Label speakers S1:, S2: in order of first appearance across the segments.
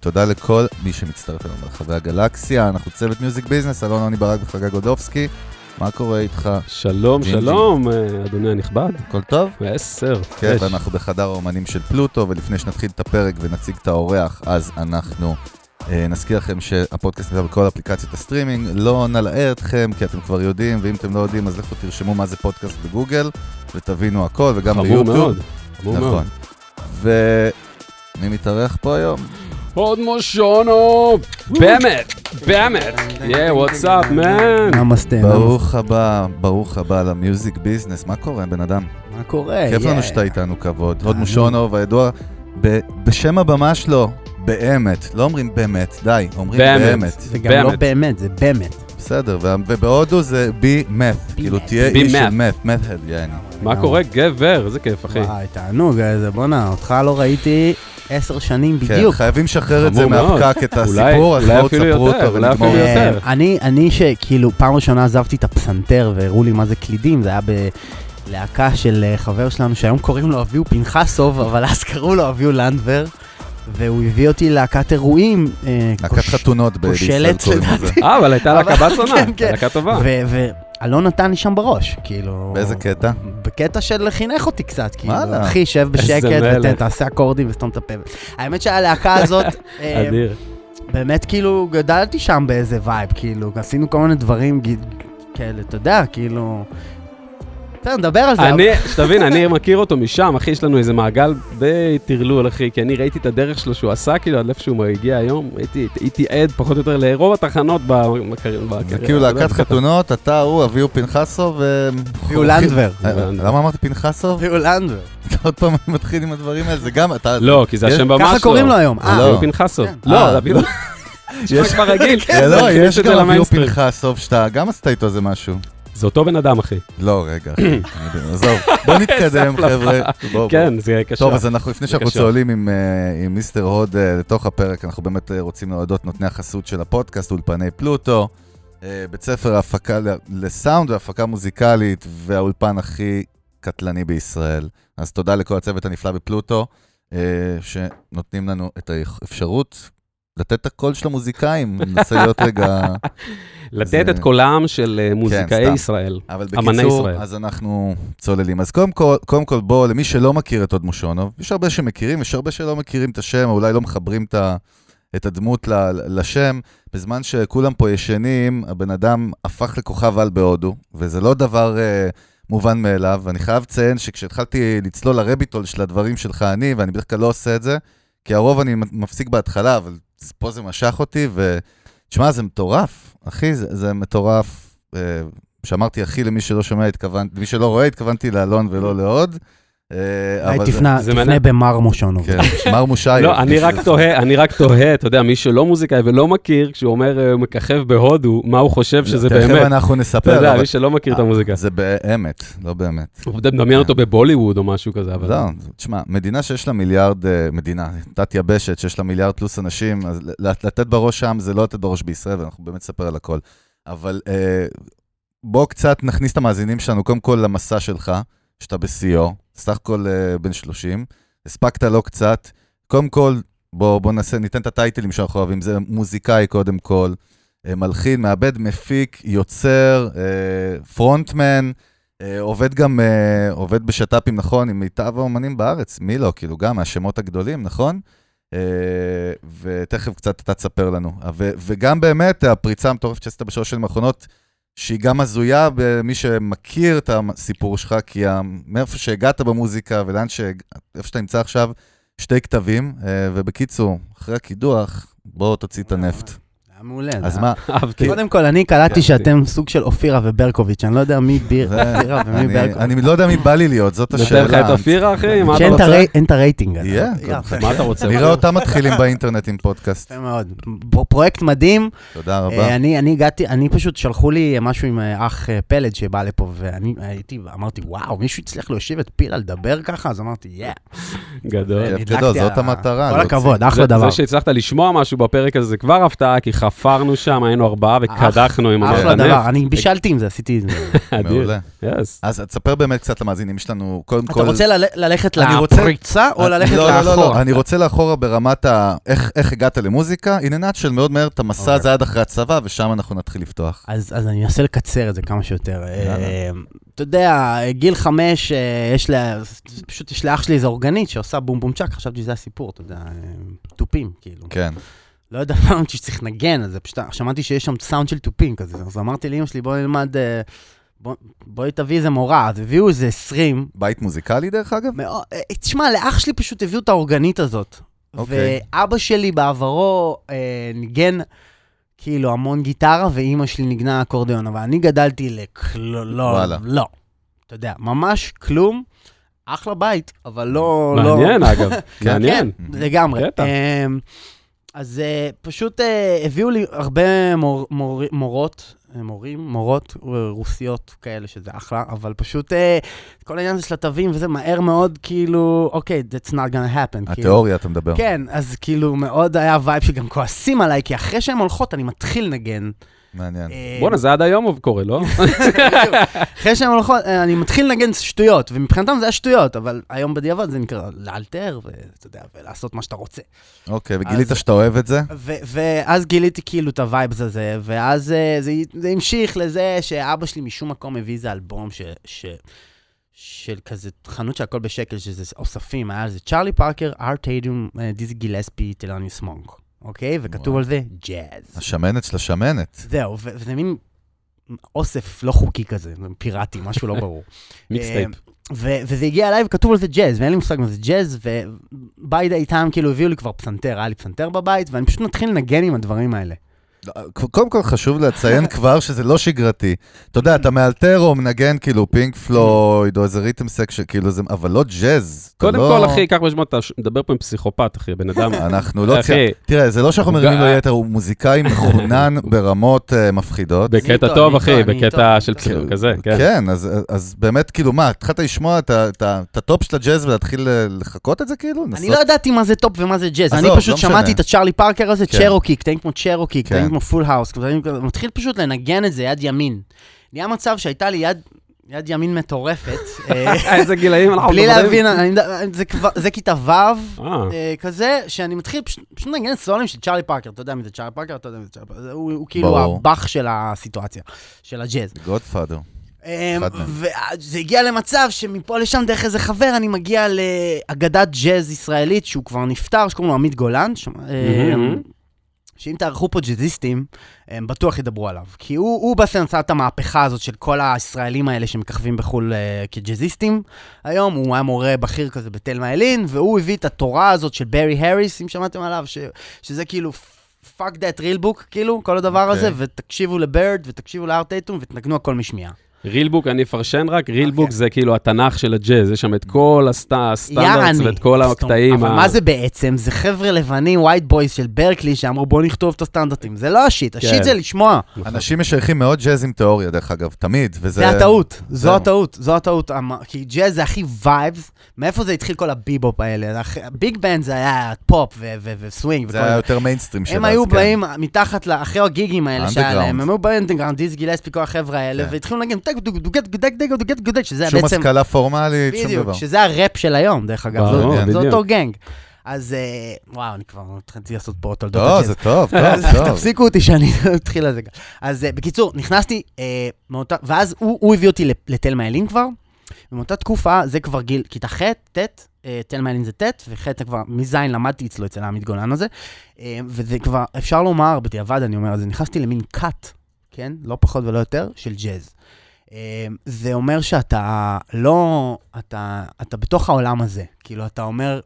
S1: תודה לכל מי שמצטרף אלינו ברחבי הגלקסיה. אנחנו צוות מיוזיק ביזנס, אלון עוני ברק וחגג גודובסקי. מה קורה איתך?
S2: שלום,
S1: ג'ינג'י.
S2: שלום, אה, אדוני הנכבד.
S1: הכל טוב?
S2: עשר.
S1: כן,
S2: יש.
S1: ואנחנו בחדר האומנים של פלוטו, ולפני שנתחיל את הפרק ונציג את האורח, אז אנחנו אה, נזכיר לכם שהפודקאסט נמצא בכל אפליקציות הסטרימינג, לא נלאה אתכם, כי אתם כבר יודעים, ואם אתם לא יודעים, אז לכו תרשמו מה זה פודקאסט בגוגל, ותבינו הכל, וגם
S2: חמור
S1: ביוטיוב.
S2: מאוד. חמור מאוד.
S1: נכון. ומי מתארח פה היום?
S2: הוד מושונו! באמת, באמת. יא, וואטסאפ, מן.
S3: נמסטה,
S1: ברוך הבא, ברוך הבא למיוזיק ביזנס, מה קורה, בן אדם?
S3: נמסטה. מה
S2: אה,
S3: קורה?
S1: כיף
S3: יא.
S1: לנו שאתה איתנו כבוד. הוד
S3: תענוג.
S1: מושונוב, הידוע ב- בשם הבמה שלו, באמת. לא אומרים באמת, די, אומרים
S2: באמת.
S1: באמת.
S3: זה גם לא
S2: באמת.
S3: באמת, זה באמת.
S1: בסדר, וה- ובהודו זה בי מת, כאילו תהיה
S2: Be
S1: איש של
S2: meth.
S1: מת, מת הד, יעני.
S2: מה קורה, גבר? איזה כיף, אחי.
S3: וואי, תענוג, איזה בואנה, אותך לא ראיתי עשר שנים
S1: כן,
S3: בדיוק.
S1: חייבים לשחרר את זה
S2: חמור מאוד.
S1: מהפקק, את
S2: אולי-
S1: הסיפור, אז
S2: אולי
S1: בואו
S2: אפילו
S1: תספרו
S2: יותר,
S1: אותו
S2: אולי
S1: ונגמור.
S2: אפילו
S1: אה,
S2: יותר.
S3: אה, אני, אני שכאילו פעם ראשונה עזבתי את הפסנתר והראו לי מה זה קלידים, זה היה בלהקה של אה, חבר שלנו שהיום קוראים לו אביהו פנחסוב, אבל אז קראו לו אביהו לנדבר, והוא הביא אותי ללהקת אירועים. אה,
S1: להקת
S3: קוש-
S1: חתונות ב-
S3: כושלת,
S1: בישראל קוראים לזה.
S2: אה, אבל הייתה להקה
S3: אבל-
S2: בת
S3: כן,
S2: עונה,
S3: כן.
S2: להקה טובה.
S3: ו- ואלון נתן לי שם בראש, כאילו...
S1: באיזה קטע?
S3: בקטע של חינך אותי קצת, כאילו,
S1: וואלה.
S3: אחי, שב
S2: איזה
S3: בשקט
S2: מלך.
S3: ותעשה אקורדים וסתום את הפה. האמת שהלהקה הזאת, אה,
S2: אדיר.
S3: באמת כאילו גדלתי שם באיזה וייב, כאילו, עשינו כל מיני דברים גיד- כאלה, אתה יודע, כאילו... בסדר, נדבר על זה.
S2: אני, שתבין, אני מכיר אותו משם, אחי, יש לנו איזה מעגל די טרלול, אחי, כי אני ראיתי את הדרך שלו שהוא עשה, כאילו, עד לאיפה שהוא הגיע היום, הייתי- הייתי עד פחות או יותר לרוב התחנות בקריירה. לא
S1: זה כאילו להקת חתונות, אתה, הוא, אביהו פנחסוב ו...
S3: אביהו לנדבר.
S1: אה, למה אמרתי פנחסוב?
S3: אביהו לנדבר.
S1: עוד פעם אני מתחיל עם הדברים האלה, זה גם אתה...
S2: לא, כי זה
S1: יש-
S2: השם במה שלו.
S3: ככה קוראים לו היום. אה,
S1: לא.
S2: אביו פנחסוב.
S3: כן.
S2: לא,
S1: אה.
S2: אביו... יש כבר רגיל.
S1: אה, לא,
S2: אני
S1: יש
S2: את זה
S1: גם אביהו
S2: למיינסטרים.
S1: פנחסוב שאתה גם עשית איתו איזה משהו.
S2: זה אותו בן אדם, אחי.
S1: לא, רגע, אחי, אני- עזוב, בוא נתקדם,
S2: הפלפה.
S1: חבר'ה. בוא, בוא.
S2: כן, זה קשה.
S1: טוב, אז אנחנו, לפני שאנחנו
S2: בבקשה.
S1: צוללים עם, אה, עם מיסטר הוד אה, לתוך הפרק, אנחנו באמת אה, רוצים להודות נותני החסות של הפודקאסט, אולפני פלוטו, אה, בית ספר ההפקה ל- לסאונד והפקה מוזיקלית, והאולפן הכי קטלני בישראל. אז תודה לכל הצוות הנפלא בפלוטו, אה, שנותנים לנו את האפשרות לתת את הקול של המוזיקאים, ננסה להיות רגע...
S2: לתת
S1: זה- כן,
S2: את קולם של אה, מוזיקאי
S1: סתם.
S2: ישראל.
S1: אבל
S2: אמני
S1: בקיצור,
S2: ישראל.
S1: אז אנחנו צוללים. אז קודם כל, קודם כל בואו, למי שלא מכיר את הוד מושונוב, יש הרבה שמכירים, יש הרבה שלא מכירים את השם, אולי לא מחברים את, ה, את הדמות ל, לשם. בזמן שכולם פה ישנים, הבן אדם הפך לכוכב על בהודו, וזה לא דבר אה, מובן מאליו. אני חייב לציין שכשהתחלתי לצלול לרביטול של הדברים שלך, אני, ואני בדרך כלל לא עושה את זה, כי הרוב אני מפסיק בהתחלה, אבל פה זה משך אותי, ו... תשמע, זה מטורף, אחי, זה, זה מטורף. אה, שאמרתי אחי למי שלא שומע, התכוונתי, למי שלא רואה, התכוונתי לאלון ולא לעוד. אה,
S3: אולי
S1: אבל זה-
S3: תפנה
S2: זה
S3: תפנה
S2: מעניין.
S3: במר מושונוב.
S1: כן, מר מושייב.
S2: לא, אני
S1: מי
S2: רק
S1: שזה-
S2: תוהה, אני רק תוהה, אתה יודע, מי שלא מוזיקאי ולא מכיר, כשהוא אומר אה, הוא מככב בהודו, מה הוא חושב שזה
S1: לא, תכף
S2: באמת.
S1: אנחנו
S2: אתה
S1: נספר,
S2: יודע,
S1: אבל
S2: מי שלא מכיר את
S1: אה,
S2: המוזיקה.
S1: זה באמת, לא באמת.
S2: הוא מדמיין אותו בבוליווד או משהו כזה, אבל...
S1: לא, תשמע, מדינה שיש לה מיליארד, אה, מדינה, תת יבשת, שיש לה מיליארד פלוס אנשים, אז ל- לתת בראש שם זה לא לתת בראש בישראל, ואנחנו באמת נספר על הכל. אבל אה, בוא קצת נכניס את המאזינים שלנו, קודם כל למסע שלך, שאתה בשיאו, סך הכל אה, בן 30, הספקת לא קצת. קודם כל, בוא, בוא נעשה, ניתן את הטייטלים שאנחנו אוהבים, זה מוזיקאי קודם כל, אה, מלחין, מעבד, מפיק, יוצר, אה, פרונטמן. אה, עובד גם, אה, עובד בשת"פים, נכון, עם מיטב האומנים בארץ, מי לא, כאילו, גם מהשמות הגדולים, נכון? אה, ותכף קצת אתה תספר לנו. אה, ו- וגם באמת הפריצה המטורפת שעשית בשלוש שנים האחרונות, שהיא גם הזויה במי שמכיר את הסיפור שלך, כי ה- מאיפה שהגעת במוזיקה ולאן ש... איפה שאתה נמצא עכשיו, שתי כתבים, אה, ובקיצור, אחרי הקידוח, בוא תוציא את הנפט.
S3: היה מעולה. זה
S1: אז
S3: היה-
S1: מה,
S2: אהבתי.
S3: קודם כל, אני קלטתי
S2: כן.
S3: שאתם סוג של אופירה וברקוביץ', אני לא יודע מי ביר-
S1: זה-
S3: אופירה ומי
S1: אני-
S3: ברקוביץ'.
S1: אני לא יודע מי בא לי להיות, זאת השאלה.
S2: נותן לך את אופירה, אחי? מה אתה
S3: שאין את
S2: רוצה?
S3: הרי- אין את הרייטינג. הזה.
S1: יהיה,
S3: יפה.
S1: הכל
S2: מה אתה רוצה?
S1: נראה אותם מתחילים באינטרנט עם פודקאסט.
S3: יפה מאוד. פ- פרויקט מדהים.
S1: תודה רבה.
S3: אה, אני אני הגעתי, אני פשוט שלחו לי משהו עם אה, אח אה, פלד שבא לפה, ואני הייתי, אמרתי, וואו, מישהו הצליח להושיב את פילה לדבר ככה? אז אמרתי, יא.
S2: גדול.
S1: יפה,
S3: נדלקתי
S1: גדול,
S3: על
S1: זאת
S3: ה-
S1: המטרה,
S3: כל
S1: להוציא.
S3: הכבוד, אחלה
S2: זה-
S3: דבר.
S2: זה שהצלחת לשמוע משהו בפרק הזה זה כבר הפתעה, כי חף- חפרנו שם, היינו ארבעה וקדחנו עם
S1: אחלה
S3: אחלה
S2: המחנף.
S3: דבר, אני בישלתי עם זה, עשיתי את זה.
S2: אדיר.
S1: מעולה.
S2: יס.
S1: אז תספר באמת קצת למאזינים שלנו, קודם
S3: אתה
S1: כל...
S3: רוצה לל- ללכת
S1: אני רוצה-
S3: לפריצה או
S1: לא,
S3: ללכת
S1: לא, לא, לא,
S3: לאחורה?
S1: אני רוצה לאחורה ברמת ה... איך, איך הגעת למוזיקה, הנה נאצ'ל מאוד מהר את המסע
S3: אוקיי. אה,
S1: הזה עד אחרי הצבא, ושם אנחנו נתחיל לפתוח.
S3: אז, אז אני אנסה לקצר את זה כמה שיותר.
S1: יאללה.
S3: אה, אתה יודע, גיל חמש, אה, יש לה, פשוט יש לאח שלי איזו אורגנית שעושה בום בום צ'אק, חשבתי שזה הסיפור, אתה יודע, אה, תופים, כאילו.
S1: כן.
S3: לא יודע מה אמרתי שצריך לנגן, אז זה פשוט שמעתי שיש שם סאונד של תופים כזה, אז אמרתי לאמא שלי, בואי נלמד, אה, בוא- בואי תביא איזה מורה, אז הביאו איזה 20.
S1: בית מוזיקלי דרך אגב?
S3: מאוד- אה, תשמע, לאח שלי פשוט הביאו את האורגנית הזאת.
S1: אוקיי.
S3: ואבא שלי בעברו אה, ניגן כאילו המון גיטרה, ואימא שלי ניגנה אקורדיון, אבל אני גדלתי לכלום, לא,
S1: וואלה.
S3: לא. אתה יודע, ממש כלום, אחלה בית, אבל לא... לא-
S2: מעניין, אגב. מעניין.
S3: כן, לגמרי.
S2: קטע.
S3: אמ, אז אה, פשוט אה, הביאו לי הרבה מור- מור- מורות, אה, מורים, מורות אה, רוסיות כאלה, שזה אחלה, אבל פשוט אה, כל העניין הזה של התווים וזה מהר מאוד, כאילו, אוקיי, that's not gonna happen. כאילו.
S1: התיאוריה, אתה מדבר.
S3: כן, אז כאילו מאוד היה וייב שגם כועסים עליי, כי אחרי שהן הולכות אני מתחיל לנגן.
S1: מעניין.
S3: אה,
S2: בואנה, זה עד היום קורה, לא?
S3: אחרי שהן הולכות, אה, אני מתחיל לנגן שטויות, ומבחינתם זה היה שטויות, אבל היום בדיעבד זה נקרא לאלתר, ואתה יודע, ולעשות מה שאתה רוצה.
S1: אוקיי, וגילית
S3: אז-
S1: שאתה אוהב את זה?
S3: ו- ואז גיליתי כאילו את הווייבס הזה, ואז אה, זה, זה המשיך לזה שאבא שלי משום מקום הביא איזה אלבום ש, ש, של כזה חנות שהכל בשקל, שזה אוספים, היה על זה צ'ארלי פארקר, ארט איידום, דיזי גילספי, טילניוס מונק, אוקיי? וכתוב
S1: וואו.
S3: על זה ג'אז.
S1: השמנת של השמנת.
S3: זהו, ו- וזה מין אוסף לא חוקי כזה, פיראטי, משהו לא ברור.
S2: מיקסטייפ.
S3: אמ, ו- וזה הגיע אליי וכתוב על זה ג'אז, ואין לי מושג מה זה ג'אז, וביי די טעם כאילו הביאו לי כבר פסנתר, היה לי פסנתר בבית, ואני פשוט מתחיל לנגן עם הדברים האלה.
S1: לא, קודם כל חשוב לציין כבר שזה לא שגרתי. אתה יודע, אתה מאלתר או מנגן כאילו פינק פלויד או איזה ריתם סקשן, כאילו זה, אבל לא ג'אז. אתה
S2: קודם
S1: לא-
S2: כל, אחי, קח בחשבון, אתה ש- מדבר פה עם פסיכופת, אחי, בן אדם.
S1: אנחנו לא...
S2: אחי.
S1: צי- תראה, זה לא שאנחנו מרימים לו
S2: אה.
S1: יתר, הוא מוזיקאי מחונן ברמות אה, מפחידות.
S3: איתו,
S2: בקטע
S3: אני
S2: טוב,
S3: איתו,
S2: אחי,
S3: אני
S2: בקטע
S3: איתו,
S2: של
S3: אני
S2: פסיכו
S1: איתו.
S2: כזה, כן.
S1: כן, אז, אז באמת, כאילו, מה, התחלת לשמוע את ה- את ה- את הטופ של הג'אז ולהתחיל אה, לחקות את זה, כאילו?
S3: אני
S1: לנסות-
S3: לא ידעתי מה זה טופ ומה זה ג'אז, אני
S1: עזוב, לא
S3: פשוט
S1: משנה.
S3: שמעתי את הצ'ארלי פארקר הזה,
S1: כן.
S3: צ'רוקי, קטעים כמו צ'רוקי, קטעים
S1: כן.
S3: כמו פול האוס, קטעים כמו- מתחיל פשוט לנגן את זה יד ימין. נהיה מצב שהייתה לי יד... יד ימין מטורפת, אה,
S2: איזה גילאים אנחנו
S3: בלי
S2: מדברים?
S3: להבין, אני יודע- זה כבר- זה כיתה ו',
S2: אה,
S3: אה, כזה, שאני מתחיל פשוט פשוט לנגן סולים של צ'ארלי פארקר, אתה יודע מי זה צ'ארלי פארקר, אתה יודע מי זה צ'ארלי פארקר, הוא הוא כאילו
S1: ברור.
S3: הבאך של הסיטואציה, של הג'אז.
S1: גודפאדר.
S3: אמ,
S1: אחד מהם.
S3: וזה הגיע למצב שמפה לשם דרך איזה חבר, אני מגיע לאגדת ג'אז ישראלית, שהוא כבר נפטר, שקוראים לו עמית גולן, ש- אמ, שאם תערכו פה ג'אזיסטים, הם בטוח ידברו עליו. כי הוא, הוא בעצם עשה את המהפכה הזאת של כל הישראלים האלה שמככבים בחו"ל אה, כג'אזיסטים. היום הוא היה מורה בכיר כזה בתלמה ילין, והוא הביא את התורה הזאת של ברי האריס, אם שמעתם עליו, ש, שזה כאילו... fuck that real book, כאילו, כל הדבר okay. הזה,
S1: אוקיי.
S3: ותקשיבו לברד, ותקשיבו לארט אייטום, ותנגנו הכל משמיעה.
S2: רילבוק, אני אפרשן רק,
S3: אוקיי.
S2: רילבוק זה כאילו התנ"ך של הג'אז, יש שם את כל הסט- הסטנדרטס
S3: יעני.
S2: ואת כל
S3: זאת אומרת,
S2: הקטעים.
S3: אבל
S2: ה-
S3: מה זה בעצם? זה חבר'ה לבנים, white boys של ברקלי, שאמרו בוא נכתוב את הסטנדרטים. זה לא השיט,
S2: כן.
S3: השיט זה לשמוע.
S1: אנשים משייכים מאוד ג'אז עם תיאוריה, דרך אגב, תמיד, וזה...
S3: זה הטעות,
S1: זהו.
S3: זו הטעות, זו הטעות. המ- כי ג'אז זה הכי וייבס, מאיפה זה התחיל כל הביבופ האלה? הכ- הביג בנד זה היה פופ ו- ו- וסווינג וכל
S1: זה היה
S3: זה.
S1: יותר מיינסטרים שלה.
S3: הם
S1: אז
S3: היו
S1: כן.
S3: באים מתחת, ל- אחרי הגיגים האלה שהיה
S1: Underground.
S3: להם, הם היו באנדרגראונד, דיס גילספי, כל החבר'ה האלה,
S1: כן.
S3: והתחילו לנגן טק דוק דוק דוק דוק דוק דוק דוק, שזה היה
S1: שום
S3: בעצם...
S1: השכלה פורמלית, שום דבר.
S3: בדיוק, שזה הראפ של היום, דרך אגב,
S2: ברור,
S3: זה- זה
S2: בדיוק.
S3: אותו גנג. אז אה, וואו, אני כבר התחלתי לעשות פה תולדות
S1: לא,
S3: הג'אז.
S1: זה טוב, טוב, טוב.
S3: תפסיקו אותי שאני אתחיל על זה. גם. אז אה, בקיצור, נכנסתי אה, מאותה, ואז הוא הוא הביא אותי לתלמה ילין כבר, ומאותה תקופה, זה כבר גיל, כיתה ח', ט', אה, תלמה ילין זה ט', וח' זה כבר, מז' למדתי אצלו, אצל העמית גולן הזה, אה, וזה כבר, אפשר לומר, בדיעבד אני אומר, אז נכנסתי למין כת, כן? לא פחות ולא יותר, של ג'אז. אה, זה אומר שאתה לא, אתה, אתה בתוך העולם הזה, כאילו, אתה אומר,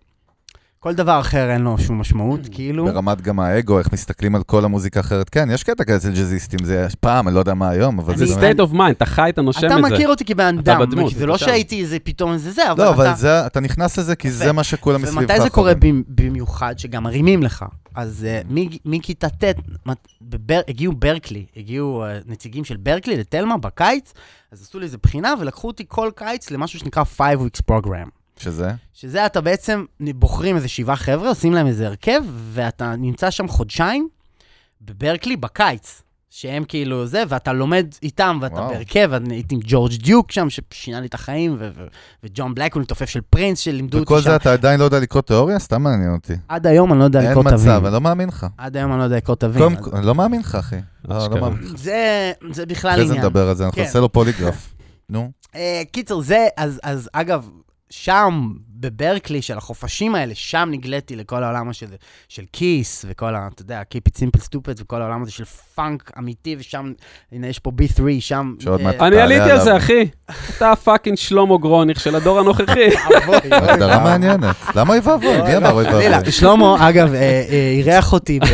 S3: כל דבר אחר אין לו שום משמעות, כאילו.
S1: ברמת גם האגו, איך מסתכלים על כל המוזיקה האחרת. כן, יש קטע כזה אצל ג'אזיסטים, זה פעם, אני לא יודע מה היום, אבל
S3: אני
S1: זה...
S2: זה
S1: באמת-
S2: state of mind, אתה חי, אתה נושם את זה.
S3: אתה מכיר אותי כבן
S2: אתה
S3: אדם,
S2: בדמות,
S3: זה לא
S2: אתה שם.
S3: שהייתי איזה פתאום איזה זה, אבל
S1: לא,
S3: אתה...
S1: אבל זה- אתה נכנס לזה, כי זה מה שכולם מסביבך.
S3: ומתי זה קורה
S1: חווים.
S3: במ- במיוחד, שגם מרימים לך? אז אה, מג- מכיתה ט', מת- בבר- הגיעו ברקלי, הגיעו אה, נציגים של ברקלי לתלמה בקיץ, אז עשו לי איזה בחינה ולקחו אותי כל קיץ למשהו שנקרא 5 weeks program.
S1: שזה?
S3: שזה אתה בעצם, בוחרים איזה שבעה חבר'ה, עושים להם איזה הרכב, ואתה נמצא שם חודשיים, בברקלי בקיץ, שהם כאילו זה, ואתה לומד איתם, ואתה
S1: וואו.
S3: בהרכב, אני הייתי עם ג'ורג' דיוק שם, ששינה לי את החיים, ו- ו- וג'ון בלקול, תופף של פרינס, שלימדו אותי
S1: וכל
S3: שם.
S1: זה אתה עדיין לא יודע לקרוא תיאוריה? סתם מעניין אותי.
S3: עד היום אני לא יודע
S1: אין
S3: לקרוא
S1: מצב,
S3: תווים.
S1: אני לא מאמין לך.
S3: עד היום אני לא יודע לקרוא
S1: קודם
S3: תווים.
S1: כל, אני לא מאמין לך, אחי. לא,
S2: אשכרה.
S1: לא מאמין לך.
S3: זה זה בכלל
S1: אחרי זה
S3: עניין.
S1: נדבר על זה, אנחנו
S3: כן.
S1: נעשה לו פוליגרף. נו,
S3: אה, קיצר, זה, אז, אז אגב, שם, בברקלי, של החופשים האלה, שם נגלתי לכל העולם הזה של כיס, וכל ה... אתה יודע, Keep it simple stupid, וכל העולם הזה של פאנק אמיתי, ושם, הנה, יש פה B3, שם...
S1: שעוד
S3: אה,
S1: מעט-
S2: כן. אני
S1: תעלה
S2: עליתי על
S1: עליו.
S2: זה, אחי. אתה הפאקינג שלמה גרוניך של הדור הנוכחי.
S3: אבוי, אוי,
S1: הגדרה
S3: אוי.
S1: מעניינת. למה אוי
S3: אה, לא,
S1: ואבוי? מי אמר אוי ואבוי?
S3: חלילה. שלמה, אגב, אה, אה, אירח אותי ב-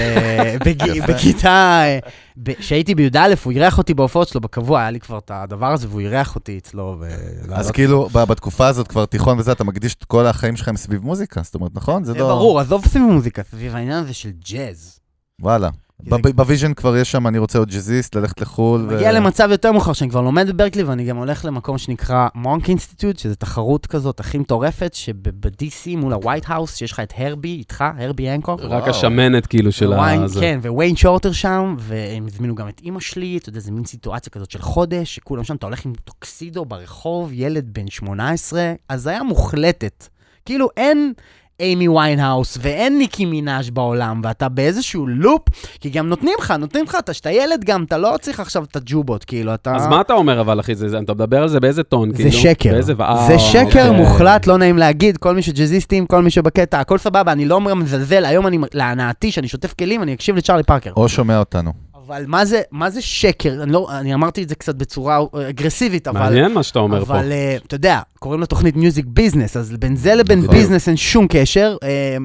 S3: בג-
S1: יפה.
S3: בכיתה, אה, ב- כשהייתי בי"א, הוא אירח אותי בהופעות שלו בקבוע, היה לי כבר את הדבר הזה, והוא אירח אותי אצלו. ו-
S1: אז כאילו, ב- בתקופה הזאת כבר תיכון וזה, אתה מקדיש את כל החיים שלכם סביב מוזיקה, זאת אומרת, נכון?
S3: זה ברור, עזוב סביב מוזיקה, סביב העניין הזה של ג'אז.
S1: וואלה. ב- ב- בוויז'ן כבר יש שם, אני רוצה עוד ג'אזיסט, ללכת לחו"ל. ו-
S3: מגיע למצב יותר מאוחר, שאני כבר לומד בברקלי, ואני גם הולך למקום שנקרא מונק אינסטיטוט, שזו תחרות כזאת הכי מטורפת, שב-DC מול הווייט האוס, שיש לך את הרבי איתך, הרבי הנקוק.
S2: רק השמנת כאילו של
S3: וויין,
S2: ה... זה.
S3: כן, וויין שורטר שם, והם הזמינו גם את אימא שלי, אתה יודע, זה מין סיטואציה כזאת של חודש, שכולם שם, אתה הולך עם טוקסידו ברחוב, ילד בן 18, הזיה מוחלטת. כאילו אין אימי ויינהאוס ואין ניקי מנאז' בעולם, ואתה באיזשהו לופ, כי גם נותנים לך, נותנים לך, אתה שאתה ילד גם, אתה לא צריך עכשיו את הג'ובות, כאילו, אתה...
S2: אז מה אתה אומר אבל, אחי? זה- זה- אתה מדבר על זה באיזה טון?
S3: זה
S2: כאילו?
S3: שקר.
S2: באיזה- אה,
S3: זה שקר
S2: אוקיי.
S3: מוחלט, לא נעים להגיד, כל מי שג'אזיסטים, כל מי שבקטע, הכל סבבה, אני לא מזלזל, היום אני, להנאתי, שאני שוטף כלים, אני אקשיב לצ'ארלי פארקר.
S1: או שומע אותנו.
S3: אבל מה זה, מה זה שקר? אני, לא, אני אמרתי את זה קצת בצורה אה, אגרסיבית, אבל...
S2: מעניין מה שאתה אומר פה.
S3: אבל אה, אתה יודע, קוראים לתוכנית מיוזיק ביזנס, אז בין זה לבין
S1: נכון.
S3: ביזנס אין שום קשר. אה,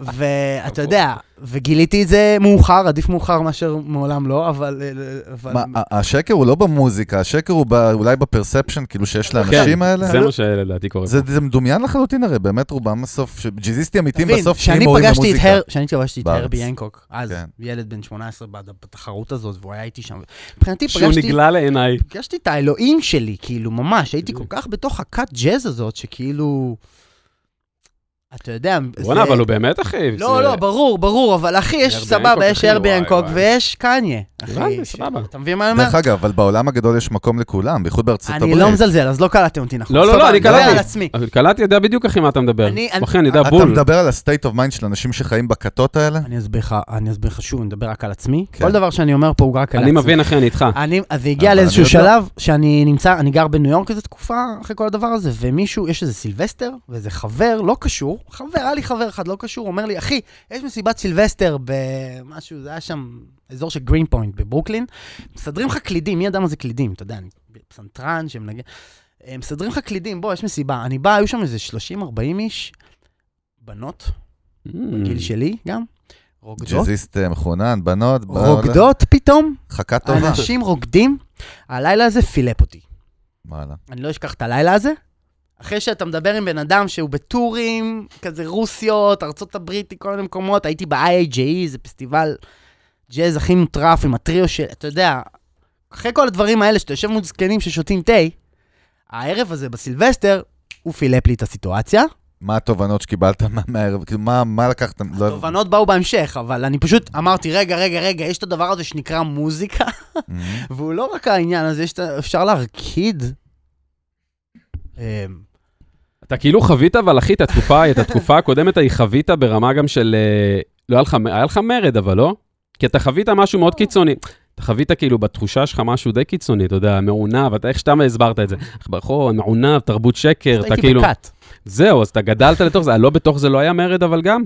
S3: ואתה יודע, וגיליתי את זה מאוחר, עדיף מאוחר מאשר מעולם לא, אבל... אה, אבל-
S1: מה, ה- השקר הוא לא במוזיקה, השקר הוא ב- אולי בפרספשן, כאילו
S3: כן,
S1: שיש לאנשים האלה.
S2: כן, זה מה שלדעתי קורה.
S1: זה, זה מדומיין לחלוטין הרי, באמת רובם בסוף, ש- ג'יזיסטים אמיתיים
S3: תבין,
S1: בסוף
S3: כשאני
S1: הורים
S3: פגשתי את
S1: במוזיקה.
S3: הר- כשאני פגשתי את
S1: בארץ.
S3: הרבי הנקוק, אז
S1: כן.
S3: ילד בן 18 בד- בתחרות הזאת, והוא היה איתי שם. מבחינתי
S2: שהוא
S3: פגשתי...
S2: נגלה לעיניי.
S3: הרגשתי את האלוהים שלי, כאילו, ממש. הייתי כל
S2: בדיוק.
S3: כך בתוך הכת ג'אז הזאת, שכאילו... אתה יודע...
S2: בואנה,
S3: זה-
S2: אבל הוא באמת, אחי.
S3: לא,
S2: זה-
S3: לא, ברור, ברור, אבל אחי, יש
S2: הרבי
S3: סבבה,
S2: הנקוק,
S3: יש
S2: אחי,
S3: הרבי
S2: וואי,
S3: הנקוק
S2: וואי.
S3: ויש קניה. אחי,
S2: הבנתי,
S3: ש-
S2: סבבה.
S3: אתה מבין מה אני אומר?
S1: דרך אגב, אבל בעולם הגדול יש מקום לכולם, בייחוד בארצות הברית.
S3: אני לא מזלזל, אז לא קלטתם אותי נכון.
S2: לא, לא, לא,
S3: סבבה,
S2: אני
S3: מדבר
S2: קלטתי.
S3: על עצמי.
S2: אבל קלטתי, יודע בדיוק, אחי, מה אתה מדבר.
S3: אני- אני-
S2: אחי, אני יודע
S1: אתה
S2: בול.
S1: מדבר על ה-state of mind של אנשים שחיים בכתות האלה?
S3: אני אסביר לך, אני אסביר לך שוב, אני מדבר רק על עצמי.
S1: כן.
S3: כל דבר שאני אומר פה הוא רק על
S2: אני
S3: עצמי.
S2: מבין, אחי, אני איתך.
S3: אני, אז זה הגיע
S1: אבל
S3: לאיזשהו
S1: אני יודע.
S3: שלב שאני נמצא, אני גר בניו יורק איזה תקופה אחרי כל הדבר הזה, ומישהו, יש איזה סילבסטר, ואיזה חבר, לא קשור, חבר, היה לי חבר אחד לא קשור, אומר לי, אחי, יש מסיבת סילבסטר במשהו, זה היה שם אזור של גרין פוינט בברוקלין, מסדרים לך קלידים, מי ידע מה זה קלידים, אתה יודע, אני פסנתרן שמנגן, אה, מסדרים לך קלידים, בוא, יש מסיבה, אני בא, היו שם איזה 30-40 איש, בנות, בגיל
S2: Hmm.
S1: Mm.
S3: שלי גם, רוקדות,
S1: ג'אזיסט אה, מחונן, בנות, בא-
S3: רוקדות פתאום,
S1: חכה טובה.
S3: אנשים רוקדים, הלילה הזה פילפ אותי.
S1: וואלה.
S3: אני לא אשכח את הלילה הזה. אחרי שאתה מדבר עם בן אדם שהוא בטורים, כזה רוסיות, ארצות הברית, כל מיני מקומות, הייתי ב-IAJE, E, זה פסטיבל ג'אז הכי מוטרף עם הטריו של, אתה יודע, אחרי כל הדברים האלה, שאתה יושב מול זקנים ששותים תה, הערב הזה בסילבסטר, הוא פילפ לי את הסיטואציה.
S1: מה התובנות שקיבלת מה- מהערב? כאילו, מה- מה לקחתם? לא-
S3: תובנות באו בהמשך, אבל אני פשוט אמרתי, רגע, רגע, רגע, יש את הדבר הזה שנקרא מוזיקה,
S1: Mhm.
S3: והוא לא רק העניין הזה, יש את ה- אפשר להרקיד. אמ,
S2: אתה כאילו חווית, אבל אחי, את התקופה, את התקופה הקודמת ההיא חווית ברמה גם של... אה, לא היה לך, היה לך מרד, אבל לא? כי אתה חווית משהו מאוד קיצוני. אתה חווית כאילו בתחושה שלך משהו די קיצוני, אתה יודע, מעונב, אתה איך שאתה הסברת את זה. איך ברחוב, מעונב, תרבות שקר, אתה
S3: הייתי
S2: כאילו...
S3: בכת.
S2: זהו, אז אתה גדלת לתוך זה, לא בתוך זה לא היה מרד, אבל גם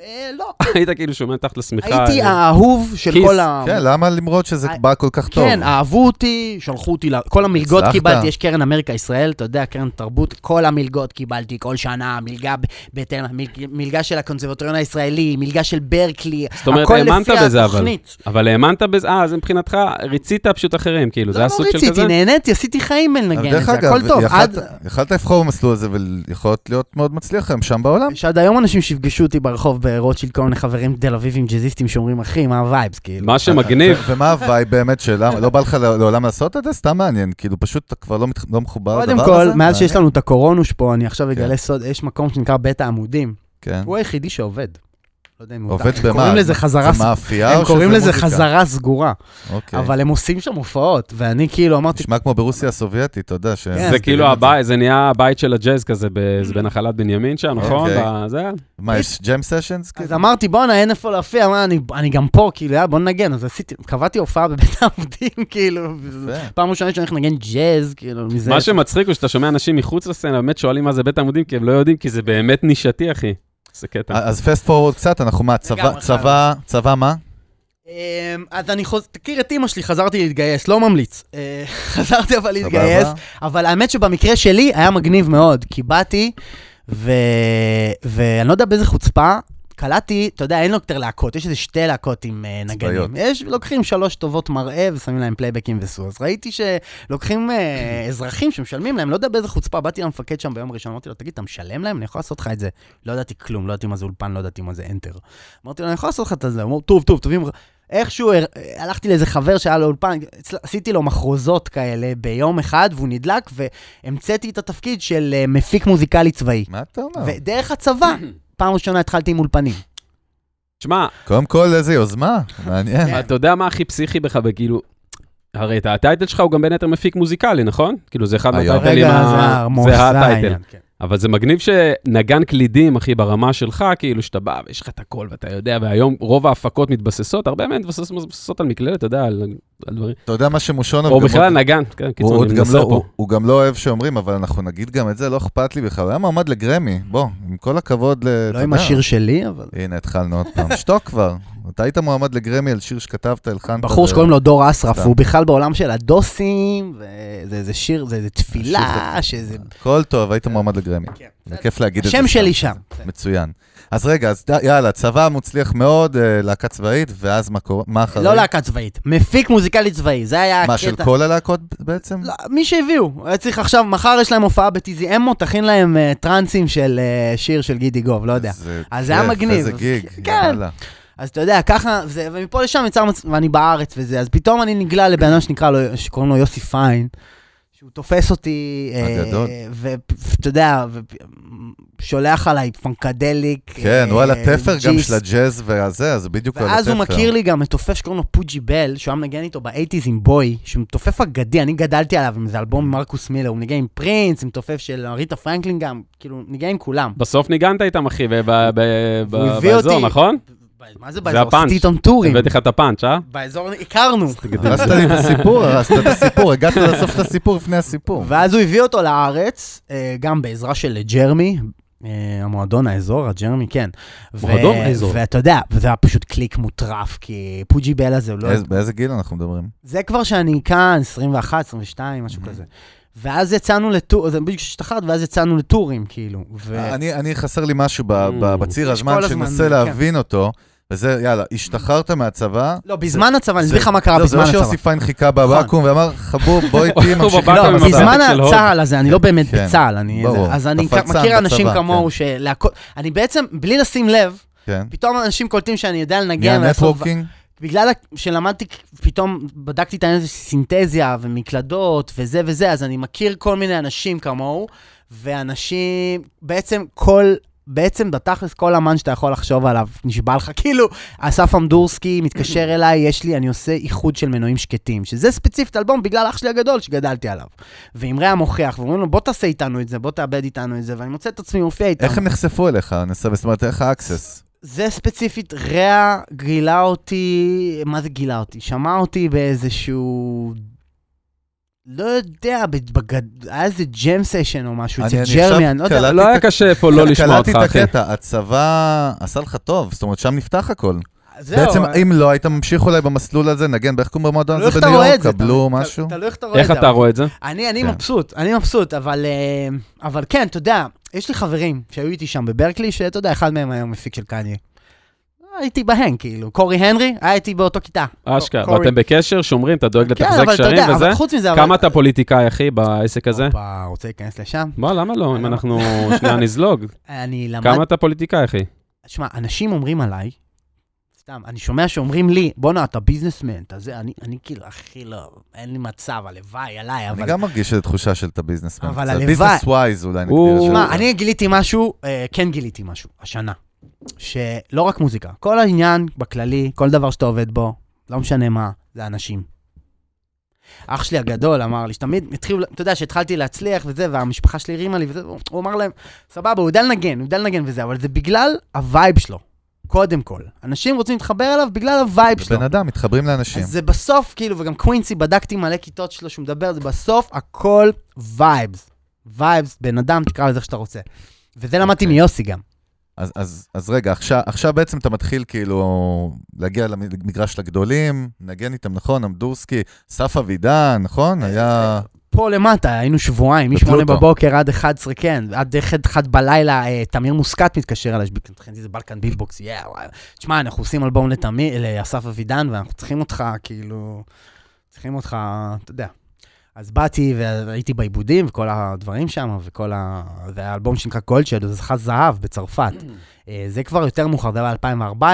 S3: אה, לא.
S2: היית כאילו שומע תחת לשמיכה.
S3: הייתי
S2: אה,
S3: האהוב של
S2: כיס.
S3: כל ה...
S1: כן, למה למרות שזה
S3: I-
S1: בא כל כך טוב?
S3: כן, אהבו אותי, שלחו אותי, ל- כל המלגות
S1: הצלחת.
S3: קיבלתי, יש קרן אמריקה ישראל, אתה יודע, קרן תרבות, כל המלגות קיבלתי כל שנה, מלגה ב- בהתאם, מלג- מלגה של הקונסרבטוריון הישראלי, מלגה של ברקלי,
S2: זאת אומרת,
S3: הכל
S2: האמנת
S3: לפי
S2: בזה, אבל.
S3: התוכנית.
S2: אבל האמנת בזה, אה, אז מבחינתך ריצית פשוט אחרים, כאילו, זה
S3: לא
S2: היה סוג של כזה?
S3: רציתי, נהניתי, עשיתי חיים בלנגן את
S1: דרך
S3: זה,
S1: אגב,
S3: הכל טוב.
S1: יכלת-
S3: עד-
S1: יכלת לבחור במסלול הזה ויכול להיות מאוד מצליח היום שם בעולם.
S3: יש עד היום אנשים שיפגשו אותי ברחוב ברוטשילד, כל מיני חברים תל אביבים ג'אזיסטים שאומרים, אחי, מה הווייבס, כאילו.
S2: מה שמגניב,
S1: ו- ומה הווייב באמת שלה? לא בא לך לעולם לעשות את זה? סתם מעניין, כאילו פשוט אתה כבר לא מת- לא מחובר לדבר
S3: קודם
S1: הזה?
S3: כל, מאז
S1: מעניין.
S3: שיש לנו את הקורונוש פה, אני עכשיו
S1: כן.
S3: אגלה סוד, יש מקום שנקרא בית העמודים.
S1: כן.
S3: הוא היחידי שעובד. לא יודע אם הוא...
S1: עובד במה?
S3: קוראים לזה חזרה
S1: זה
S3: סגורה.
S1: מאפייה
S3: הם
S1: או שזה
S3: קוראים לזה
S1: מוזיקה?
S3: חזרה סגורה,
S1: אוקיי.
S3: אבל הם עושים שם הופעות, ואני כאילו אמרתי,
S1: נשמע כמו ברוסיה הסובייטית, אתה יודע. ש-
S3: כן.
S2: זה
S3: אז
S2: כאילו הבית, זה נהיה הבית של הג'אז כזה, ב- זה בנחלת בנימין שם, נכון?
S1: Mm. אוקיי.
S2: ב- זה,
S1: מה, יש כאילו? ג'ם סשנס?
S3: אז אמרתי, בואנה, אין איפה להופיע, מה, אני- אני גם פה, כאילו, יאללה, בוא נגן. אז עשיתי, קבעתי הופעה בבית העובדים, כאילו, פעם ראשונה שאני הולך לנגן ג'אז, כאילו, מזה.
S2: מה שמצחיק הוא שאתה שומע אנשים מחוץ לסצנה, באמת שואלים מה זה בית עמודים, כי הם לא יודעים, כי זה באמת נישתי, אחי. זה קטע.
S1: אז פסט פורוורד קצת, אנחנו מה, צבא-
S3: לגמרי,
S1: צבא, צבא מה?
S3: אמ, אז אני חוז... תכיר את אימא שלי, חזרתי להתגייס, לא ממליץ. אה, חזרתי אבל להתגייס,
S1: סבבה?
S3: אבל האמת שבמקרה שלי היה מגניב מאוד, כי באתי, ו... ואני לא יודע באיזה חוצפה, קלטתי, אתה יודע, אין לו יותר להקות, יש איזה שתי להקות עם אה,
S1: צבאיות.
S3: נגנים. יש, לוקחים שלוש טובות מראה ושמים להם פלייבקים וסו. אז ראיתי שלוקחים אה, אזרחים שמשלמים להם, לא יודע באיזה חוצפה, באתי למפקד שם ביום ראשון, אמרתי לו, תגיד, אתה משלם להם? אני יכול לעשות לך את זה. לא ידעתי כלום, לא ידעתי מה זה אולפן, לא ידעתי מה זה enter. אמרתי לו, אני יכול לעשות לך את זה, הוא אמר, טוב, טוב, תביא... מח-". איכשהו הר- הלכתי לאיזה חבר שהיה לו אולפן, אצל- עשיתי לו מחרוזות כאלה ביום אחד, והוא נדלק, והמצאתי את התפקיד של אה, מפיק מוזיקלי צבאי.
S1: מה אתה אומר?
S3: ודרך הצבא, פעם ראשונה התחלתי עם אולפנים.
S2: שמע,
S1: קודם כל, איזה יוזמה, מעניין.
S2: אתה יודע מה הכי פסיכי בך, וכאילו... הרי את הטייטל שלך הוא גם בין היתר מפיק מוזיקלי, נכון? כאילו זה אחד
S1: היום.
S2: מהטייטלים,
S1: רגע,
S2: ה-
S1: זה
S2: זה הטייטל.
S3: העניין, כן.
S2: אבל זה מגניב שנגן קלידים, אחי, ברמה שלך, כאילו שאתה בא ויש לך את הכל ואתה יודע, והיום רוב ההפקות מתבססות, הרבה מהן מתבססות- מתבססות על מקלדת, אתה יודע, על על דברים.
S1: אתה יודע מה שמושונוב...
S2: או
S1: גם
S2: בכלל
S1: עוד-
S2: נגן, כן,
S1: הוא
S2: קיצור,
S1: עוד
S2: אני
S1: גם
S2: מנסה
S1: לא-
S2: פה.
S1: הוא- הוא גם לא אוהב שאומרים, אבל אנחנו נגיד גם את זה, לא אכפת לי בכלל. הוא היה מועמד לגרמי, בוא, עם כל הכבוד ל... אתה
S3: לא עם
S1: יודע.
S3: השיר שלי, אבל...
S1: הנה, התחלנו עוד פעם. שתוק כבר. אתה היית מועמד לגרמי על שיר שכתבת, הלחנת.
S3: בחור
S1: ו-
S3: שקוראים לו דור אסרף,
S1: סתם.
S3: הוא בכלל בעולם של הדוסים, וזה איזה שיר, זה איזה תפילה, שזה...
S1: הכל טוב, היית מועמד לגרמי.
S3: כן.
S1: זה כיף להגיד את זה.
S3: השם שלי
S1: סתם.
S3: שם.
S1: מצוין. אז רגע, אז ד- יאללה, צבא מוצליח מאוד, אה, להקה צבאית, ואז מה קורה? מה אחרי?
S3: לא להקה צבאית, מפיק מוזיקלי צבאי, זה היה הקטע.
S1: מה, של כל הלהקות בעצם?
S3: לא, מי שהביאו, היה צריך עכשיו, מחר יש להם הופעה בטיזי אמו, תכין להם אה, טרנסים של אה, שיר של גידי גוב, לא יודע.
S1: איזה
S3: אז זה היה
S1: כיף,
S3: מגניב.
S1: איזה גיג.
S3: כן.
S1: יאללה.
S3: אז אתה יודע, ככה, זה, ומפה לשם יצר מצב, ואני בארץ וזה, אז פתאום אני נגלה לבן אדם שנקרא לו, שקוראים לו יוסי פיין, שהוא תופס אותי, אה,
S1: הגדול.
S3: ואתה יודע, ושולח עליי פנקדליק.
S1: כן,
S3: אה,
S1: וואלה, תפר גם
S3: ג'יס.
S1: של הג'אז והזה, אז בדיוק על התפר.
S3: ואז הוא מכיר לי גם את תופף שקוראים לו פוג'י בל, שהוא היה מנגן איתו באייטיז עם בוי, שהוא מתופף אגדי, אני גדלתי עליו עם איזה אלבום עם מרקוס מילר, הוא מנגן עם פרינס, עם תופף של ריטה פרנקלין גם, כאילו, נגן עם כולם.
S2: בסוף ניגנת איתם, אחי, ב- ב- ב-
S3: הוא
S2: ב-
S3: הביא
S2: באזור,
S3: אותי.
S2: נכון?
S3: מה זה
S2: זה
S3: באזור?
S2: הפאנץ'.
S3: עשיתי איתם טורים.
S2: הבאתי לך את הפאנץ', אה?
S3: באזור הכרנו.
S1: הרסת לי את הסיפור, הרסת את הסיפור, הגעת לסוף של הסיפור לפני הסיפור.
S3: ואז הוא הביא אותו לארץ, אה, גם בעזרה של ג'רמי, אה, המועדון האזור, הג'רמי, כן. ו-
S2: מועדון האזור.
S3: ואתה יודע, וזה היה פשוט קליק מוטרף, כי פוג'י בל הזה, הוא לא...
S1: איזה- באיזה גיל אנחנו מדברים?
S3: זה כבר שאני כאן, 21, 22, משהו כזה. ואז יצאנו לטור, זה בדיוק כשהשתחררת, ואז יצאנו לטורים, כאילו. ו...
S1: אה, אני, אני חסר לי משהו ב, ב,
S2: Mm.
S1: בציר
S3: יש
S1: הזמן
S3: כל הזמן,
S1: שננסה
S3: כן.
S1: להבין אותו, וזה, יאללה, השתחררת מהצבא.
S3: לא, בזמן הצבא, אני אסביר לך מה קרה
S1: לא, זה
S3: בזמן
S1: לא
S3: הצבא. נכון.
S1: שיוסי פיין חיכה בבקו"ם ואמר, חבוב, בוא איתי,
S2: הוא
S1: ממשיכים.
S2: בבקו"ם
S3: לא,
S2: עם
S1: בצבא."
S2: הבקו"ם.
S3: בזמן
S2: הפתק של
S3: הצה"ל הזה, אני לא באמת
S1: כן,
S3: בצה"ל, אני...
S1: ברור,
S3: זה- אז אני
S1: אתה
S3: כ-
S1: פלצן
S3: מכיר אנשים
S1: בצבא,
S3: כמוהו,
S1: כן.
S3: שלהקות... אני בעצם, בלי לשים לב,
S1: כן.
S3: פתאום אנשים קולטים שאני יודע לנגן.
S1: נהיה
S3: ולעשות-
S1: נטוורקינג,
S3: בגלל ה- שלמדתי, פתאום בדקתי את העניין הזה של סינתזיה ומקלדות וזה וזה, אז אני מכיר כל מיני אנשים כמוהו, ואנשים, בעצם כל, בעצם בתכלס כל אמן שאתה יכול לחשוב עליו, נשבע לך, כאילו, אסף אמדורסקי מתקשר אליי, יש לי, אני עושה איחוד של מנועים שקטים, שזה ספציפית אלבום בגלל אח שלי הגדול שגדלתי עליו. ואמרי המוכיח, ואומרים לו, בוא תעשה איתנו את זה, בוא תאבד איתנו את זה, ואני מוצא את עצמי מופיע איתם.
S1: איך הם נחשפו אליך? נסה- זאת אומרת, איך האקסס?
S3: זה ספציפית, רע גילה אותי, מה זה גילה אותי? שמע אותי באיזשהו... לא יודע, בגד... היה איזה ג'ם סשן או משהו,
S1: אני-
S3: אצל
S1: אני עכשיו
S3: ג'רמי, אני לא יודע.
S1: קלטתי
S2: לא היה
S1: את-
S2: קשה איפה לא לשמוע אותך,
S1: קלטתי
S2: אחי.
S1: את הקטע, הצבא עשה לך טוב, זאת אומרת, שם נפתח הכל.
S3: זהו,
S1: בעצם,
S3: אה,
S1: אם לא, היית ממשיך אולי במסלול הזה, נגן, באיך קוראים במועדון
S3: תלוי איך
S1: הזה
S3: אתה
S1: בניו
S3: רואה
S1: יורק,
S3: לא את זה.
S1: קבלו
S3: אתה-
S1: משהו.
S3: תלוי איך אתה רואה את
S2: איך
S3: זה.
S2: אתה רואה את זה?
S3: אני, אני
S1: כן.
S3: מבסוט, אני מבסוט, אבל, אה, אבל כן, אתה יודע, יש לי חברים שהיו איתי שם בברקלי, שאתה יודע, אחד מהם היה מפיק של קניה. הייתי בהם, כאילו. קורי הנרי, היה איתי באותו כיתה.
S2: אשכרה.
S3: קורי-
S2: ואתם בקשר, שומרים, אתה דואג
S3: כן, אבל
S2: לתחזק
S3: אתה
S2: קשרים
S3: יודע,
S2: וזה?
S3: אבל חוץ מזה, אבל-
S2: כמה אתה פוליטיקאי, אחי, בעסק הזה?
S3: הופה, רוצה להיכנס לשם?
S2: מה, למה לא? אם
S3: למה?
S2: אנחנו שנייה נזלוג.
S3: אני למד... לא.
S2: כמה אתה פוליטיקאי, אחי?
S3: שמע, אנשים אומרים עליי, סתם, אני שומע שאומרים לי, בואנה, אתה ביזנסמן, אתה זה, אני, אני כאילו, אחי, לא, אין לי מצב, הלוואי עליי, אבל...
S1: אני גם מרגיש שזו תחושה של אתה ביזנסמן.
S3: אבל
S1: קצת.
S3: הלוואי.
S1: ביזנס ווייז אולי נגדיר
S2: הוא-
S1: את זה.
S3: שמע, אני גיליתי משהו, אה, כן גיליתי משהו, השנה. שלא רק מוזיקה, כל העניין בכללי, כל דבר שאתה עובד בו, לא משנה מה, זה אנשים. אח שלי הגדול אמר לי, שתמיד התחילו, אתה יודע, שהתחלתי להצליח וזה, והמשפחה שלי הרימה לי וזה, הוא אמר להם, סבבה, הוא יודע לנגן, הוא יודע לנגן וזה, אבל זה בגלל הווייב שלו, קודם כל. אנשים רוצים להתחבר אליו בגלל הווייב שלו.
S1: בן אדם, מתחברים לאנשים.
S3: אז זה בסוף, כאילו, וגם קווינסי, בדקתי מלא כיתות שלו שהוא מדבר, זה בסוף הכל וייבס. וייבס, בן אדם, תקרא לזה איך שאתה רוצה. וזה למדתי
S1: אוקיי.
S3: מיוסי גם.
S1: אז, אז, אז רגע, עכשיו, עכשיו בעצם אתה מתחיל כאילו להגיע למגרש לגדולים, נגן איתם, נכון? אמדורסקי, אסף אבידן,
S3: אה,
S1: נכון? היה...
S3: פה למטה, היינו שבועיים, מ-8
S1: בפלוטו.
S3: בבוקר עד 11, כן, עד 1 בלילה, אה, תמיר מוסקת מתקשר אליי, מבחינתי זה בלקן בילבוקס, יאה, וואי. תשמע, אנחנו עושים אלבום לתמיר, לאסף אבידן, ואנחנו צריכים אותך, כאילו, צריכים אותך, אתה יודע. אז באתי והייתי בעיבודים וכל הדברים שם, וכל ה... זה היה אלבום שנקרא גולדשד, זה זכה זהב בצרפת. אה, זה כבר יותר מאוחר, זה היה ב-2014,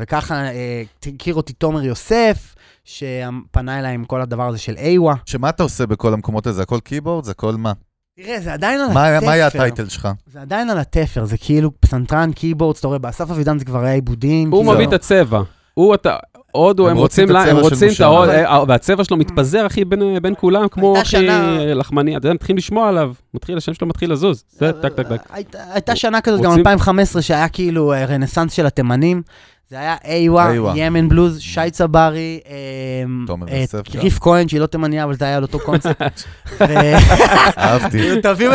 S3: וככה אה, הכיר אותי תומר יוסף, שפנה אליי עם כל הדבר הזה של איווה.
S1: שמה אתה עושה בכל המקומות האלה? זה הכל קeyboard? זה הכל מה?
S3: תראה, זה עדיין על
S1: מה,
S3: התפר.
S1: מה היה הטייטל שלך?
S3: זה עדיין על התפר, זה כאילו פסנתרן, קeyboard, אתה רואה, באסף אבידן זה כבר היה עיבודים.
S2: הוא
S3: כאילו.
S2: מביא את הצבע. הוא, אתה... הודו,
S1: הם
S2: הם
S1: רוצים
S2: רוצים,
S1: את
S2: לה- הם
S1: הצבע של
S2: רוצים את
S1: משה.
S2: ההוד,
S1: אבל-
S2: אה, והצבע שלו מתפזר, אחי, בין, בין כולם, כמו
S3: הייתה
S2: אחי
S3: שנה-
S2: לחמני, אתה יודע, מתחילים לשמוע עליו, מתחיל, השם שלו מתחיל לזוז,
S3: אה,
S2: זה, טק, טק, טק.
S3: הייתה- הייתה שנה כזאת, גם
S2: רוצים-
S3: 2015, שהיה כאילו אה, רנסאנס של התימנים. זה היה איווה,
S1: איווה.
S3: ימן בלוז, שי צברי, אה,
S1: תומר
S3: אה,
S1: יוסף גם.
S3: ריף כהן, שהיא לא תימניה, אבל זה היה על אותו קונספט. ו-
S1: אהבתי.
S3: תבין,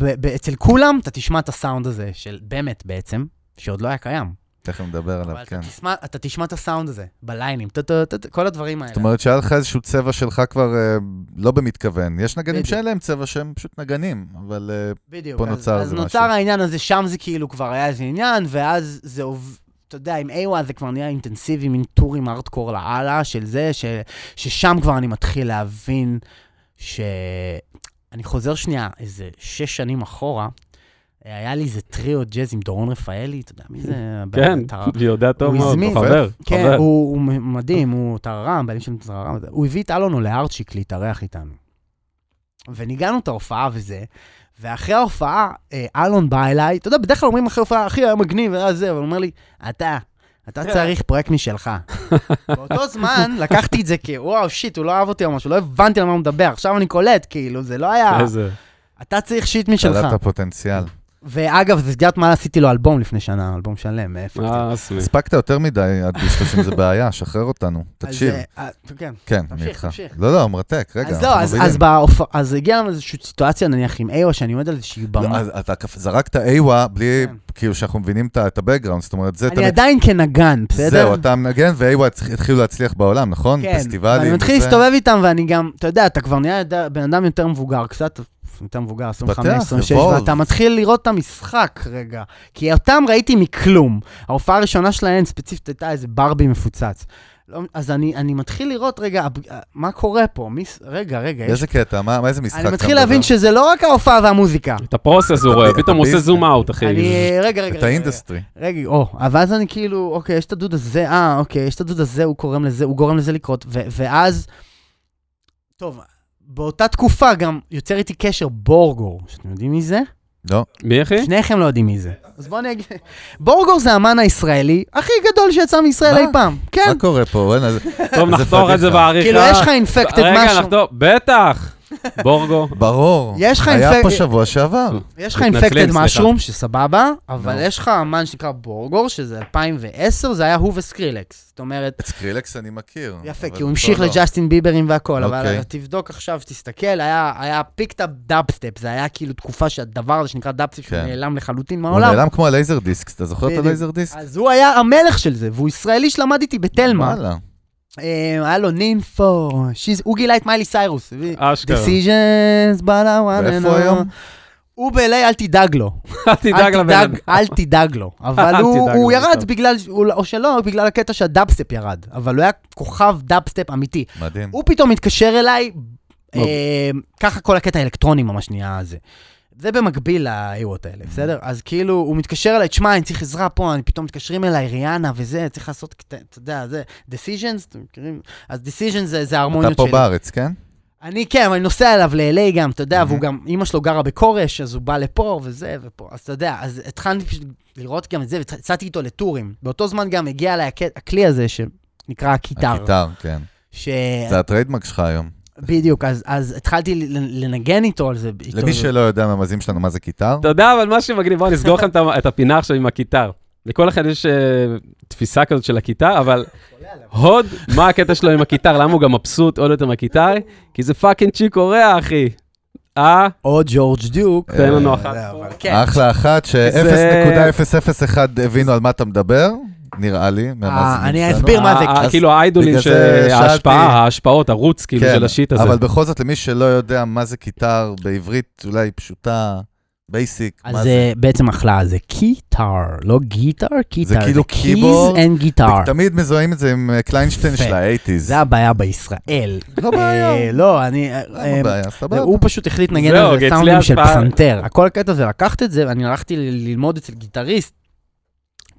S3: ואצל כולם אתה תשמע את הסאונד הזה, של באמת בעצם, שעוד לא היה קיים.
S1: תכף נדבר עליו,
S3: אבל אתה
S1: כן.
S3: תשמע- אתה תשמע את הסאונד הזה, בליינים, טו, טו, טו, טו, כל הדברים האלה.
S1: זאת אומרת שהיה לך איזשהו צבע שלך כבר אה, לא במתכוון. יש נגנים
S3: בדיוק.
S1: שאין להם צבע שהם פשוט נגנים, אבל אה,
S3: בדיוק.
S1: פה
S3: אז-
S1: נוצר
S3: אז
S1: איזה
S3: נוצר
S1: משהו.
S3: העניין הזה, שם זה כאילו כבר היה איזה עניין, ואז זה עוב... אתה יודע, עם איווה זה כבר נהיה אינטנסיבי, מין טורים ארטקור לאללה של זה, ש... ששם כבר אני מתחיל להבין ש... אני חוזר שנייה, איזה שש שנים אחורה, היה לי איזה טריו ג'אז עם דורון רפאלי, אתה יודע מי זה?
S2: כן,
S3: אתה-
S2: יודע טוב
S3: הוא
S2: מאוד,
S3: הזמין-
S2: חבר,
S3: כן,
S2: חבר.
S3: הוא, הוא מ- מדהים, הוא טררם, בעלים של טררם. וזה. הוא הביא את אלונו לארצ'יק להתארח איתנו. וניגענו את ההופעה וזה, ואחרי ההופעה, אה, אלון בא אליי, אתה יודע, בדרך כלל אומרים אחרי ההופעה, אחי, היה מגניב, היה זה, אבל הוא אומר לי, אתה, אתה צריך פרויקט משלך. באותו זמן, לקחתי את זה כוואו, שיט, הוא לא אהב אותי או משהו, לא הבנתי על מה הוא מדבר, עכשיו אני קולט, כאילו, זה לא היה...
S2: איזה...
S3: אתה צריך שיט משלך.
S1: קלטת פוטנציאל.
S3: ואגב, זה יודעת מה עשיתי לו אלבום לפני שנה, אלבום שלם, אה, פאק.
S2: אה, אסמי.
S1: הספקת יותר מדי עד גיל 30, זה בעיה, שחרר אותנו,
S3: אז,
S1: תקשיב.
S3: אה, אה, כן.
S1: כן,
S3: תמשיך,
S1: אני איתך.
S3: תמשיך.
S1: לא, לא, מרתק, רגע.
S3: אז
S1: אנחנו
S3: לא, אז,
S1: מובילים.
S3: אז, בהופ... אז הגיעה לנו איזושהי סיטואציה, נניח עם איו, שאני עומד על איזושהי
S1: לא,
S3: במה.
S1: אז אתה כפ- זרקת איווה בלי,
S3: כן.
S1: כאילו, שאנחנו מבינים את ה- את ה-background, זאת אומרת, זה...
S3: אני עדיין כנגן, בסדר?
S1: זהו, אתה מנגן, ואיווה הצ- התחילו להצליח בעולם, נכון?
S3: כן,
S1: פסטיבלים.
S3: ואני מתחיל
S1: וזה.
S3: להסתובב איתם, ואני גם, אתה יודע, אתה כבר נהיה יודע- בן אדם יותר מבוגר קצת, יותר מבוגר, 25,
S1: מתפתח,
S3: 26,
S1: evolve.
S3: ואתה מתחיל לראות את המשחק רגע. כי אותם ראיתי מכלום. ההופעה הראשונה שלהם ספציפית הייתה איזה ברבי מפוצץ. לא, אז אני, אני מתחיל לראות, רגע, הב- מה קורה פה? מי, ס- רגע, רגע, יש...
S1: איזה קטע, מה, מה- איזה משחק?
S3: אני
S1: אתה
S3: מתחיל
S1: מדבר?
S3: להבין שזה לא רק ההופעה והמוזיקה.
S2: את הפרוסס הוא רואה,
S1: את
S2: פתאום הוא עושה
S1: הביזנס.
S2: זום אאוט, אחי.
S3: אני, רגע, רגע, רגע.
S1: את
S3: רגע.
S1: האינדסטרי.
S3: רגע, או, ואז אני כאילו, אוקיי, יש את הדוד הזה, אה, אוקיי, יש את הדוד הזה, הוא קורם לזה, הוא גורם לזה לקרות, ו- ואז, טוב, באותה תקופה גם יוצר איתי קשר בורגור, שאתם יודעים מי זה?
S1: לא,
S2: מי, אחי?
S3: שניכם לא יודעים מי זה. אז בואו אני אגיד, בורגור זה האמן הישראלי הכי גדול שיצא מישראל
S1: מה?
S3: אי פעם, כן.
S1: מה קורה פה? וואלה, זה-
S2: טוב,
S1: זה
S2: נחתוך את זה
S1: פדיחה.
S2: בעריכה.
S3: כאילו, יש לך אינפקטד
S2: רגע,
S3: משהו,
S2: נחתוך, בטח. בורגו.
S1: ברור.
S3: יש לך
S1: היה
S3: אינפק-
S1: פה שבוע שעבר.
S3: יש לך
S2: מתנצלים,
S3: אינפקטד
S2: סליחה.
S3: משהו, שסבבה, אבל
S1: נו.
S3: יש לך אמן שנקרא בורגור, שזה 2010, זה היה הוא וסקרילקס. זאת אומרת,
S1: את סקרילקס אני מכיר.
S3: יפה,
S1: אבל
S3: כי הוא
S1: פה
S3: המשיך
S1: לא.
S3: לג'סטין ביברים והכל, אבל
S1: אוקיי.
S3: תבדוק עכשיו, תסתכל, היה היה פיקטאפ דאפסטפ, זה היה כאילו תקופה שהדבר הזה שנקרא דאפסטפ, שהוא
S1: כן.
S3: נעלם לחלוטין
S1: הוא
S3: מהעולם.
S1: נעלם כמו הלייזר דיסק, אתה זוכר את
S3: בדיוק. אה,
S1: הלייזר דיסק?
S3: אז הוא היה המלך של זה, והוא ישראלי שלמד איתי בתלמה.
S1: וואלה.
S3: אה, היה לו נינפו, שיז- הוא גילה את מיילי סיירוס. הביא-
S2: אשכרה.
S3: Decisions, but I wanna
S1: אה, כן. ואיפה
S3: know.
S1: היום?
S3: הוא ב-LA, אל תדאג לו.
S2: אל תדאג לבן אדם.
S3: אל תדאג לו. אבל
S2: אל
S3: הוא,
S2: תדאג
S3: הוא
S2: לו,
S3: ירד
S2: טוב.
S3: בגלל, או שלא, בגלל הקטע שהדאפסטפ ירד. אבל הוא היה כוכב דאפסטפ אמיתי.
S1: מדהים.
S3: הוא פתאום מתקשר אליי,
S1: לא.
S2: נו.
S3: אה, ככה כל הקטע האלקטרוני ממש נהיה זה. זה במקביל ל-AWOT
S1: Mm-hmm.
S3: האלה, בסדר? אז כאילו, הוא מתקשר אליי, תשמע, אני צריך עזרה פה, אני פתאום מתקשרים אליי, ריאנה וזה, צריך לעשות, קט- אתה יודע, זה, decisions, אתם מכירים? אז decisions זה- זה
S1: אתה
S3: ההרמוניות
S1: פה
S3: שלי.
S1: בארץ, כן?
S3: אני כן, אבל אני נוסע אליו ל-LA גם, אתה יודע,
S1: Mhm.
S3: והוא גם, אימא שלו גרה בכורש, אז הוא בא לפה וזה ופה, אז אתה יודע, אז התחלתי פשוט לראות גם את זה, ויצאתי איתו לטורים. באותו זמן גם הגיע אליי הכ- הכלי הזה שנקרא הקיטר.
S1: הקיטר, כן.
S3: ש...
S1: זה הטריידמרק שלך היום.
S3: בדיוק, אז, אז התחלתי לנ- לנגן איתו על זה. איתו
S1: למי
S3: זה.
S1: שלא יודע מהמאזינים שלנו מה זה קיטר,
S2: אתה יודע, אבל מה שמגניב, בואו נסגור לכם את ה- את הפינה עכשיו עם הקיטר. לכל אחד יש אה, תפיסה כזאת של הקיטר, אבל הוד, מה הקטע שלו עם הקיטר? למה הוא גם מבסוט עוד יותר מהקיטר? כי זה פאקינג צ'יק אורח, אחי. אה,
S3: או ג'ורג' דיוק.
S2: תן לנו
S1: אה,
S2: אחת.
S3: זה,
S2: פה.
S3: אבל כן.
S1: אחלה אחת ש-0.001 הבינו על מה אתה מדבר, נראה לי,
S3: אה,
S1: מהמאזינים
S3: אני
S1: שלנו.
S3: אסביר מה זה.
S2: אה,
S1: אז
S2: כאילו האיידולים,
S1: בגלל
S2: ש-
S1: זה שאלתי-
S2: ההשפעה, ההשפעות, ערוץ כאילו
S1: כן,
S2: של השיט הזה.
S1: אבל בכל זאת, למי שלא יודע מה זה קיטר בעברית אולי פשוטה, בייסיק,
S3: אז אה,
S1: מה
S3: זה בעצם אחלה, זה קיטר, לא גיטר, קיטר.
S1: כאילו keyboard,
S3: קיז אנד גיטר.
S1: תמיד מזוהים את זה עם אה, קליינשטיין
S3: יפה.
S1: של האייטיז.
S3: זה הבעיה בישראל.
S1: לא בעיה.
S3: אה, לא, אני... אה, אה,
S1: למה בעיה? סבבה.
S3: הוא פשוט החליט לנגן
S2: זהו,
S3: על זה
S2: אצלי
S3: סאונדים של
S2: ההשפעה-
S3: פסנתר. הכל הקטע זה לקחת את זה, ואני הלכתי ל- ללמוד אצל גיטריסט.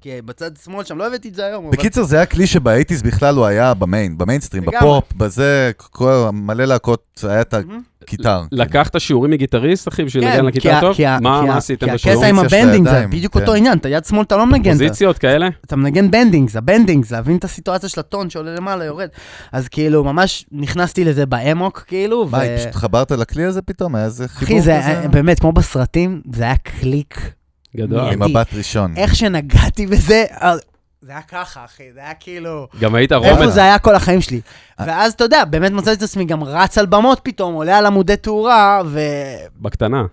S3: כי בצד שמאל שם, לא הבאתי את זה היום. אבל-
S1: בקיצר, זה היה כלי שבאייטיז בכלל הוא היה במיין, במיינסטרים,
S3: לגמרי.
S1: בפופ, בזה, כל- מלא להקות, היה את כאילו.
S3: Mhm.
S1: הקיטר.
S2: לקחת שיעורים מגיטריסט, אחי, בשביל
S3: כן,
S2: כאילו לנגן
S3: כי
S2: לקיטר
S3: ה-
S2: טוב?
S3: כי ה-
S2: מה
S3: כי ה-
S2: מה עשיתם
S3: כי
S2: בשיעור?
S3: הקטע עם
S1: פוזיציה של
S3: הבנדינג, זה
S1: הידיים,
S3: בדיוק
S1: כן.
S3: אותו עניין, את היד שמאל אתה לא מנגן. אתה-
S2: פוזיציות כאלה?
S3: אתה מנגן בנדינגס, הבנדינגס, להבין את הסיטואציה של הטון שעולה למעלה, יורד. אז כאילו, ממש נכנסתי לזה באמוק, כאילו,
S1: מה, היא פשוט חברת לכלי הזה פתאום? היה איזה חיבור
S3: אחי,
S1: כזה? Mm.
S3: זה היה- באמת, כמו בסרטים, זה היה קליק.
S2: גדול.
S3: כן.
S1: עם מבט ראשון.
S3: איך שנגעתי בזה, אה, זה היה ככה, אחי, זה היה כאילו...
S2: גם היית
S3: איפה
S2: רומז.
S3: זה היה כל החיים שלי.
S1: אה.
S3: ואז, אתה יודע, באמת מצאתי את עצמי גם רץ על במות פתאום, עולה על עמודי תאורה, ו...
S2: בקטנה.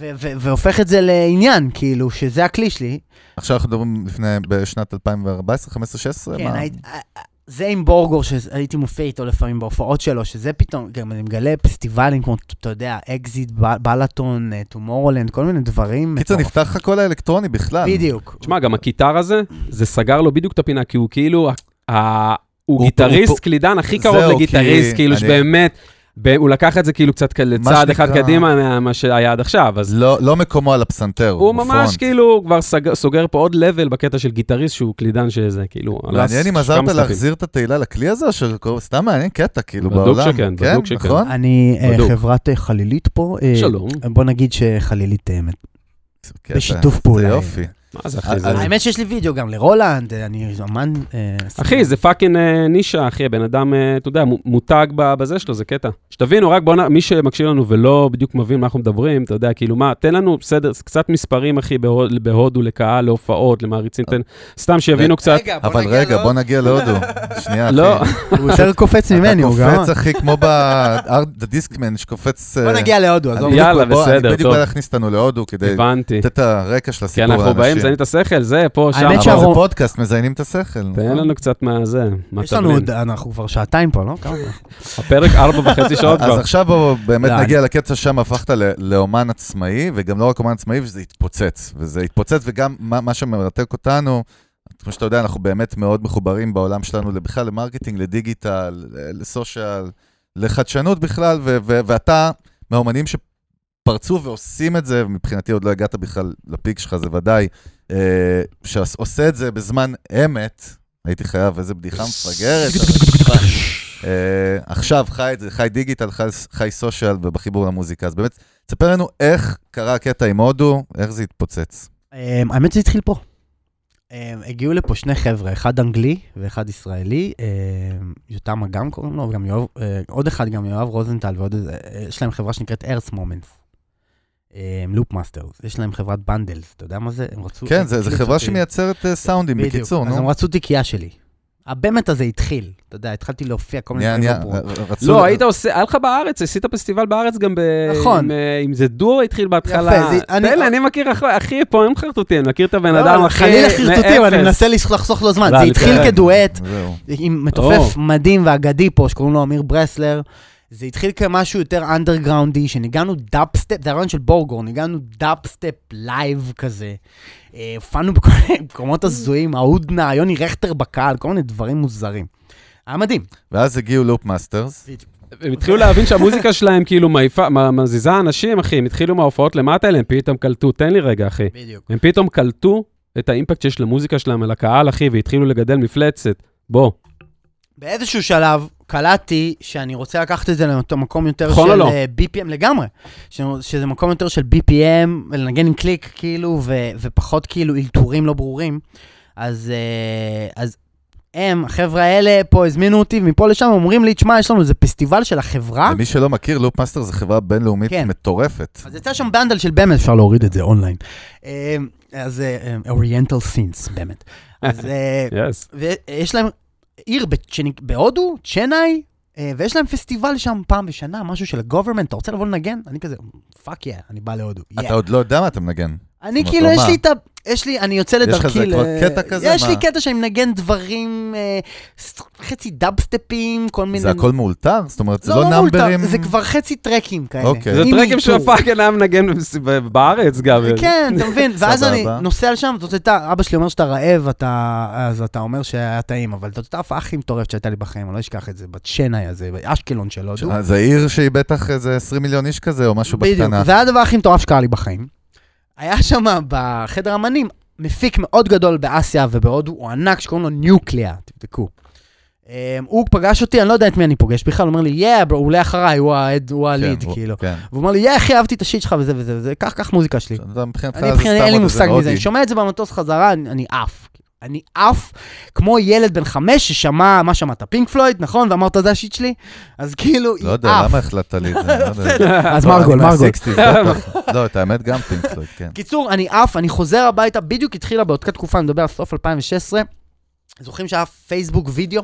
S3: ו- ו- והופך את זה לעניין, כאילו, שזה הכלי שלי.
S1: עכשיו אנחנו מדברים לפני, בשנת 2014, 15, 16?
S3: כן, היית- אה, אה, זה עם בורגור, שהייתי מופיע איתו לפעמים בהופעות שלו, שזה פתאום, גם אני מגלה פסטיבלים כמו, אתה יודע, אקזיט, ב- בלטון, אה, טומורולנד, כל מיני דברים.
S1: קיצר,
S3: מטורפים.
S1: נפתח לך כל האלקטרוני בכלל.
S3: בדיוק.
S2: תשמע, גם הקיטר הזה, זה סגר לו בדיוק את הפינה, כי הוא כאילו, ה- ה- הוא
S1: הוא- הוא-
S2: גיטריסט קלידן הכי קרוב
S1: זהו,
S2: לגיטריסט,
S1: כי
S2: כאילו
S1: אני-
S2: שבאמת, ב- הוא לקח את זה כאילו קצת כאלה
S1: מה
S2: צעד אחד
S1: שנקרא-
S2: קדימה ממה שהיה עד עכשיו, אז
S1: לא לא מקומו על הפסנתר,
S2: הוא ממש
S1: פרונט.
S2: כאילו כבר סג- סוגר פה עוד לבל בקטע של גיטריסט שהוא קלידן שזה, כאילו, על
S1: מעניין אם
S2: הס-
S1: עזרת
S2: כמה סטפים.
S1: להחזיר את התהילה לכלי הזה, או שקורא- סתם מעניין קטע, כאילו,
S2: בדוק
S1: בעולם.
S2: שכן, בדוק שכן.
S1: נכון?
S3: אני אה,
S2: בדוק.
S3: חברת אה, חלילית פה. אה,
S2: שלום.
S3: בוא נגיד שחלילית אה, מת-
S1: קטע.
S3: בשיתוף פעולה.
S1: זה יופי.
S2: מה זה, אחי?
S1: אז-
S2: זה-
S1: אז-
S3: האמת שיש לי וידאו גם לרולנד, אה, אני אמן... אה,
S2: אחי, זה פאקינג אה, נישה, אחי, הבן אדם, אה, אתה יודע, מו- מותג ב- בזה שלו, זה קטע. שתבינו, רק בוא נ... מי שמקשיב לנו ולא בדיוק מבין מה אנחנו מדברים, אתה יודע, כאילו, מה, תן לנו, בסדר, קצת מספרים, אחי, בהוד- בהודו, לקהל, להופעות, למעריצים, תן, סתם שיבינו קצת.
S3: רגע, כן, בוא
S1: אבל
S3: נגיע
S1: רגע,
S3: לעוד-
S1: בוא נגיע להודו. שנייה, אחי.
S2: לא,
S3: הוא יותר קופץ ממני, הוא
S1: אתה
S3: גם...
S1: קופץ, אחי, כמו בדיסקמן שקופץ...
S3: בוא
S1: אה,
S3: נגיע להודו,
S1: אני
S3: עזוב.
S1: בדיוק-
S2: יאללה,
S1: בוא,
S2: בסדר,
S1: אני בדיוק
S2: טוב.
S1: בא להכניס אותנו להודו כדי
S2: הבנתי.
S1: לתת את הרקע של
S2: כי
S1: הסיפור לאנשים.
S2: אנחנו באים, מזיינים את השכל, זה, פה, שם.
S3: האמת
S2: אבל-
S1: אבל זה
S3: שהרוב-
S1: פודקאסט, מזיינים את השכל.
S2: תן לנו קצת מהזה, מה
S1: לא
S3: יש לנו
S2: תבלין.
S3: עוד... אנחנו כבר שעתיים פה, לא? כמה?
S2: הפרק ארבע וחצי שעות
S1: אז
S2: כבר.
S1: עכשיו בוא באמת
S3: לא,
S1: נגיע לקטע שם הפכת ל- לאומן עצמאי, וגם לא רק אומן עצמאי, וזה התפוצץ. וזה התפוצץ, וגם מה מה שמרתק אותנו, כמו שאתה יודע, אנחנו באמת מאוד מחוברים בעולם שלנו בכלל למרקטינג, לדיגיטל, ל- לסושיאל, לחדשנות בכלל, ו- ו- ואתה מהאומנים שפרצו ועושים את זה, ומבחינתי עוד לא הגעת בכלל לפיק שלך, זה ודאי, אה, שעושה את זה בזמן אמת, הייתי חייב, איזה בדיחה מפגרת. אבל- אה, עכשיו חי את זה, חי דיגיטל, חי- חי סושיאל ובחיבור למוזיקה. אז באמת, תספר לנו איך קרה הקטע עם הודו, איך זה התפוצץ.
S3: אמ, האמת שזה התחיל פה. אמ, הגיעו לפה שני חבר'ה, אחד אנגלי ואחד ישראלי, אמ, יותם אגם קוראים לו, וגם יואב, אה, עוד אחד גם יואב רוזנטל ועוד איזה, אה, יש להם חברה שנקראת ארץ מומנטס. לופ מאסטרס, יש להם חברת בנדלס, אתה יודע מה זה? הם רצו...
S1: כן,
S3: הם
S1: זו
S3: כאילו
S1: חברה
S3: צופים.
S1: שמייצרת אה, סאונדים,
S3: בדיוק.
S1: בקיצור,
S3: אז הם
S1: נו.
S3: רצו תיקייה שלי. הבאמת הזה התחיל, אתה יודע, התחלתי להופיע כל מיני
S1: נהיה,
S3: דברים.
S1: נהיה,
S3: בפרו.
S1: ר- רצו...
S2: לא, היית עושה, היה לך בארץ, עשית פסטיבל בארץ גם ב...
S3: נכון.
S2: עם, אה, עם זה דואו התחיל בהתחלה.
S3: יפה, זה- אני-
S2: תראה, אני מכיר, אח- אחי, פה אין חרטוטים, מכיר את הבן
S3: לא,
S2: אדם
S3: לא,
S2: הכי...
S3: חלילה חרטוטים,
S2: מאפס.
S3: אני מנסה לחסוך לו זמן.
S2: לא,
S3: זה
S2: אני
S3: התחיל
S2: מתאר.
S3: כדואט,
S1: כן, זהו.
S3: עם מתופף מדהים ואגדי פה, שקוראים לו אמיר ברסלר. זה התחיל כמשהו יותר אנדרגראונדי, שניגענו דאפסטפ, זה הרעיון של בורגור, ניגענו דאפסטפ לייב כזה. אה, הופענו בכל מיני מקומות הזויים, ההודנה, יוני רכטר בקהל, כל מיני דברים מוזרים. היה מדהים.
S1: ואז הגיעו לופ מאסטרס.
S2: הם התחילו להבין שהמוזיקה שלהם כאילו מעיפה- מ- מזיזה אנשים, אחי, הם התחילו מההופעות למטה האלה, הם פתאום קלטו, תן לי רגע, אחי.
S3: בדיוק.
S2: הם פתאום קלטו את האימפקט שיש למוזיקה שלהם על הקהל, אחי, והתחילו לגדל מפלצת. בוא,
S3: באיזשהו שלב, קלטתי שאני רוצה לקחת את זה לאותו מקום יותר
S2: נכון או
S3: של
S2: לא?
S3: אה, BPM לגמרי. ש- שזה מקום יותר של BPM, ולנגן עם קליק, כאילו, ו- ופחות כאילו אלתורים לא ברורים. אז, אה, אז הם, החבר'ה האלה פה הזמינו אותי, מפה לשם אומרים לי, תשמע, יש לנו איזה פסטיבל של החברה.
S1: למי שלא מכיר, לופ מאסטר זה חברה בינלאומית
S3: אה? כן.
S1: מטורפת.
S3: אז יצא שם בנדל של באמת, אפשר להוריד את זה אונליין. אה, אז אוריינטל סינס, באמת. אז אה,
S2: יס.
S3: ויש להם עיר בצ'ני- בהודו, צ'נאי, אה, ויש להם פסטיבל שם פעם בשנה, משהו של הגוברמנט, אתה רוצה לבוא לנגן? אני כזה, פאק יא, אני בא להודו. yeah."
S1: אתה עוד לא יודע מה אתה מנגן.
S3: אני
S1: זאת
S3: כאילו,
S1: אומרת,
S3: יש
S1: מה?
S3: לי את ה... יש לי, אני יוצא
S1: לך
S3: לדרכי...
S1: זה כבר
S3: ל-
S1: קטע כזה?
S3: יש
S1: מה?
S3: לי קטע שאני מנגן דברים, אה, ס- חצי דאבסטפים, כל מיני...
S1: זה הכל מאולתר? זאת אומרת, זה
S3: לא
S1: לא
S3: מאולתר,
S1: נאמברים?
S3: זה כבר חצי טרקים כאלה.
S1: אוקיי.
S2: זה
S3: כן. עם
S2: טרקים של
S3: אלתור.
S2: הפאקינג היה מנגן בס- ב- בארץ גם.
S3: כן, אתה מבין? ואז
S1: סבבה.
S3: אני נוסע לשם, זאת הייתה, אבא שלי אומר שאתה רעב, אתה, אז אתה אומר שהיה טעים, אבל זאת הייתה ההפעה הכי מטורפת שהייתה לי בחיים, אני לא אשכח את זה, בצ'נאי הזה, באשקלון של הודו.
S1: אה, זה עיר שהיא בטח איזה 20 מיליון איש כזה, או משהו
S3: בדיוק,
S1: בקטנה.
S3: זה הדבר הכי מטורף שקרה לי בחיים. היה שם בחדר אמנים מפיק מאוד גדול באסיה ובהודו, הוא ענק שקוראים לו ניוקליה, תבדקו. אמ, הוא פגש אותי, אני לא יודע את מי אני פוגש בכלל, הוא אומר לי, יא, ברו, הוא עולה אחריי, הוא ה-head, הוא
S1: כן,
S3: הליד,
S1: הוא-
S3: כאילו.
S1: כן.
S3: והוא אומר לי, יא, אחי, אהבתי את השיט שלך וזה וזה וזה, קח, קח מוזיקה שלי.
S1: אתה מבחינתך
S3: אני
S1: זה לא סתם
S3: מבחינתי, אין לי
S1: עוד איזה
S3: מושג מזה,
S1: הודי.
S3: אני שומע את זה במטוס חזרה, אני אני עף. אני עף כמו ילד בן חמש ששמע, מה שמעת? פינק פלויד, נכון? ואמרת, זה השיט שלי? אז כאילו, היא
S1: לא יודע,
S3: עף.
S1: למה החלטת לי את זה? לא יודע.
S3: אז
S1: לא,
S3: מרגול,
S1: אני
S3: מרגול.
S1: מה-sixties, לא ככה. לא, את האמת גם פינק פלויד, כן.
S3: קיצור, אני עף, אני חוזר הביתה, בדיוק התחילה באותה תקופה, אני מדבר על סוף 2016. זוכרים שהיה פייסבוק וידאו?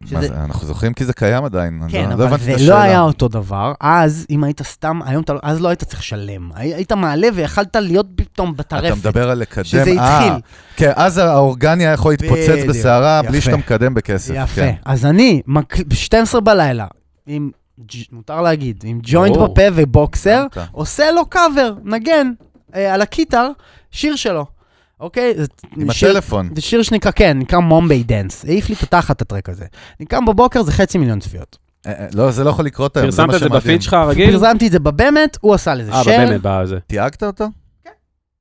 S1: מה
S3: שזה-
S1: זה, אנחנו זוכרים כי זה קיים עדיין. אני
S3: כן,
S1: לא- לא
S3: אבל
S1: הבנתי את
S3: זה לא
S1: השאלה.
S3: היה אותו דבר. אז, אם היית סתם, היום אתה לא, אז לא היית צריך לשלם. הי- היית מעלה ויכלת להיות פתאום בטרפת.
S1: אתה מדבר על לקדם,
S3: שזה
S1: אה,
S3: התחיל.
S1: כן, אז האורגני היה יכול להתפוצץ
S3: בדיוק.
S1: בסערה בלי
S3: יפה.
S1: שאתה מקדם בכסף.
S3: יפה.
S1: כן.
S3: אז אני, מק- ב-12 בלילה, עם, ג'- מותר להגיד, עם ג'וינט
S2: ברור.
S3: בפה ובוקסר,
S1: הבנת.
S3: עושה לו קאבר, נגן, אה, על הקיטר, שיר שלו. אוקיי? זה
S1: עם
S3: שיר-
S1: הטלפון.
S3: זה שיר שנקרא, כן, נקרא מומביי דנס. העיף לי את התחת הטרק הזה. אני קם בבוקר, זה חצי מיליון צפיות.
S1: אה, אה, לא, זה לא יכול לקרות היום, זה
S2: פרסמת
S1: מה
S2: את זה
S1: שמדהים.
S2: בפיד שלך הרגיל?
S3: פרסמתי את זה בבאמת, הוא עשה לזה
S2: כן. אה,
S3: שייר.
S2: באמת, בזה.
S1: תייגת אותו?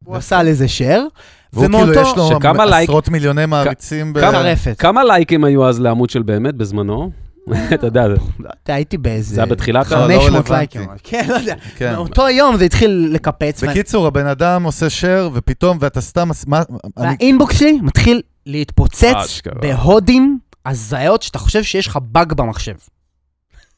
S3: הוא עשה לזה שייר.
S1: והוא כאילו יש לו
S2: שכמה לייק-
S1: עשרות מיליוני מעריצים. ב-
S2: כמה-
S3: טרפת.
S2: כמה לייקים היו אז לעמוד של באמת בזמנו? אתה יודע, זה-
S3: לא יודע, הייתי באיזה...
S2: זה היה בתחילת
S1: לא,
S2: ה...
S1: לא
S3: 500
S1: רלוונטי.
S3: לייקים. כן, לא יודע.
S1: כן.
S3: מאותו יום זה התחיל לקפץ. ואני-
S1: בקיצור, הבן אדם עושה שייר, ופתאום, ואתה סתם... עש- מה- אני-
S3: והאינבוקס שלי מתחיל להתפוצץ
S2: אשכרה.
S3: בהודים הזיות שאתה חושב שיש לך באג במחשב.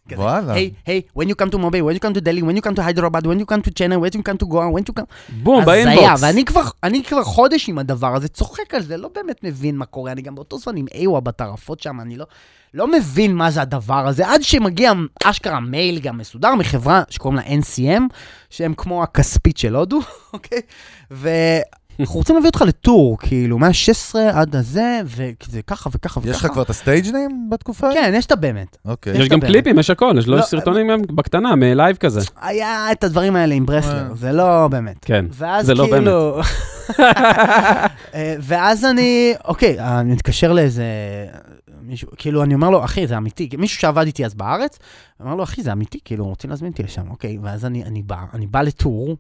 S3: כזה,
S1: וואלה.
S3: היי, היי, when you come to Mumbai, when you come to Delhi, when you come to Hyderabad, when you come to China, when you come to Goa, when you come...
S2: בום, באינבוקס.
S3: ואני כבר, אני כבר חודש עם הדבר הזה, צוחק על זה, לא באמת מבין מה קורה, אני גם באותו זמן עם איווה בטרפות שם, אני לא, לא מבין מה זה הדבר הזה, עד שמגיע אשכרה מייל גם מסודר מחברה שקוראים לה NCM, שהם כמו הכספית של הודו, אוקיי? ואנחנו רוצים להביא אותך לטור, כאילו, מה-16 עד הזה, וזה ככה וככה וככה.
S1: יש לך כבר את הסטייג' ניים בתקופה?
S3: כן, יש את הבאמת.
S1: אוקיי.
S2: יש גם
S3: באמת.
S2: קליפים, יש הכל, יש
S3: לא,
S2: לו סרטונים גם בקטנה, מלייב כזה.
S3: היה את הדברים האלה עם ברסלר,
S1: אה.
S3: זה לא באמת.
S2: כן.
S3: ואז
S2: זה לא
S3: כאילו... אה, ואז אני, אוקיי, אני מתקשר לאיזה מישהו, כאילו, אני אומר לו, אחי, זה אמיתי. מישהו שעבד איתי אז בארץ, אמר לו, אחי, זה אמיתי, כאילו, רוצים להזמין אותי לשם, אוקיי. ואז אני, אני בא, אני בא לטור,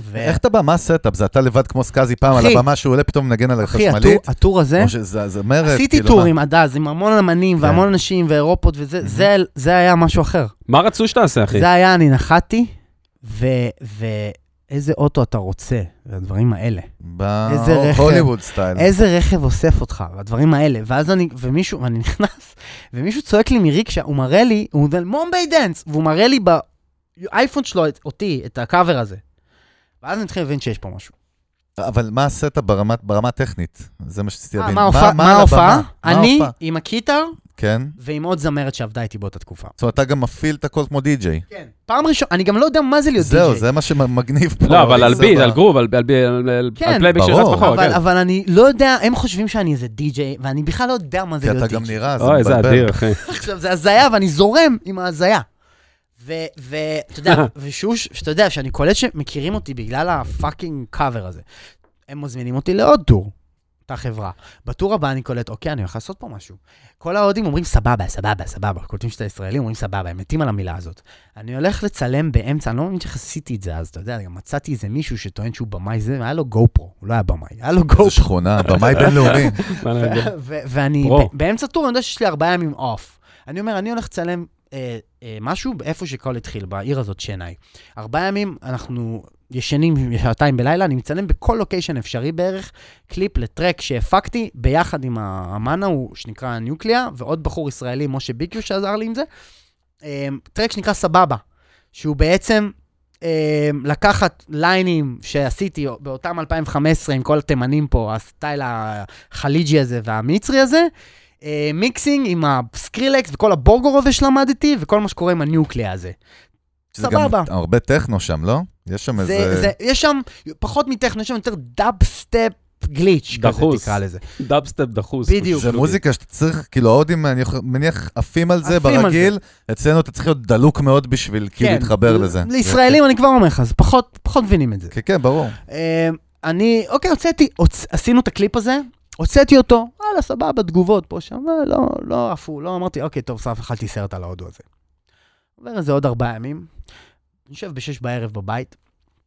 S3: ו...
S1: איך אתה בא? מה הסטאפ? זה אתה לבד כמו סקאזי פעם על
S3: אחי.
S1: הבמה שהוא עולה פתאום מנגן על
S3: אחי, הטור,
S1: החשמלית?
S3: הטור הזה,
S1: או שזה זה מרד?
S3: עשיתי
S1: כאילו, מה? כן.
S3: טורים עד אז, עם המון אמנים והמון אנשים ואירופות וזה, זה, זה היה משהו אחר.
S2: מה רצו שתעשה, אחי?
S3: זה היה, אני נחתי, ו... ו... איזה אוטו אתה רוצה, והדברים האלה.
S1: ב-
S3: איזה רכב.
S1: הוליווד סטייל.
S3: איזה רכב אוסף אותך, והדברים האלה. ואז אני, ומישהו, ואני נכנס, ומישהו צועק לי מריקשה, הוא מראה לי, הוא אומר, מומביי דנס, והוא מראה לי באייפון שלו, את, אותי, את הקאבר הזה. ואז אני מתחיל להבין שיש פה משהו.
S1: אבל מה הסטאפ ברמה ברמה הטכנית? זה מה שרציתי
S3: אה,
S1: להבין.
S3: מה ההופעה?
S1: על
S3: מה
S1: הבמה?
S3: ההופעה?
S1: מה
S3: אני
S1: ההופעה?
S3: עם הקיטר
S1: כן.
S3: ועם עוד זמרת שעבדה איתי באותה תקופה.
S1: זאת אומרת, אתה גם מפעיל את הכל כמו די-ג'יי.
S3: כן. פעם ראשונה, אני גם לא יודע מה זה להיות די-ג'יי.
S1: זהו, זה מה שמגניב פה.
S2: לא, אבל על
S1: זה
S2: ביט,
S1: ב-
S2: על גרוב, על על- על- על
S3: כן,
S2: פלייבק שרץ
S1: ברור.
S2: בחור.
S3: אבל,
S2: כן.
S3: אבל אני לא יודע, הם חושבים שאני איזה די-ג'יי, ואני בכלל לא יודע מה זה
S1: כי
S3: להיות
S1: אתה
S3: די-ג'יי.
S1: גם נראה, זה מבלבל.
S2: אוי, זה אדיר, אחי.
S3: עכשיו, זה הזיה, ואני זורם עם ההזיה. ואתה יודע, ושוש, שאתה יודע, שאני קולט שמכירים אותי בגלל הפאקינג קאבר הזה. הם מזמינים אותי לעוד טור, אותה חברה. בטור הבא אני קולט, אוקיי, אני הולך לעשות פה משהו. כל ההודים אומרים, סבבה, סבבה, סבבה. קולטים שאתה ישראלי, אומרים, סבבה, הם מתים על המילה הזאת. אני הולך לצלם באמצע, אני לא מאמין שעשיתי את זה אז, אתה יודע, גם מצאתי איזה מישהו שטוען שהוא במאי זה, והיה לו גו פרו, הוא לא היה במאי, היה לו גו
S1: איזה שכונה, במאי בינלאומי.
S2: מה אני אגיד?
S3: ו- ואני
S2: פרו.
S3: ב- באמצע טור, אני יודע שיש לי ארבעה ימים אוף. אני אומר, אני הולך לצלם אה, אה, משהו איפה שהכל התחיל, בעיר הזאת, שנאי. ארבעה ימים אנחנו ישנים שעתיים בלילה, אני מצלם בכל לוקיישן אפשרי בערך, קליפ לטרק שהפקתי ביחד עם האמן ההוא, שנקרא ניוקליה, ועוד בחור ישראלי, משה ביקיו, שעזר לי עם זה. אה, טרק שנקרא סבבה, שהוא בעצם... אה, לקחת ליינים שעשיתי באותם 2015 עם כל התימנים פה, הסטייל החליג'י הזה והמצרי הזה, אה, מיקסינג עם הסקרילקס וכל הבורגור הזה שלמדתי, וכל מה שקורה עם הניוקליה הזה.
S1: שזה גם
S3: סבבה.
S1: הרבה טכנו שם, לא? יש שם
S3: זה,
S1: איזה...
S3: זה, יש שם פחות מטכנו, יש שם יותר דאב סטפ גליץ', כזה
S2: דחוס.
S3: תקרא לזה.
S2: דאפסטפ דחוס.
S3: בדיוק.
S1: זה מוזיקה שאתה צריך, כאילו ההודים, אני יכול- מניח, עפים על זה
S3: עפים על כן,
S1: ברגיל, אצלנו אתה צריך להיות דלוק מאוד בשביל כאילו להתחבר
S3: ל-
S1: לזה.
S3: לישראלים אני כבר אומר לך, זה פחות, פחות מבינים את זה.
S1: כן, כן, ברור.
S3: אה, אני, אוקיי, הוצאתי, הוצ... עשינו את הקליפ הזה, הוצאתי אותו, וואלה, סבבה, תגובות פה, שם, אה, לא, לא עפו, לא אמרתי, אוקיי, טוב, סף, אכלתי סרט על ההודו הזה. עובר איזה עוד ארבעה ימים, אני יושב בשש בערב בבית,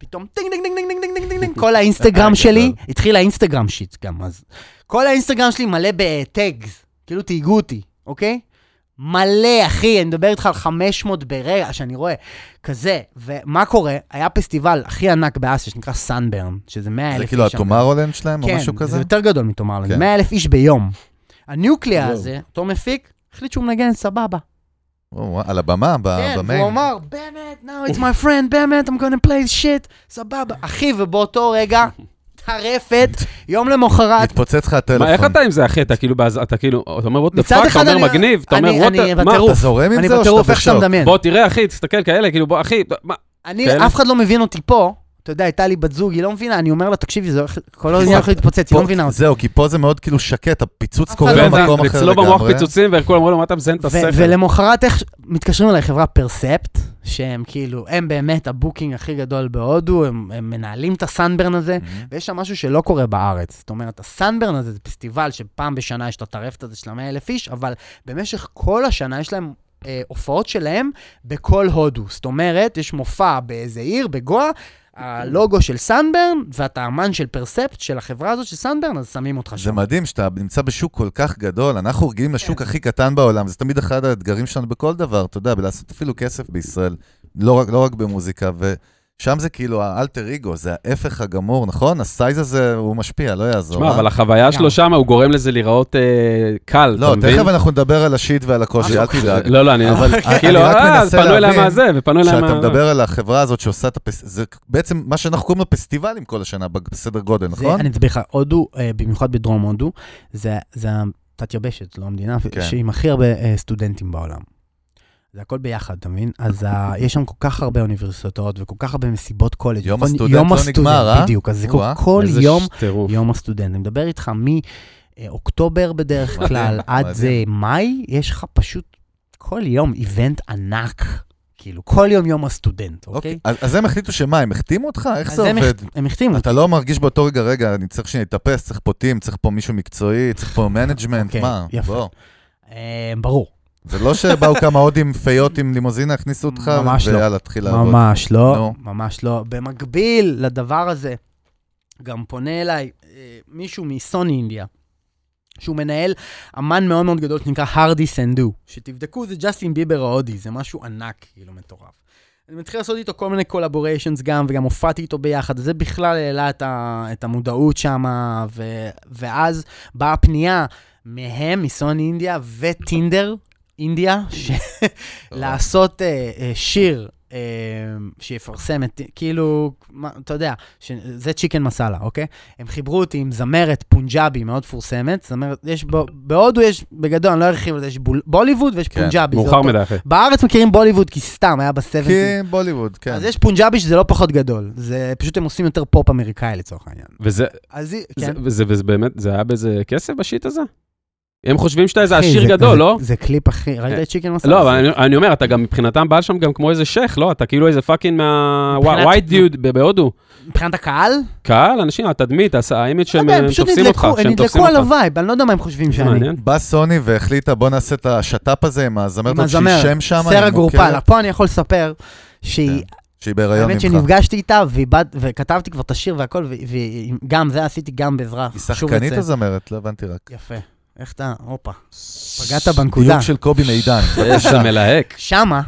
S3: פתאום טינג, טינג, טינג, טינג, טינג, טינג, טינג, טינג, כל האינסטגרם שלי, התחיל האינסטגרם שיט גם אז. כל האינסטגרם שלי מלא בטאגס, כאילו תהיגו אותי, אוקיי? מלא, אחי, אני מדבר איתך על 500 ברגע שאני רואה, כזה. ומה קורה? היה פסטיבל הכי ענק באסיה שנקרא סאנברן, שזה 100 אלף
S1: זה כאילו הטומארולנד שלהם או
S3: כן,
S1: משהו כזה?
S3: זה יותר גדול מתומרלנד,
S1: כן.
S3: 100 אלף איש ביום. הניוקליה
S2: וואו.
S3: הזה, אותו מפיק, החליט שהוא מנגן סבבה.
S1: או, על הבמה, ב-
S3: כן,
S1: אה, במיין.
S3: הוא אמר, באמת, now it's my friend, באמת, I'm gonna play shit, סבבה. אחי, ובאותו רגע, טרפת, יום למחרת,
S1: התפוצץ לך
S2: מה, איך
S1: הטלפון.
S2: אתה עם זה, אחי? אתה כאילו, באז- אתה כאילו, אתה אומר, what the
S3: מצד
S2: fuck, אתה
S3: אחד
S2: אומר
S3: אני-
S2: מגניב, אתה אומר,
S3: אני-
S2: what
S3: אני
S2: the... מה,
S1: אתה
S3: בטירוף.
S1: זורם עם
S3: אני
S1: זה או
S3: בטירוף
S1: שאתה
S3: איך שאתה
S1: בשוק?
S3: מדמיין.
S2: בוא, תראה, אחי, תסתכל כאלה, כאילו, בוא, אחי, מה, כאלה.
S3: אני, אף אחד לא מבין אותי פה. אתה יודע, הייתה לי בת זוג, היא לא מבינה, אני אומר לה, תקשיבי, זה הולך, כל העניין הולך להתפוצץ, היא לא
S1: פה-
S3: מבינה אותי.
S1: זהו, כי פה זה מאוד כאילו שקט, הפיצוץ
S3: אף
S1: קורה
S3: אחד לא
S1: במקום אחר
S2: אצלו במוח
S1: לגמרי.
S2: פיצוצים, וכולם אמרו לו, מה אתה מזיין את
S3: ו-
S2: השכל?
S3: ולמחרת איך, ש- מתקשרים אליי חברה פרספט, שהם כאילו, הם באמת הבוקינג הכי גדול בהודו, הם, הם מנהלים את הסאנברן הזה,
S1: Mhm.
S3: ויש שם משהו שלא קורה בארץ. זאת אומרת, הסאנברן הזה זה פסטיבל שפעם בשנה יש את הטרפת הזה של המאה אלף איש, אבל במשך כל השנה יש להם... אה, הופעות שלהם בכל הודו. זאת אומרת, יש מופע באיזה עיר, בגואה, הלוגו של סאנברן, ואתה אמן של פרספט של החברה הזאת של סאנברן, אז שמים אותך
S1: זה
S3: שם.
S1: מדהים שאתה נמצא בשוק כל כך גדול, אנחנו רגילים
S3: כן.
S1: לשוק הכי קטן בעולם, זה תמיד אחד האתגרים שלנו בכל דבר, אתה יודע, בלעשות אפילו כסף בישראל, לא רק, לא רק במוזיקה, ושם זה כאילו האלטר אגו, זה ההפך הגמור, נכון? הסייז הזה, הוא משפיע, לא יעזור.
S2: תשמע,
S1: אה?
S2: אבל החוויה
S3: גם.
S2: שלו שם, הוא גורם לזה להיראות אה, קל,
S1: לא,
S2: אתה מבין?
S1: תכף אנחנו נדבר על השיט ועל הקושי, אל תדאג.
S2: לא, לא, אני...
S1: אבל
S2: כאילו,
S1: אני רק
S2: אה,
S1: מנסה
S2: פנו אליי
S1: להבין
S2: מהזה, ופנו אליי מה...
S1: כשאתה מדבר על החברה הזאת שעושה את הפס... זה בעצם מה שאנחנו קוראים לו פסטיבלים כל השנה, בסדר גודל,
S3: זה,
S1: נכון?
S3: אני אסביר לך, הודו, אה, במיוחד בדרום הודו, זה, זה התת-יבשת, לא המדינה,
S1: כן.
S3: כן. שעם הכי הרבה אה, סטודנטים בעולם. זה הכל ביחד, אתה מבין? אז ה... יש שם כל כך הרבה אוניברסיטאות וכל כך הרבה מסיבות קולג'.
S1: יום
S3: נכון?
S1: הסטודנט לא נגמר, אה?
S3: בדיוק, אז זה כל,
S1: או-אה,
S3: כל
S2: איזה
S3: יום
S2: טירוף.
S3: יום הסטודנט. אני מדבר איתך מאוקטובר בדרך
S1: מדהים,
S3: כלל עד
S1: מדהים.
S3: זה מאי, יש לך פשוט כל יום איבנט ענק. כאילו, כל יום יום הסטודנט, אוקיי?
S1: אז אז הם החליטו שמה, הם החתימו אותך? איך
S3: אז
S1: זה
S3: הם
S1: עובד?
S3: החת- הם החתימו
S1: אתה לא מרגיש באותו רגע, רגע, אני צריך שאני אתאפס, צריך פה טים, צריך פה מישהו מקצועי, צריך פה מנג'מנט,
S3: אוקיי,
S1: מה?
S3: יפה.
S1: בוא.
S3: אה, ברור.
S1: זה לא שבאו כמה הודים פיות עם לימוזינה, הכניסו אותך,
S3: ממש לא.
S1: ויאללה, תתחיל לעבוד.
S3: ממש לא,
S1: נו.
S3: ממש לא. במקביל לדבר הזה, גם פונה אליי אה, מישהו מסוני אינדיה, שהוא מנהל אמן מאוד מאוד גדול שנקרא הרדי סנדו, שתבדקו, זה ג'סטין ביבר ההודי, זה משהו ענק, כאילו, מטורף. אני מתחיל לעשות איתו כל מיני קולבוריישנס גם, וגם הופעתי איתו ביחד, זה בכלל העלה את, ה, את המודעות שם, ו, ואז באה הפנייה מהם, מסוני אינדיה וטינדר אינדיה, ש... לעשות אה, אה, שיר אה, שיפרסם את, כאילו, מה, אתה יודע, ש- זה צ'יקן מסאלה, אוקיי? הם חיברו אותי עם זמרת פונג'אבי מאוד מפורסמת, זמרת, יש, ב- בהודו יש, בגדול, אני לא ארחיב על זה, יש בול, בוליווד ויש
S1: כן,
S3: פונג'אבי. זה
S2: מאוחר
S3: אותו-
S2: מדי, אחי.
S3: בארץ מכירים בוליווד כי סתם, היה בסבנטי.
S1: כי בוליווד, כן.
S3: אז יש פונג'אבי שזה לא פחות גדול, זה פשוט הם עושים יותר פופ אמריקאי לצורך העניין.
S2: וזה
S3: אז היא-
S2: זה-
S3: כן.
S2: וזה וזה באמת, זה היה באיזה כסף בשיט הזה? הם חושבים שאתה איזה
S3: אחי,
S2: עשיר
S3: זה-
S2: גדול,
S3: זה-
S2: לא?
S3: זה קליפ אחי, ראית
S2: אה,
S3: את צ'יקן מסאלה?
S2: לא, אבל אני- אני אומר, אתה גם מבחינתם בא שם גם כמו איזה שייח, לא? אתה כאילו איזה פאקינג מה...
S3: מבחינת-
S2: ווייט דיוד בהודו.
S3: מבחינת הקהל?
S2: קהל, אנשים, התדמית, הס- האימג'
S3: לא
S2: שהם
S3: יודע,
S2: הם
S3: הם פשוט
S2: תופסים אותך,
S3: נדלקו, הם
S2: שהם
S3: נדלקו
S2: תופסים
S3: על
S2: אותך.
S3: הווייב, אני לא יודע מה הם חושבים
S2: זה
S3: שאני.
S2: מעניין.
S1: בא סוני והחליטה, בוא נעשה את השת"פ הזה עם הזמרת
S3: עם
S1: הזאת שהיא שם כן, שם, היא
S3: סרה
S1: מוכרת,
S3: גורפל, פה אני יכול לספר שהיא,
S1: שהיא בהיריון
S3: האמת
S1: ממך.
S3: שנפגשתי איתה ואיבד- וכתבתי כבר את השיר והכל, וגם זה עשיתי גם בעזרה.
S1: היא
S3: שוב
S1: שחקנית
S3: לציין.
S1: או זמרת? לא הבנתי רק.
S3: יפה. איך אתה, הופה, פגעת בנקודה.
S1: דיוק של קובי מידן.
S2: איזה מלהק.
S3: שמה,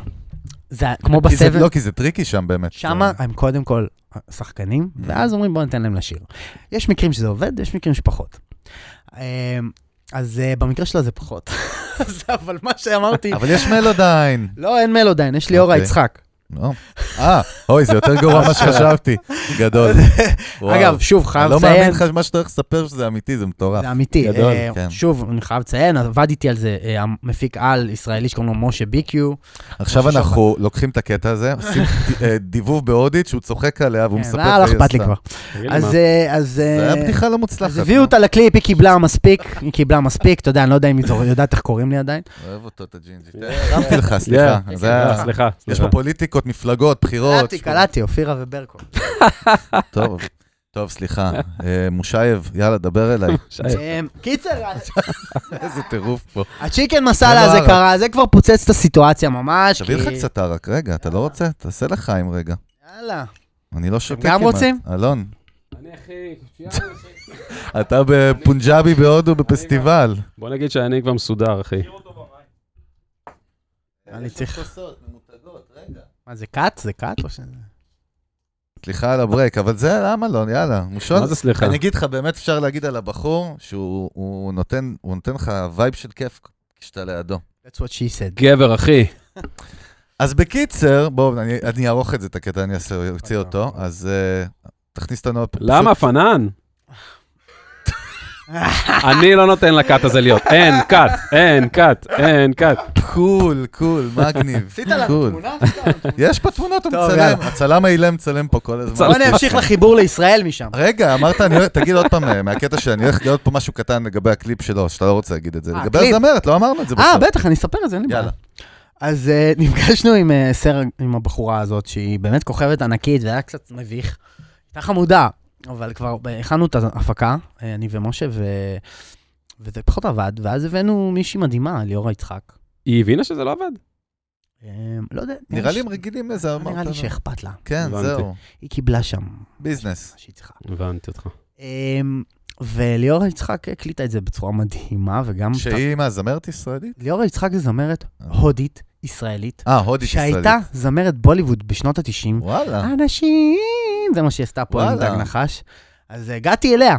S3: זה כמו
S1: כי זה-
S3: בסבב,
S1: לא, כי זה טריקי שם באמת.
S3: שמה הם קודם כל שחקנים,
S1: Mm.
S3: ואז אומרים בואו ניתן להם לשיר. יש מקרים שזה עובד, יש מקרים שפחות. אה, אז אה, במקרה שלה זה פחות. אז אבל מה שאמרתי,
S1: אבל יש מלודיין.
S3: לא, אין מלודיין, יש לי אורה
S1: אוקיי.
S3: יצחק.
S1: לא. אה, אוי, זה יותר גרוע ממה שחשבתי. גדול. וואו.
S3: אגב, שוב,
S1: אני
S3: חייב
S1: לא מאמין
S3: לציין,
S1: לך מה שאתה הולך לספר שזה אמיתי, זה מטורף.
S3: זה אמיתי.
S1: גדול,
S3: אה,
S1: כן.
S3: שוב, אני חייב לציין, עבד איתי על זה אה, המפיק על ישראלי שקוראים לו משה ביקיו.
S1: עכשיו
S3: משהו
S1: אנחנו לוקחים את הקטע הזה, עושים ד- אה, דיבוב בהודית שהוא צוחק עליה והוא
S3: כן,
S1: מספר...
S3: לא לא
S1: שהיא
S3: אכפת לי
S1: עשתה.
S3: כבר.
S2: תגיד לי,
S3: אז...
S2: מה?
S3: אה, אז
S1: זה היה
S3: אה,
S1: בדיחה לא מוצלחת.
S3: אז הביאו אותה לקליפ, היא קיבלה מספיק, היא קיבלה מספיק, אתה יודע, אני לא יודע אם היא זו- יודעת איך קוראים לי עדיין.
S1: אוהב אותו, את הג'ינג'י.
S3: אה, לא.
S1: הרמתי לך, סליחה.
S2: Yeah.
S1: זה היה-
S2: אה, סליחה,
S1: יש
S2: סליחה.
S1: פה פוליטיקות, מפלגות, בחירות.
S3: קלטתי, קלטתי, אופירה וברקו.
S1: טוב, טוב, סליחה. אה, מושייב, יאללה, דבר אליי.
S2: שי,
S3: אה, קיצר,
S1: איזה טירוף פה.
S3: הצ'יקן מסאלה
S1: זה לא
S3: הזה
S1: ערק.
S3: קרה, זה כבר פוצץ את הסיטואציה ממש.
S1: תביא לך
S3: כי-
S1: קצת ערק, רגע, אתה לא רוצה? תעשה לחיים רגע.
S3: יאללה.
S1: אני לא שותה
S3: גם
S1: כמעט.
S3: רוצים?
S1: אלון, אתה בפונג'אבי בהודו בפסטיבל.
S2: בוא נגיד שאני כבר מסודר, אחי.
S3: אני צריך... מה, זה קאט? זה קאט? או שזה-
S1: סליחה על הברייק, אבל זה למה לא, יאללה, מושון.
S2: מה זה סליחה?
S1: אני אגיד לך, באמת אפשר להגיד על הבחור, שהוא הוא נותן הוא נותן לך וייב של כיף כשאתה לידו.
S3: That's what she said.
S2: גבר, אחי.
S1: אז בקיצר, בואו, אני- אני אערוך את זה, את הקטע, אני אעשה- אוציא אותו, אז אה, תכניס אותנו... עוד-
S2: למה, פנן? אני לא נותן לקאט הזה להיות. אין קאט, אין קאט, אין קאט.
S1: פשוט- קול, קול, מגניב. עשית יש פה תמונות, הוא
S3: טוב,
S1: מצלם.
S3: יאללה.
S1: הצלם האילם מצלם פה כל הזמן.
S3: בוא נמשיך לחיבור לישראל משם.
S1: רגע, אמרת, אני הולך, תגיד עוד פעם, אה, מהקטע שאני הולך להיות פה משהו קטן לגבי הקליפ שלו, שאתה לא רוצה להגיד את זה.
S3: אה,
S1: לגבי
S3: הקליפ.
S1: הזמרת, לא אמרנו את זה
S3: אה,
S1: בסוף.
S3: בטח, אני אספר את זה, אין לי בעיה.
S1: יאללה.
S3: אז אה, נפגשנו עם אה, סר, עם הבחורה הזאת, שהיא באמת כוכבת ענקית, זה היה קצת מביך. הייתה חמודה, אבל כבר ב- הכנו את ההפקה, אה, אני ומשה, ו... וזה פחות עבד, ואז הבאנו מישהי מדהימה, ליאורה יצחק.
S2: היא הבינה שזה לא עבד?
S3: אה, לא יודע.
S1: נראה לי הם רגילים לזה, אמרת.
S3: נראה לי
S1: לא.
S3: שאכפת לה.
S1: כן,
S2: הבנתי.
S1: זהו,
S3: היא קיבלה שם מה
S1: ביזנס.
S3: שהיא צריכה.
S2: הבנתי אותך.
S3: אה, וליאורה יצחק הקליטה את זה בצורה מדהימה, וגם...
S1: שהיא מה, זמרת ישראלית?
S3: ליאורה יצחק זו זמרת הודית, ישראלית,
S1: אה, הודית ישראלית.
S3: שהייתה אה. זמרת בוליווד בשנות ה-90,
S1: וואלה.
S3: אנשים, זה מה שהיא עשתה פה עם
S1: וואלה.
S3: דג נחש. אז הגעתי אליה.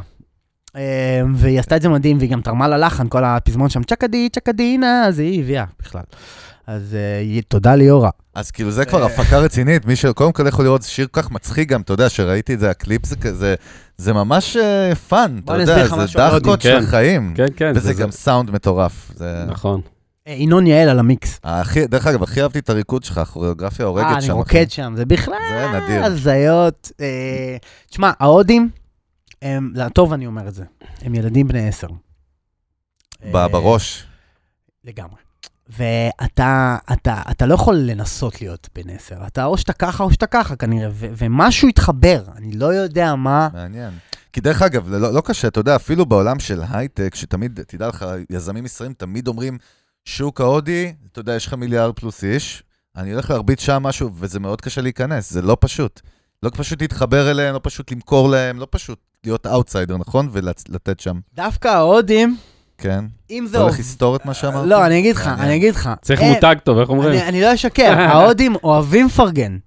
S3: אה, והיא עשתה את זה מדהים, והיא גם תרמה ללחן, כל הפזמון שם צ'קדי, צ'קדינה, אז היא הביאה בכלל. אז אה, היא- תודה ליאורה.
S1: אז כאילו זה
S3: אה.
S1: כבר הפקה רצינית, מי שקודם כל יכול לראות, זה שיר כל כך מצחיק גם, אתה יודע, שראיתי את זה, הקליפ זה כזה, זה ממש אה, פאן, אתה
S3: בוא אני אסביר
S1: יודע,
S3: לך
S1: זה
S3: משהו על
S1: דחקות
S2: הודים.
S1: של החיים.
S2: כן, כן.
S1: וזה גם סאונד מטורף. זה-
S2: נכון.
S3: אה, ינון יעל על המיקס.
S1: הכי- דרך אגב, הכי אהבתי את הריקוד שלך, הכוריאוגרפיה הורגת שם. כן.
S3: אה, אני רוקד שם, זה בכלל
S1: זה נדיר.
S3: הזיות. אה, תשמע, ההודים, הם, לטוב אני אומר את זה, הם ילדים בני עשר. אה,
S1: ב- בראש.
S3: לגמרי. ואתה אתה, אתה לא יכול לנסות להיות בן עשר, אתה או שאתה ככה או שאתה ככה כנראה, ו- ומשהו התחבר, אני לא יודע מה.
S1: מעניין. כי דרך אגב, לא, לא קשה, אתה יודע, אפילו בעולם של הייטק, שתמיד, תדע לך, יזמים ישראלים תמיד אומרים, שוק ההודי, אתה יודע, יש לך מיליארד פלוס איש, אני הולך להרביץ שם משהו, וזה מאוד קשה להיכנס, זה לא פשוט. לא פשוט להתחבר אליהם, לא פשוט למכור להם, לא פשוט להיות אאוטסיידר, נכון? ולתת שם,
S3: דווקא ההודים,
S1: כן?
S3: אם זה
S1: אתה הולך
S3: אוהב...
S1: לסתור את מה שאמרתי?
S3: לא, אני אגיד לך,
S1: מעניין.
S3: אני אגיד לך.
S2: צריך
S3: אה,
S2: מותג טוב, איך אומרים?
S3: אני- אני לא אשקר, ההודים אוהבים לפרגן.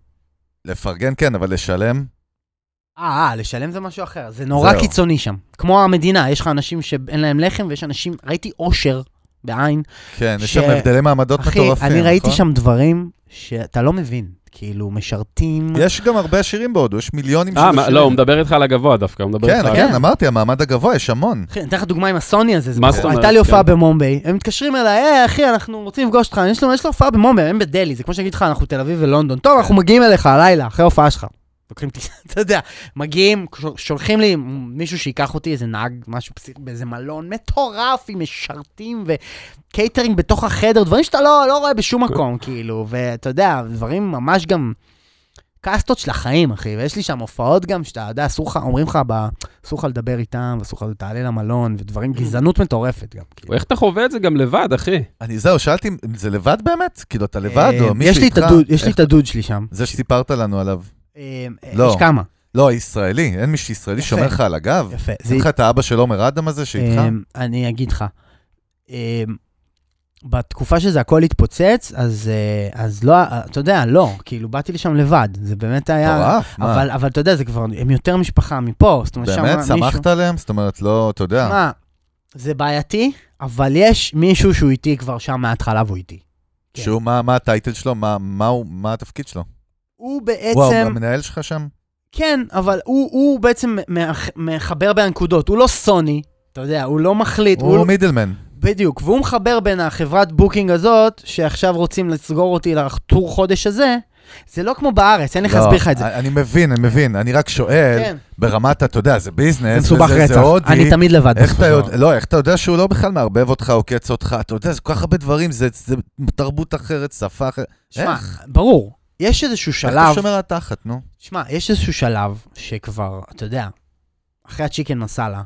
S1: לפרגן כן, אבל לשלם?
S3: אה, אה, לשלם זה משהו אחר, זה נורא
S1: זהו.
S3: קיצוני שם. כמו המדינה, יש לך אנשים שאין להם לחם, ויש אנשים, ראיתי אושר בעין.
S1: כן, יש
S3: ש-
S1: שם הבדלי מעמדות
S3: אחי,
S1: מטורפים,
S3: אני ראיתי
S1: נכון?
S3: שם דברים שאתה לא מבין, כאילו, משרתים.
S1: יש גם הרבה עשירים בהודו, יש מיליונים של
S2: אה, מה-
S1: עשירים.
S2: לא, הוא מדבר איתך על הגבוה דווקא, הוא מדבר
S1: כן,
S2: איתך על...
S1: כן, אמרתי, המעמד הגבוה, יש המון.
S3: אחי, אני אתן לך דוגמה עם הסוני הזה, זה
S2: מה
S3: בחור-
S2: זאת אומרת?
S3: הייתה לי הופעה
S2: כן.
S3: במומביי, הם מתקשרים אליי, היי אחי, אנחנו רוצים לפגוש אותך, יש לו יש לו הופעה במומביי, הם בדלהי, זה כמו שאני אגיד לך, אנחנו תל אביב ולונדון, טוב,
S1: כן.
S3: אנחנו מגיעים אליך הלילה, אחרי ההופעה שלך. לוקחים טיסה, אתה יודע, מגיעים, שולחים לי מישהו שייקח אותי, איזה נהג, משהו פסיכי, באיזה מלון מטורף עם משרתים וקייטרינג בתוך החדר, דברים שאתה לא, לא רואה בשום מקום, כאילו, ואתה יודע, דברים ממש גם קאסטות של החיים, אחי, ויש לי שם הופעות גם, שאתה יודע, אסור לך, אומרים לך, ב- אסור לך לדבר איתם, ואסור לך תעלה למלון, ודברים, גזענות מטורפת גם. כאילו.
S2: איך אתה חווה את זה גם לבד, אחי?
S1: אני זהו, שאלתי אם זה לבד באמת? כאילו, אתה לבד
S3: אה,
S1: או מישהו
S3: יש לי
S1: איתך?
S3: את הדוד- יש לי
S1: איך-
S3: את הדוד שלי שם.
S1: זה שסיפרת לנו עליו.
S3: אה, אה,
S1: לא.
S3: יש כמה,
S1: לא, ישראלי, אין מישהו ישראלי
S3: יפה. אה,
S1: שומר לך על הגב?
S3: יפה. זה-
S1: אין לך את האבא של עומר אדם הזה שאיתך?
S3: אה, אני אגיד לך. אה, בתקופה שזה הכל התפוצץ, אז, אה, אז לא, אה, אתה יודע, לא, כאילו, באתי לשם לבד, זה באמת היה...
S1: מטורף, מה?
S3: אבל, אבל אתה יודע, זה כבר, הם יותר משפחה מפה, זאת אומרת, שם
S1: באמת,
S3: מישהו...
S1: שמחת עליהם? זאת אומרת, לא, אתה יודע.
S3: מה, זה בעייתי, אבל יש מישהו שהוא איתי כבר שם מההתחלה והוא איתי. כן.
S1: שהוא, מה מה הטייטל שלו? מה- מה הוא- מה התפקיד שלו?
S3: הוא
S1: וואו,
S3: בעצם,
S1: המנהל שלך שם?
S3: כן, אבל הוא, הוא בעצם מאח- מחבר בין הנקודות, הוא לא סוני, אתה יודע, הוא לא מחליט, הוא,
S1: הוא מידלמן.
S3: בדיוק, והוא מחבר בין החברת בוקינג הזאת, שעכשיו רוצים לסגור אותי לטור חודש הזה, זה לא כמו בארץ, אין לי איך
S1: לא,
S3: להסביר לך את זה.
S1: אני מבין, אני מבין. אני רק שואל,
S3: כן,
S1: ברמת, אתה יודע, זה
S3: זה
S1: ביזנס,
S3: מסובך
S1: וזה- אה, זה
S3: רצח,
S1: הודי.
S3: אני תמיד לבד.
S1: איך
S3: בסופו
S1: אתה
S3: של
S1: יודע,
S3: דבר.
S1: לא, איך אתה יודע שהוא לא בכלל מערבב אותך או קץ אותך? אתה יודע, זה כל כך הרבה דברים, זה זה תרבות אחרת, שפה אחרת.
S3: שמע,
S1: איך?
S3: ברור, יש איזשהו
S1: איך אתה
S3: שלב,
S1: שומר על תחת, נו?
S3: שמע, יש איזשהו שלב שכבר, אתה יודע, אחרי הצ'יקן מסאלה,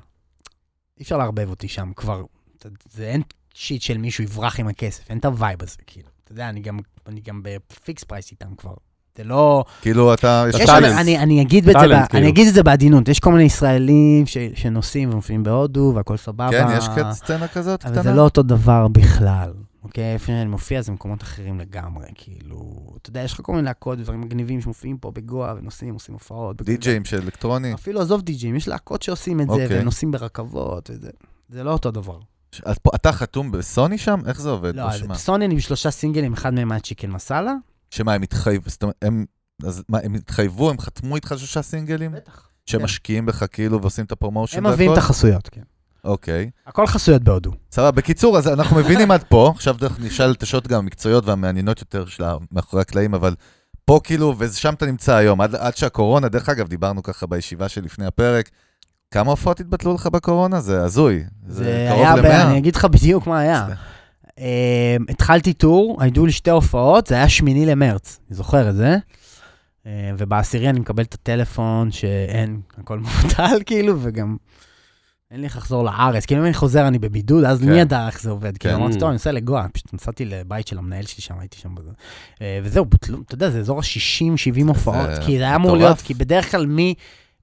S3: אי אפשר לערבב אותי שם, כבר, אתה- זה אין שיט של מישהו יברח עם הכסף, אין את הווייב הזה, כאילו. אתה יודע, אני גם, אני גם בפיקס פרייס איתם כבר. זה לא...
S1: כאילו, אתה...
S2: אתה
S1: יש-
S3: יש,
S2: טאלנט.
S3: אבל אני, אני, אגיד את זה,
S2: טאלנט,
S3: ב-
S2: כאילו.
S3: אני אגיד את זה בעדינות, יש כל מיני ישראלים ש, שנוסעים ומופיעים בהודו והכל סבבה.
S1: כן, יש קצת סצנה כזאת
S3: אבל
S1: קטנה?
S3: זה לא אותו דבר בכלל, אוקיי? איפה שאני מופיע זה מקומות אחרים לגמרי, כאילו, אתה יודע, יש לך כל מיני להקות ודברים מגניבים שמופיעים פה בגואה ונוסעים, עושים הופעות. בכל
S1: די-ג'אים של אלקטרוני.
S3: דבר. אפילו עזוב די-ג'ים, יש להקות שעושים את זה,
S1: אוקיי.
S3: והם נוסעים ברכבות וזה. זה לא אותו דבר.
S1: ש- אז פה- אתה חתום בסוני שם? איך זה עובד?
S3: לא,
S1: או
S3: אז
S1: שמה?
S3: סוני עם שלושה סינגלים, אחד מהם היה צ'יקן מסאלה.
S1: שמה, הם התחייבו, זאת אומרת, הם... אז מה, הם התחייבו, הם חתמו איתך שלושה סינגלים?
S3: בטח.
S1: שהם
S3: כן.
S1: משקיעים בך כאילו ועושים את הפרומושן
S3: הם מביאים את החסויות, כן.
S1: אוקיי.
S3: הכל חסויות בהודו.
S1: סבבה, בקיצור, אז אנחנו מבינים עד פה, עכשיו דרך- נשאל את השאלות גם המקצועיות והמעניינות יותר של ה- מאחורי הקלעים, אבל פה כאילו, ושם אתה נמצא היום, עד, עד שהקורונה, דרך אגב, דיברנו ככה בישיבה שלפני הפרק, כמה הופעות התבטלו לך בקורונה? זה הזוי.
S3: זה
S1: קרוב
S3: היה, ב-
S1: למאה.
S3: אני אגיד לך בדיוק מה היה.
S1: זה-
S3: אמ, התחלתי טור, היו לי שתי הופעות, זה היה שמיני למרץ, אני זוכר את זה. אמ, ובעשירי אני מקבל את הטלפון שאין, הכל מובטל כאילו, וגם אין לי איך לחזור לארץ. כאילו אם אני חוזר אני בבידוד, אז
S1: כן.
S3: מי ידע איך זה עובד? כאילו
S1: כן.
S3: אמרתי, טוב, אני נוסע לגואה, פשוט נסעתי לבית של המנהל שלי שם, הייתי שם בזה. אה, וזהו, בוטלו, אתה יודע, זה אזור ה-60-70 הופעות, כי זה היה אמור
S1: מטורף.
S3: להיות, כי בדרך כלל מ...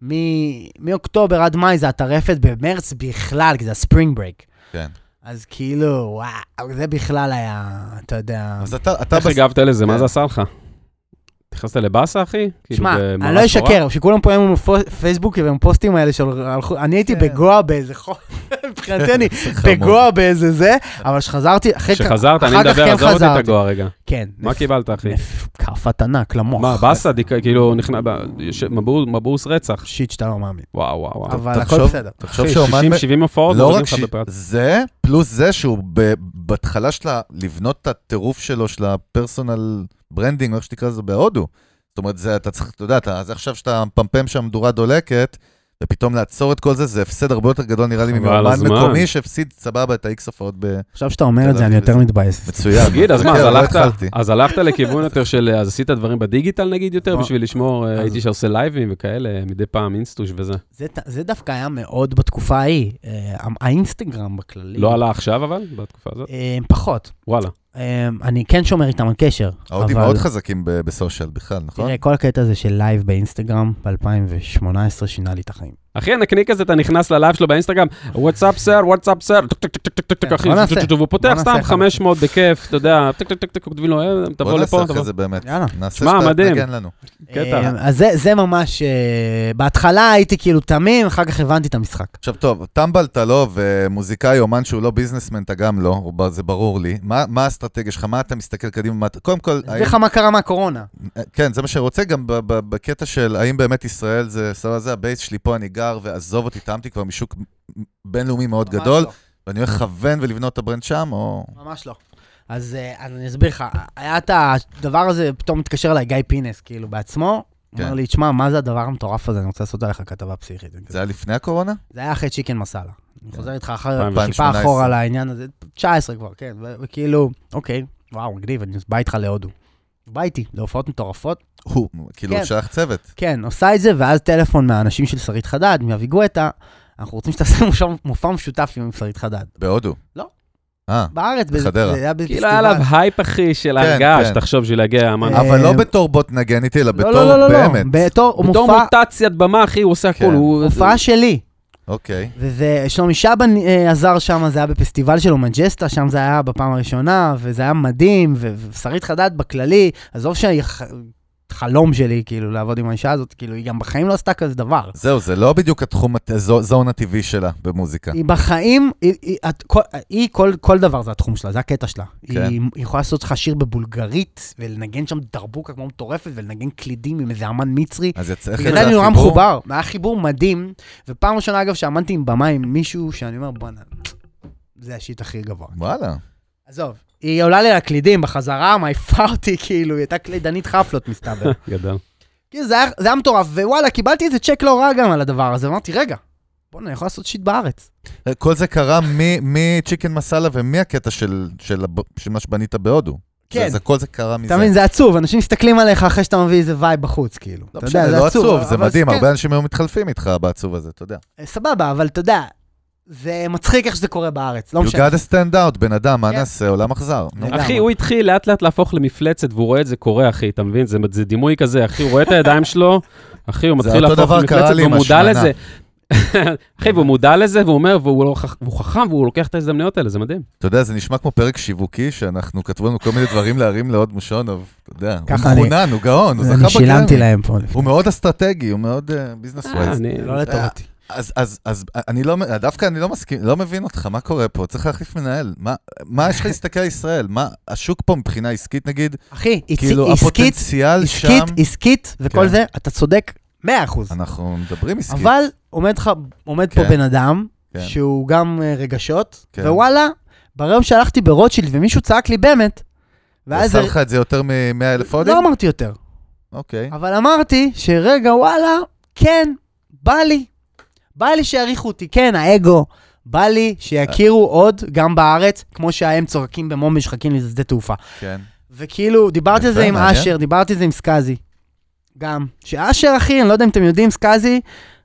S3: מ- מאוקטובר עד מאי זה הטרפת, במרץ בכלל, כי זה הספרינג ברייק.
S1: כן.
S3: אז כאילו, וואו, זה בכלל היה, אתה יודע...
S1: אז אתה, אתה
S2: איך
S1: בס...
S2: הגבת לזה? מה
S1: כן.
S2: זה עשה לך? נכנסת לבאסה, אחי? כאילו,
S3: שמע,
S2: במראה
S3: אני לא
S2: שחורה?
S3: אשקר, שכולם פה היום בפייסבוק ועם הפוסטים האלה של... הלכו- אני הייתי
S1: כן.
S3: בגואה באיזה חור, מבחינתי אני בגואה באיזה זה, אבל כשחזרתי, אחרי כך-
S2: כשחזרת, אני
S3: אחר כך
S2: מדבר,
S3: כן
S2: עזוב אותי את
S3: חזרתי.
S2: הגואה רגע.
S3: כן.
S2: מה
S3: נפ-
S2: קיבלת, אחי?
S3: נפ- כאפת ענק למוח.
S2: מה, באסה? דיכא- כאילו, נכנע... ב- יש- מבוס- מבוס רצח.
S3: שיט שאתה לא מאמין.
S2: וואו, וואו, וואו.
S3: אבל הכל
S1: תחשוב-
S3: בסדר.
S1: תחשוב
S2: אחי,
S1: שאומן...
S2: 60-70 הופעות,
S1: לא
S2: מורידים
S1: רק
S2: לך
S1: ש...
S2: בפרט.
S1: זה, פלוס זה שהוא ב... בהתחלה שלה, לבנות את הטירוף שלו, של הפרסונל ברנדינג, או איך שתקרא לזה בהודו. זאת אומרת, זה, אתה צריך, אתה יודע, אתה, אז עכשיו שאתה מפמפם שם מדורה דולקת, ופתאום לעצור את כל זה, זה הפסד הרבה יותר גדול, נראה לי,
S2: חבל
S1: ממאמן
S2: הזמן.
S1: מקומי שהפסיד סבבה את ה-X הופעות ב...
S3: עכשיו שאתה אומר
S1: תל
S3: את זה, אני
S1: אביב
S3: יותר
S1: זה-
S3: מתבאס.
S1: מצוין.
S2: תגיד, אז מה,
S1: כן,
S2: אז
S1: אבל לא
S2: הלכת-
S1: התחלתי.
S2: אז הלכת לכיוון יותר של, אה, אז עשית דברים בדיגיטל נגיד יותר,
S3: בוא.
S2: בשביל לשמור, אה,
S3: אז-
S2: הייתי שעושה לייבים וכאלה, מדי פעם אינסטוש וזה.
S3: זה ת- זה דווקא היה מאוד בתקופה ההיא. אה, האינסטגרם בכללי.
S2: לא עלה עכשיו אבל, בתקופה הזאת?
S3: אה, פחות.
S2: וואלה.
S3: אה, אני כן שומר איתם על קשר.
S1: ההודים
S3: אבל-
S1: מאוד חזקים ב- בסושיאל בכלל, נכון?
S3: תראה, כל הקטע הזה של לייב באינסטגרם ב-2018 שינה לי את החיים.
S2: אחי, הנקניק הזה, אתה נכנס ללייב שלו באינסטגרם, וואטסאפ סר, וואטסאפ סר, טק, טק, טק, טק, טק, טק,
S3: כן,
S2: אחי,
S3: בוא נעשה.
S2: טק, טק, טק, והוא
S3: בוא
S2: פותח
S3: נעשה
S2: סתם
S3: אחד.
S2: 500 בכיף, אתה יודע, טק, טק, טק, טק, כותבים לו, "אה, תבוא
S1: בוא נעשה
S2: לפה,
S1: אחרי
S2: תבוא.
S1: זה באמת.
S3: יאללה.
S1: נעשה
S2: שמע,
S1: שאתה
S2: מדהים.
S1: תנגן לנו.
S2: קטע.
S3: אה, אז זה- זה ממש... אה, בהתחלה הייתי כאילו תמים, אחר כך הבנתי את המשחק.
S1: עכשיו טוב, טמבל אתה לא, ומוזיקאי, אומן שהוא לא ביזנסמן, אתה גם לא, הוא ב- זה ברור לי. מה, מה האסטרטגיה שלך? מה אתה מסתכל קדימה? מה אתה... קודם כל,
S3: אני אסביר לך מה קרה מהקורונה.
S1: כן, זה מה שרוצה, גם ב- ב- בקטע של האם באמת ישראל זה, סבבה, זה הבייס שלי, פה אני גר, ועזוב אותי, טעמתי כבר משוק בינלאומי מאוד
S3: ממש
S1: גדול,
S3: לא,
S1: ואני הולך לכוון ולבנות את הברנד שם, או...
S3: ממש לא. אז אה, אז אני אסביר לך, היה את הדבר הזה, פתאום התקשר אליי גיא פינס, כאילו, בעצמו. הוא
S1: כן.
S3: אומר לי, תשמע, מה זה הדבר המטורף הזה? אני רוצה לעשות עליך כתבה פסיכית.
S1: זה היה לפני הקורונה?
S3: זה היה אחרי צ'יקן מסאלה. אני
S1: כן.
S3: חוזר איתך אחר,
S1: 2018.
S3: טיפה אחורה על העניין הזה, 19 כבר, כן, ו- וכאילו, אוקיי, וואו, מגניב, אני בא איתך להודו. בא איתי, להופעות מטורפות,
S1: הוא, כאילו, הוא
S3: כן.
S1: שייך צוות.
S3: כן, עושה את זה, ואז טלפון מהאנשים של שרית חדד, מאבי גואטה, אנחנו רוצים שתעשה מופע- מופע משותף עם שרית חדד.
S1: בהודו.
S3: לא.
S1: אה,
S3: בארץ, בזה-
S1: בחדרה.
S3: זה היה
S2: כאילו היה עליו
S3: בפסטיבל.
S2: הייפ, אחי, של
S1: כן,
S2: הרגעה,
S1: כן.
S2: שתחשוב שלהגיע אמן.
S3: אה,
S1: אבל לא בתור בוא תנגן איתי, אלא
S3: לא, לא,
S1: בתור
S3: לא, לא, לא,
S1: באמת.
S3: בתור
S2: בתור
S3: מופע-
S2: מוטציית במה, אחי, הוא עושה
S1: כן.
S2: הכול. הוא-
S3: מופע שלי.
S1: אוקיי.
S3: וזה, שלומי שבן אה, עזר שם, זה היה בפסטיבל שלו, מג'סטה, שם זה היה בפעם הראשונה, וזה היה מדהים, ו- ושרית חדד בכללי, עזוב שהחלום שלי, כאילו, לעבוד עם האישה הזאת, כאילו, היא גם בחיים לא עשתה כזה דבר.
S1: זהו, זה לא בדיוק התחום, הט- זו- זון הטבעי שלה במוזיקה.
S3: היא בחיים, היא, היא, את, כל, היא כל, כל דבר זה התחום שלה, זה הקטע שלה.
S1: כן.
S3: כן. היא, היא יכולה לעשות לך שיר בבולגרית, ולנגן שם דרבוקה כמו מטורפת, ולנגן קלידים עם איזה אמן מצרי.
S1: אז יצא איך
S3: בגלל
S1: יצא
S3: אני נורא
S1: החיבור?
S3: מחובר, היה חיבור מדהים, ופעם ראשונה, אגב, שעמדתי עם במה עם מישהו, שאני אומר, בואנה, זה השיט הכי גבוה.
S1: וואלה.
S3: עזוב, היא עולה לי לקלידים בחזרה, מעיפה אותי, כאילו, היא הייתה קלידנית חפלות, מסתבר.
S2: גדל.
S3: כאילו, זה היה- זה היה מטורף, ווואלה, קיבלתי איזה צ'ק לא רע גם על הדבר הזה, אמרתי, רגע, בואנה, אני יכול לעשות שיט בארץ.
S1: כל זה קרה מ- מצ'יקן מסאלה ומהקטע של, של, הב- של מה שבנית בהודו.
S3: כן.
S1: זה, זה, כל זה קרה מזה.
S3: אתה מבין, זה עצוב, אנשים מסתכלים עליך אחרי שאתה מביא איזה וייב בחוץ, כאילו.
S1: לא
S3: אתה
S1: משנה,
S3: יודע,
S1: זה לא עצוב, זה
S3: אבל
S1: מדהים,
S3: כן, אה,
S1: הרבה אנשים היו מתחלפים איתך בעצוב הזה, אתה יודע.
S3: סבבה, אבל אתה יודע, זה מצחיק איך שזה קורה בארץ, לא
S1: You
S3: משנה.
S1: got to stand out, בן אדם, מה
S3: כן.
S1: נעשה, עולם אכזר. נו.
S3: לגמרי.
S2: אחי, הוא התחיל לאט לאט להפוך למפלצת, והוא רואה את זה קורה, אחי, אתה מבין? זה, זה דימוי כזה, אחי, הוא רואה את הידיים שלו, אחי, הוא
S1: זה
S2: מתחיל
S1: אותו
S2: להפוך
S1: דבר קרה
S2: למפלצת,
S1: לי
S2: והוא
S1: עם
S2: מודע
S1: השמנה.
S2: לזה. אחי, והוא מודע לזה, והוא אומר, והוא, לא, חכ- והוא חכם, והוא לוקח את ההזדמנויות האלה, זה מדהים.
S1: אתה יודע, זה נשמע כמו פרק שיווקי, שאנחנו כתבו לנו כל מיני דברים להרים להוד מושונוב, אתה יודע. הוא
S3: ככה אני-
S1: מחונן, הוא גאון, הוא זכה
S3: אני שילמתי
S1: בגרמי.
S3: להם פה. לפני.
S1: הוא מאוד אסטרטגי, הוא מאוד ביזנס
S2: אה,
S1: ווייז.
S2: אני-
S3: לא לטובתי.
S1: אז, אז, אז אני לא, דווקא אני לא מסכים, לא מבין אותך, מה קורה פה? צריך להחליף מנהל. מה, מה יש לך להסתכל על ישראל? מה, השוק פה מבחינה עסקית נגיד?
S3: אחי,
S1: כאילו,
S3: עסקית,
S1: הפוטנציאל שם...
S3: עסקית, עסקית וכל
S1: כן.
S3: זה, אתה צודק 100%.
S1: אנחנו מדברים עסקית.
S3: אבל עומד לך- עומד פה
S1: כן.
S3: בן אדם,
S1: כן.
S3: שהוא גם אה, רגשות,
S1: כן.
S3: ווואלה, ביום שהלכתי ברוטשילד ומישהו צעק לי באמת,
S1: הוא
S3: ואז...
S1: עשה לך את זה יותר מ-100 אלף הודים?
S3: לא אמרתי יותר,
S1: אוקיי.
S3: אבל אמרתי שרגע, וואלה, כן, בא לי. בא לי שיעריכו אותי, כן, האגו. בא לי שיכירו
S1: אה.
S3: עוד, גם בארץ, כמו שהם צוחקים במומי שחקים לי שדה תעופה.
S1: כן.
S3: וכאילו, דיברתי על זה
S1: יפה,
S3: עם
S1: מעניין.
S3: אשר, דיברתי על זה עם סקאזי. גם. שאשר, אחי, אני לא יודע אם אתם יודעים, סקאזי,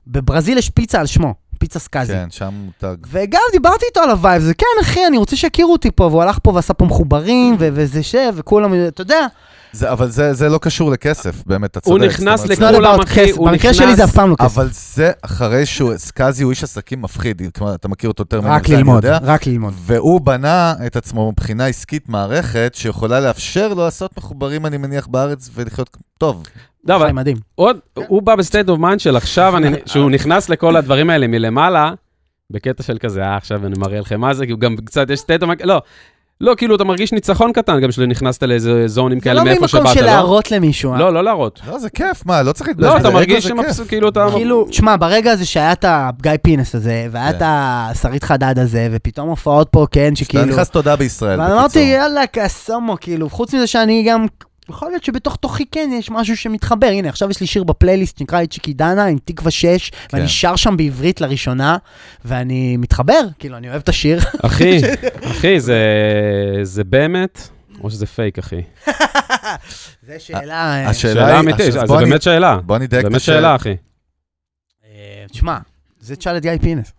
S3: בברזיל יש פיצה על שמו, פיצה סקאזי.
S1: כן, שם מותג.
S3: וגם דיברתי איתו על הווייב, זה כן, אחי, אני רוצה שיכירו אותי פה, והוא הלך פה ועשה פה מחוברים, ו- וזה ש... וכולם, אתה יודע,
S1: זה, אבל זה, זה לא קשור לכסף, באמת, אתה צודק.
S2: הוא נכנס
S1: זאת אומרת,
S3: it's not
S1: זה-
S2: לכולם,
S3: about
S2: אחי,
S3: כסף.
S2: הוא
S3: במקרה
S2: נכנס-
S3: שלי זה אף פעם לא כסף.
S1: אבל זה אחרי שהוא, סקאזי הוא איש עסקים מפחיד, כלומר, אתה מכיר אותו יותר ממני,
S3: רק
S1: זה אני
S3: ללמוד,
S1: יודע.
S3: רק ללמוד.
S1: והוא בנה את עצמו מבחינה עסקית מערכת שיכולה לאפשר לו לעשות מחוברים, אני מניח, בארץ ולחיות טוב.
S2: לא, אבל
S3: זה מדהים.
S2: עוד,
S3: כן.
S2: הוא בא בסטייט אוף מיינד של עכשיו, אני- שהוא נכנס לכל הדברים האלה מלמעלה, בקטע של כזה, אה, עכשיו אני מראה לכם מה זה, כי הוא גם קצת, יש סטייט אוף מיינד, לא. לא, כאילו, אתה מרגיש ניצחון קטן גם שנכנסת לאיזה זונים
S3: זה
S2: כאלה
S3: לא
S2: כן, מאיפה
S3: ממקום
S2: שבאת,
S3: של
S2: לא?
S3: להראות למישהו. אה?
S2: לא, לא להראות.
S1: לא, זה כיף, מה, לא צריך להתבייש.
S2: לא,
S1: בזה,
S2: אתה
S1: אגו
S2: מרגיש
S1: זה כיף.
S2: שמבסוט, כאילו, אתה...
S3: כאילו, תשמע, ברגע הזה שהיה את הגיא פינס הזה, והיה
S1: כן.
S3: את השרית חדד הזה, ופתאום הופעות פה, כן,
S1: אתה
S3: שכאילו...
S1: נכנס תודה בישראל.
S3: אבל אמרתי,
S1: בקיצור.
S3: יאללה, קסומו, כאילו, חוץ מזה שאני גם... יכול להיות שבתוך תוכי כן יש משהו שמתחבר. הנה, עכשיו יש לי שיר בפלייליסט שנקרא את צ'יקי דנה עם תקווה 6,
S1: כן.
S3: ואני שר שם בעברית לראשונה, ואני מתחבר, כאילו, אני אוהב את השיר.
S2: אחי, אחי, זה- זה באמת, או שזה פייק, אחי.
S3: זה שאלה... אה,
S1: השאלה
S2: שאלה
S1: היא-
S2: אמיתית,
S1: עכשיו,
S2: זה
S1: בוא אני-
S2: באמת שאלה.
S1: בוא נדייק את
S2: באמת
S1: השאלה.
S2: שאלה, אחי.
S3: אה, תשמע, זה תשאל את גיא פינס.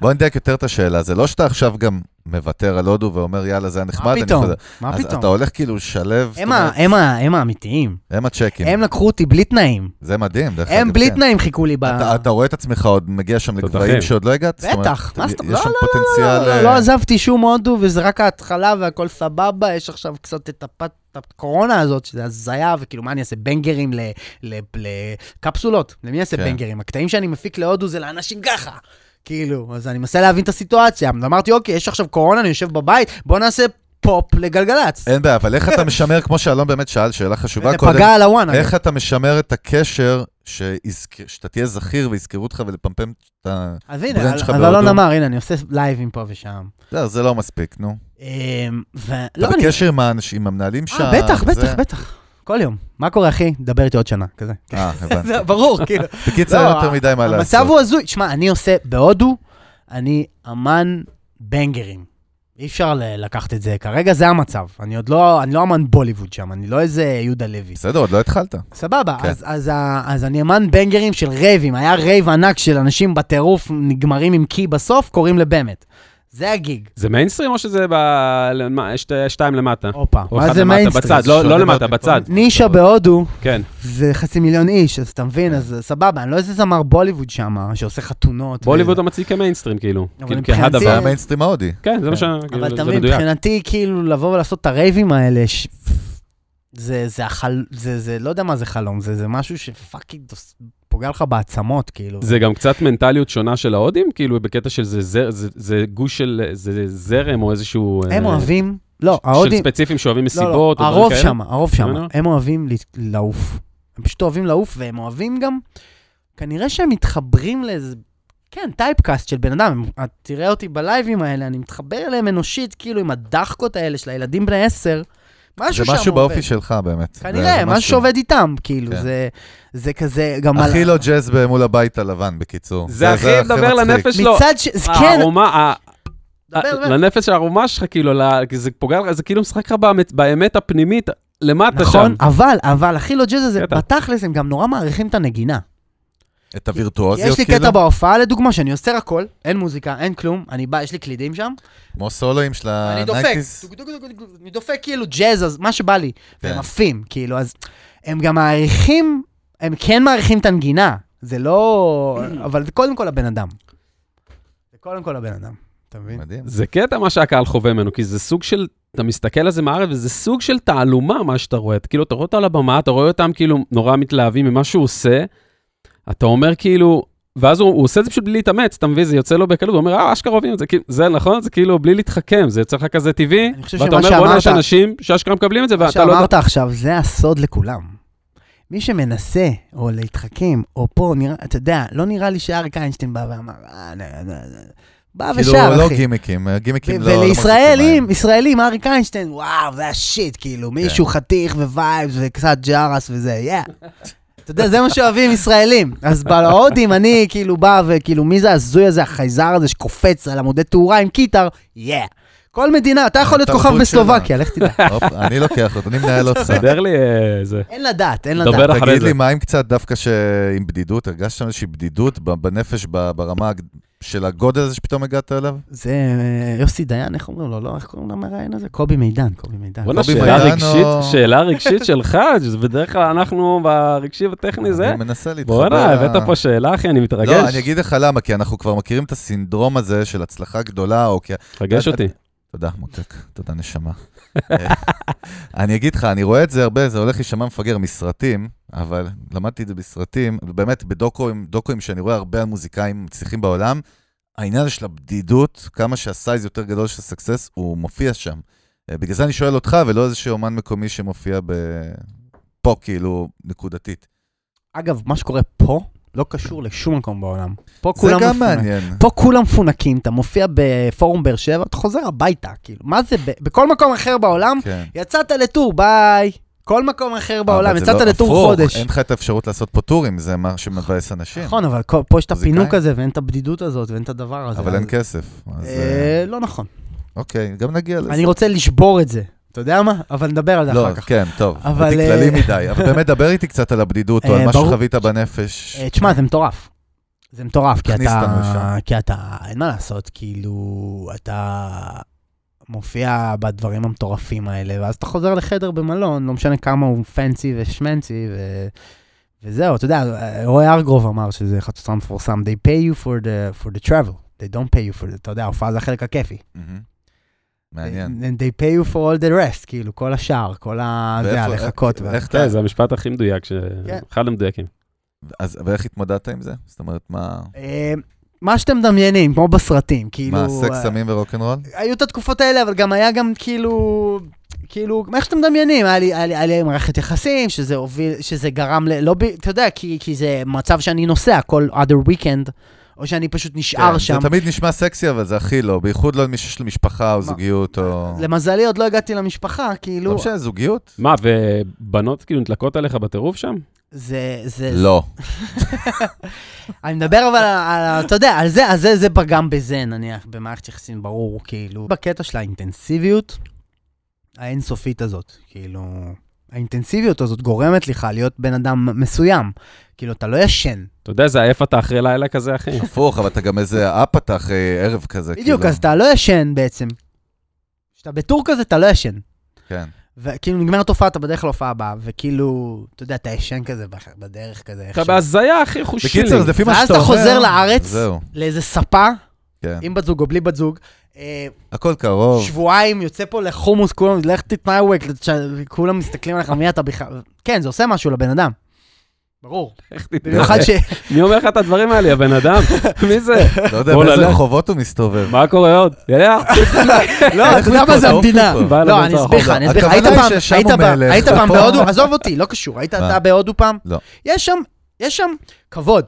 S1: בוא נדייק יותר את השאלה, זה לא שאתה עכשיו גם מוותר על הודו ואומר, יאללה, זה היה נחמד,
S3: מה
S1: אני
S3: פתאום?
S1: חוזר."
S3: מה
S1: אז אתה
S3: פתאום?
S1: הולך כאילו לשלב, זאת
S3: הם
S1: אומרת,
S3: ה- הם ה- הם האמיתיים.
S1: הם הצ'קים.
S3: הם לקחו אותי בלי תנאים.
S1: זה מדהים, דרך אגב.
S3: הם בלי
S1: כן.
S3: תנאים חיכו לי ב...
S1: אתה- אתה רואה את עצמך עוד מגיע שם
S2: תותחים.
S1: לגבהים שעוד לא הגעת? זאת אומרת,
S3: בטח, מה זאת-
S1: יש
S3: לא,
S1: שם
S3: לא,
S1: פוטנציאל...
S3: לא,
S1: אה,
S3: לא, לא עזבתי שום הודו, וזה רק ההתחלה והכל סבבה, יש עכשיו קצת את הפת... את הקורונה הזאת, שזה הזיה, וכאילו, מה אני אעשה, בנגרים ל- ל- לקפסולות? למי אעשה
S1: כן.
S3: בנגרים? הקטעים שאני מפיק להודו זה לאנשים ככה. כאילו, אז אני מנסה להבין את הסיטואציה. אז אמרתי, אוקיי, יש עכשיו קורונה, אני יושב בבית, בוא נעשה פופ לגלגלצ.
S1: אין בעיה, אבל איך אתה משמר, כמו שאלון באמת שאל, שאלה חשובה
S3: וזה
S1: קודם,
S3: פגע על הוואן. אגב.
S1: איך אתה משמר את הקשר שיזכ- שאתה תהיה זכיר ויזכרו אותך ולפמפם את ה...
S3: אז הנה,
S1: ברנד שלך
S3: אבל
S1: בהודו?
S3: אלון אמר, הנה, אני עושה לייבים פה ושם.
S1: לא, זה לא מספיק, נו.
S3: אמ, ו-
S1: אתה
S3: לא, אני-
S1: בקשר עם האנשים, עם המנהלים שם.
S3: אה, בטח,
S1: זה-
S3: בטח, בטח. כל יום. מה קורה, אחי? דבר איתי עוד שנה, כזה.
S1: אה, הבנתי.
S3: זה ברור, כאילו.
S1: בקיצר,
S3: לא,
S1: אין יותר מדי מה לעשות.
S3: המצב הוא הזוי. תשמע, אני עושה, בהודו, אני אמן בנגרים. אי אפשר ל- לקחת את זה, כרגע זה המצב. אני עוד לא, אני לא אמן בוליווד שם, אני לא איזה יהודה לוי.
S1: בסדר, עוד לא התחלת.
S3: סבבה,
S1: כן.
S3: אז, אז, ה- אז אני אמן בנגרים של רייבים, היה רייב ענק של אנשים בטירוף, נגמרים עם קי בסוף, קוראים לבאמת. זה הגיג.
S2: זה מיינסטרים או שזה ב... למה- שתי- שתיים למטה?
S3: הופה,
S2: או
S3: מה
S2: אחד
S3: זה
S2: למטה,
S3: מיינסטרים?
S2: בצד, לא- לא
S1: שואלים
S2: למטה,
S1: אותי פה.
S2: בצד.
S3: נישה בהודו
S2: כן.
S3: זה חצי מיליון איש, אז אתה מבין, אז סבבה, אני לא איזה זמר בוליווד שם, שעושה חתונות. ו-
S2: בוליווד אתה מציג כמיינסטרים, כאילו.
S3: אבל
S2: כאילו,
S3: מבחינתי-
S1: זה
S2: כהדבר.
S3: אבל-
S1: המיינסטרים ההודי.
S2: כן, זה מה ש...
S3: אבל
S2: זה
S3: אתה מבין,
S2: מדויק.
S3: מבחינתי, כאילו, לבוא ולעשות את הרייבים האלה, ש- זה, זה, החל... זה, זה, לא יודע מה זה חלום, זה, זה משהו שפאקינג דוס- פוגע לך בעצמות, כאילו.
S2: זה גם קצת מנטליות שונה של ההודים, כאילו בקטע של זה, זר- זה, זה גוש של, זה זרם או איזשהו... אה,
S3: הם אוהבים,
S2: ש-
S3: לא,
S2: של
S3: ההודים,
S2: ספציפים שאוהבים מסיבות.
S3: לא,
S2: או
S3: לא,
S2: דברים
S3: הרוב
S2: כאלה.
S3: שם, הרוב שם,
S2: בסדר?
S3: הם אוהבים ל- לעוף. הם פשוט אוהבים לעוף, והם אוהבים גם, כנראה שהם מתחברים לאיזה, כן, טייפקאסט של בן אדם, הם- את תראה אותי בלייבים האלה, אני מתחבר אליהם אנושית, כאילו עם הדחקות האלה של הילדים בני עשר, משהו
S1: זה
S3: שם
S1: משהו
S3: עובד.
S1: באופי שלך באמת. זה-
S3: כנראה,
S1: זה
S3: משהו שעובד איתם, כאילו,
S1: כן.
S3: זה- זה כזה, גם על...
S1: הכי לא ג'אז מול הבית הלבן, בקיצור.
S2: זה הכי מדבר
S1: מצחיק.
S2: לנפש שלו.
S3: מצד ש...
S1: אה,
S3: זה כן,
S2: הארומה, ה-
S3: דבר, דבר.
S2: לנפש הערומה שלך, כאילו, ל- זה פוגע לך, זה כאילו משחק לך באמת- באמת הפנימית, למטה
S3: נכון,
S1: אה,
S2: שם.
S3: אבל, אבל הכי לא ג'אז הזה,
S2: קטע.
S3: בתכלס הם גם נורא מעריכים את הנגינה.
S1: את הווירטואוזיות, כאילו,
S3: יש לי קטע בהופעה, לדוגמה, שאני עושה הכל, אין מוזיקה, אין כלום, אני בא, יש לי קלידים שם,
S1: כמו סולואים של
S3: אני דופק,
S1: הניינטיז.
S3: דוק, דוק, דוק, דוק, אני דופק כאילו ג'אז, אז מה שבא לי, והם
S1: כן.
S3: עפים, כאילו, אז הם גם מעריכים, הם כן מעריכים את הנגינה, זה לא... אבל זה קודם כל הבן אדם. זה קודם כל הבן אדם, אתה מבין?
S1: מדהים.
S2: זה קטע מה שהקהל חווה ממנו, כי זה סוג של, אתה מסתכל על זה מהארץ, וזה סוג של תעלומה מה שאתה רואה. אתה- כאילו, אתה רואה אותה על הבמה, אתה רואה אותם כאילו נורא מתלהבים ממה שהוא עושה, אתה אומר כאילו, ואז הוא, הוא עושה את זה פשוט בלי להתאמץ, אתה מבין? זה יוצא לו בקלות, הוא אומר, אה, אשכרה אוהבים את זה, כאילו, זה נכון? זה כאילו בלי להתחכם, זה יוצא לך כזה טבעי,
S3: אני חושב
S2: ואתה
S3: שמה
S2: אומר, בוא'נה, יש
S3: שאמרת-
S2: אנשים שאשכרה מקבלים את זה,
S3: מה
S2: ואתה לא יודע...
S3: שאמרת עכשיו, זה הסוד לכולם. מי שמנסה, או להתחכם, או פה, נראה, אתה יודע, לא נראה לי שאריק איינשטיין בא ואמר, אה, לא, לא, לא. בא
S1: כאילו,
S3: ושר,
S1: לא
S3: אחי.
S1: גימיקים, גימיקים לא... לא מחזיקים
S3: ולישראלים,
S1: מים.
S3: ישראלים, אריק איינשטיין, וואו, זה השיט,
S1: כן.
S3: כאילו, מישהו חתיך ווייבס וקצת ג'רס וזה, יא. אתה יודע, זה מה שאוהבים ישראלים. אז בהודים אני כאילו בא וכאילו, מי זה הזוי הזה, החייזר הזה שקופץ על עמודי תאורה עם קיטר, יא. כל מדינה, אתה יכול להיות
S1: התרבות
S3: כוכב
S1: שלה.
S3: בסלובקיה, לך תדע.
S1: הופ, אני לוקח אותו, אני מנהל אותך.
S2: סדר לי אה, זה.
S3: אין לדעת, אין לדעת.
S2: דבר אחרי
S1: תגיד
S2: זה.
S1: לי, מה עם קצת דווקא ש- עם בדידות? הרגשת שם איזושהי בדידות ב- בנפש, ב- ברמה הג- של הגודל הזה שפתאום הגעת אליו?
S3: זה אה, יוסי דיין, איך אומרים לו? לא, איך קוראים למראיין הזה? קובי מידן, קובי מידן.
S2: בוא'נה,
S1: קובי
S2: שאלה
S1: מידן
S2: רגשית,
S1: או-
S2: שאלה רגשית שלך, שזה בדרך כלל אנחנו ברגשי
S3: אה,
S2: וטכני זה.
S1: אני מנסה להתחבר.
S2: בואנה, הבאת פה שאלה, אחי, אני מתרגש.
S1: לא, אני אגיד לך למה, כי אנחנו כבר מכירים את הסינדרום הזה של הצלחה גדולה, או כי...
S2: תרגש אותי.
S1: תודה, מותק, תודה, נשמה. אה, אני אגיד לך, אני רואה את זה הרבה, זה הולך להישמע מפגר מסרטים, אבל למדתי את זה בסרטים, באמת, בדוקואים, דוקואים שאני רואה הרבה על מוזיקאים מצליחים בעולם, העניין הזה של הבדידות, כמה שהסייז יותר גדול של הסקסס, הוא מופיע שם. אה, בגלל זה אני שואל אותך, ולא איזשהו אומן מקומי שמופיע ב... פה, כאילו, נקודתית.
S3: אגב, מה שקורה פה לא קשור לשום מקום בעולם. פה
S1: זה
S3: כולם
S1: גם
S3: מפונקים.
S1: מעניין.
S3: פה כולם מפונקים, אתה מופיע בפורום באר שבע, אתה חוזר הביתה, כאילו, מה זה, ב- בכל מקום אחר בעולם,
S1: כן.
S3: יצאת לטור, ביי. כל מקום אחר בעולם,
S1: אבל זה
S3: יצאת
S1: לא-
S3: לטור
S1: הפוך,
S3: חודש.
S1: אין לך את האפשרות לעשות פה טורים, זה מה שמבאס אנשים.
S3: נכון, אבל כל- פה יש את
S1: מוזיקאים.
S3: הפינוק הזה, ואין את הבדידות הזאת, ואין את הדבר הזה.
S1: אבל
S3: אז-
S1: אין כסף. אז אה,
S3: אה, לא נכון.
S1: אוקיי, גם נגיע לזה.
S3: אני רוצה לשבור את זה, אתה יודע מה? אבל נדבר על זה
S1: לא,
S3: אחר כך.
S1: כן, טוב.
S3: אבל,
S1: הייתי
S3: אה,
S1: כללי מדי. אבל באמת, דבר איתי קצת על הבדידות, או
S3: אה,
S1: על מה
S3: ברור-
S1: שחווית בנפש.
S3: אה, תשמע, זה מטורף. זה מטורף, כי
S1: תכניס אותנו
S3: אתה...
S1: לשם.
S3: כי אתה... אין מה לעשות, כאילו, אתה מופיע בדברים המטורפים האלה, ואז אתה חוזר לחדר במלון, לא משנה כמה הוא פנסי ושמנסי, ו... וזהו, אתה יודע, רוי ארגרוב אמר שזה חצוצרה מפורסם, They pay you for the, for the travel, they don't pay you for the, אתה יודע, ההופעה זה החלק הכיפי.
S1: מהמם. מעניין.
S3: And they pay you for all the rest, כאילו, כל השאר, כל ה... זה,
S1: ואיפה-
S3: הלחכות. וה-
S1: איך
S2: כן,
S1: אתה...
S2: זה המשפט הכי מדויק, ש-
S3: כן.
S2: אחד המדויקים.
S1: אז- ואיך התמודדת עם זה? זאת אומרת, מה...
S3: אה, מה שאתם מדמיינים, כמו בסרטים, כאילו...
S1: מה,
S3: אה,
S1: סקס, סמים ורוקנרול?
S3: היו את התקופות האלה, אבל גם היה גם כאילו, כאילו, איך שאתם מדמיינים, היה לי, היה לי, היה לי מערכת יחסים, שזה הוביל, שזה גרם ל... לא ב... אתה יודע, כי, כי זה מצב שאני נוסע כל other weekend, או שאני פשוט נשאר
S1: כן,
S3: שם.
S1: זה תמיד נשמע סקסי, אבל זה הכי לא. בייחוד לא למי שיש לו משפחה או זוגיות או...
S3: למזלי עוד לא הגעתי למשפחה, כאילו,
S1: לא משנה, זוגיות?
S2: מה, ובנות כאילו נדלקות עליך בטירוף שם?
S3: זה, זה,
S1: לא.
S3: אני מדבר אבל על, על, אתה יודע, על זה, על זה, זה פגם בזה, נניח, במערכת יחסים, ברור, כאילו. בקטע של האינטנסיביות האינסופית הזאת, כאילו, האינטנסיביות הזאת גורמת לך להיות בן אדם מסוים. כאילו, אתה לא ישן.
S2: אתה יודע איזה עייף אתה אחרי לילה כזה, אחי?
S1: הפוך, אבל אתה גם איזה אפ אתה אחרי ערב כזה.
S3: בדיוק,
S1: כאילו.
S3: אז אתה לא ישן בעצם. כשאתה בטור כזה, אתה לא ישן.
S1: כן.
S3: וכאילו, נגמרת הופעה, אתה בדרך להופעה הבאה, וכאילו, אתה יודע, אתה ישן כזה בח- בדרך כזה.
S2: אתה
S3: איכשהו.
S2: בהזיה, אחי, חושי.
S1: בקיצר, אז לפי מה
S3: ואז
S1: שאתה
S3: אתה
S1: אומר...
S3: חוזר לארץ.
S1: זהו,
S3: לאיזה ספה,
S1: כן.
S3: עם בת זוג או בלי בת זוג. אה,
S1: הכל קרוב.
S3: שבועיים, יוצא פה לחומוס, כולם, לך תתנאווק, כולם מסתכלים עליך, מי אתה בכלל? כן, זה עושה משהו לבן אדם. ברור. במיוחד ש...
S2: מי אומר לך את הדברים האלה, הבן אדם? מי זה?
S1: לא יודע
S2: בוא
S1: באיזה
S2: נלך.
S1: רחובות הוא מסתובב.
S2: מה קורה עוד? יאללה.
S3: לא, אתה יודע מה זה המדינה.
S2: בא לבוא
S3: לא,
S2: את
S3: אני
S2: הרחוב.
S3: אסביר לך, אני אסביר לך. היית
S1: הכוונה
S3: פעם-
S1: היא ששם
S3: היית
S1: הוא
S3: פעם-
S1: מלך,
S3: היית פעם
S1: ופה-
S3: בהודו, עזוב אותי, לא קשור. היית
S1: מה?
S3: אתה בהודו פעם?
S1: לא.
S3: יש שם, יש שם כבוד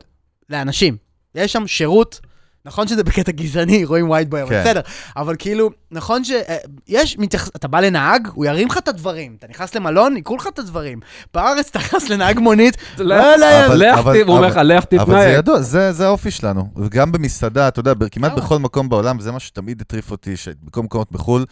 S3: לאנשים. יש שם שירות. נכון שזה בקטע גזעני, רואים ווייד בוי,
S1: כן.
S3: אבל בסדר. אבל כאילו, נכון ש... אה, יש, מתייחס- אתה בא לנהג, הוא ירים לך את הדברים. אתה נכנס למלון, יקרו לך את הדברים. בארץ אתה נכנס לנהג מונית, לא, לא,
S1: אבל-
S2: לך,
S1: אבל-
S2: ת- הוא אומר לך,
S1: אבל-
S2: לך
S1: אבל זה
S2: תתנהג.
S1: ידוע, זה זה האופי שלנו. גם במסעדה, אתה יודע, ב- כמעט
S3: למה?
S1: בכל מקום בעולם, זה מה שתמיד הטריף אותי, שבכל מקומות בחו"ל,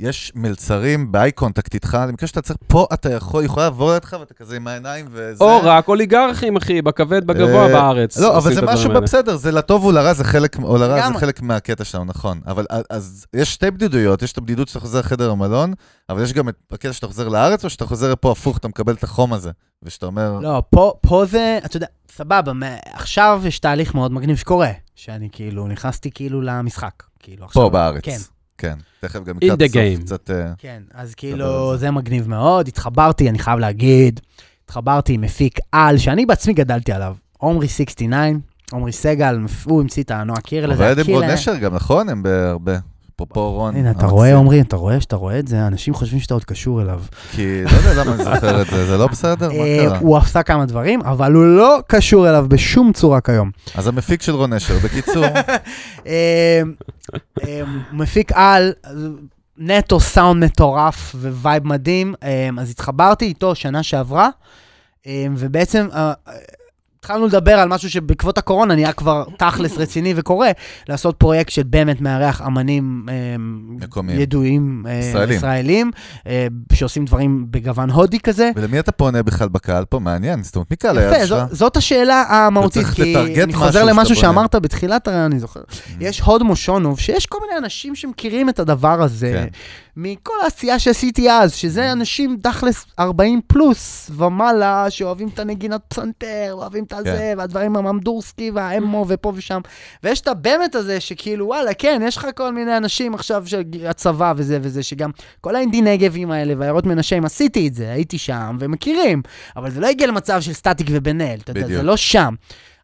S1: יש מלצרים באי קונטקט איתך, אני מקווה שאתה צריך, פה אתה יכול, יכולה לעבור לידך ואתה כזה עם העיניים וזה.
S2: או רק אוליגרכים, אחי, בכבד, בגבוה
S1: אה,
S2: בארץ.
S1: לא, אבל
S2: עושים
S1: זה
S2: את הדברים
S1: משהו
S2: האלה.
S1: בסדר, זה לטוב ולרע, זה חלק, או לרע, זה
S3: לגמרי.
S1: חלק מהקטע שלנו, נכון. אבל אז- אז יש שתי בדידויות, יש את הבדידות שאתה חוזר לחדר המלון, אבל יש גם את הקטע שאתה חוזר לארץ, או שאתה חוזר לפה הפוך, אתה מקבל את החום הזה, ושאתה אומר,
S3: לא, פה, פה זה, אתה יודע, סבבה, מה- עכשיו יש תהליך מאוד מגניב שקורה, שאני כאילו נכנסתי כאילו למשחק. כאילו, עכשיו,
S1: פה בארץ.
S3: כן,
S1: כן, תכף גם
S2: In
S1: לקראת
S2: the
S1: הסוף
S2: game.
S1: קצת... אה,
S3: כן,
S1: דבר
S3: אז
S1: על
S3: כאילו, זה מגניב מאוד, התחברתי, אני חייב להגיד, התחברתי עם מפיק על, שאני בעצמי גדלתי עליו, עומרי 69, עומרי סגל, הוא המציא את הנועה קירל הזה,
S1: עובד עם רון
S3: הקילה.
S1: נשר גם, נכון? הם בהרבה. אפרופו רון.
S3: הנה, אתה
S1: המקסים.
S3: רואה, עומרי, אתה רואה שאתה רואה את זה, אנשים חושבים שאתה עוד קשור אליו.
S1: כי לא יודע למה אני זוכר את זה, זה לא בסדר? מה
S3: אה,
S1: קרה?
S3: הוא עשה כמה דברים, אבל הוא לא קשור אליו בשום צורה כיום.
S1: אז המפיק של רון נשר, בקיצור,
S3: אמ, אמ, מפיק על, נטו סאונד מטורף ווייב מדהים, אמ, אז התחברתי איתו שנה שעברה, אמ, ובעצם אה, אה, התחלנו לדבר על משהו שבעקבות הקורונה נהיה כבר תכלס רציני וקורה, לעשות פרויקט של באמת מארח אמנים אמ,
S1: מקומיים.
S3: ידועים אה,
S1: ישראלים.
S3: ישראלים, אה, שעושים דברים בגוון הודי כזה.
S1: ולמי אתה פונה בכלל בקהל פה? מעניין, זאת אומרת, מי קהל היה
S3: יפה,
S1: שלך?
S3: זו, זאת השאלה המהותית,
S1: צריך
S3: כי
S1: לטרגט
S3: אני
S1: משהו
S3: חוזר למשהו
S1: שאתה בונה. Mm.
S3: שאמרת בתחילת הרעיון, אני זוכר. יש הוד מושונוב, שיש כל מיני אנשים שמכירים את הדבר הזה,
S1: כן. Mm.
S3: כן. מכל העשייה שעשיתי אז, שזה אנשים תכלס 40 פלוס ומעלה, שאוהבים את הנגינת פסנתר, אוהבים את הזה,
S1: כן.
S3: והדברים הממדורסקי והאמו ופה ושם, ויש את הבאמת הזה שכאילו, וואלה, כן, יש לך כל מיני אנשים עכשיו של הצבא וזה וזה, שגם כל האינדי נגבים האלה והעיירות מנשה, אם עשיתי את זה, הייתי שם, ומכירים, אבל זה לא הגיע למצב של סטטיק ובן אל, אתה יודע,
S1: בדיוק.
S3: זה לא שם.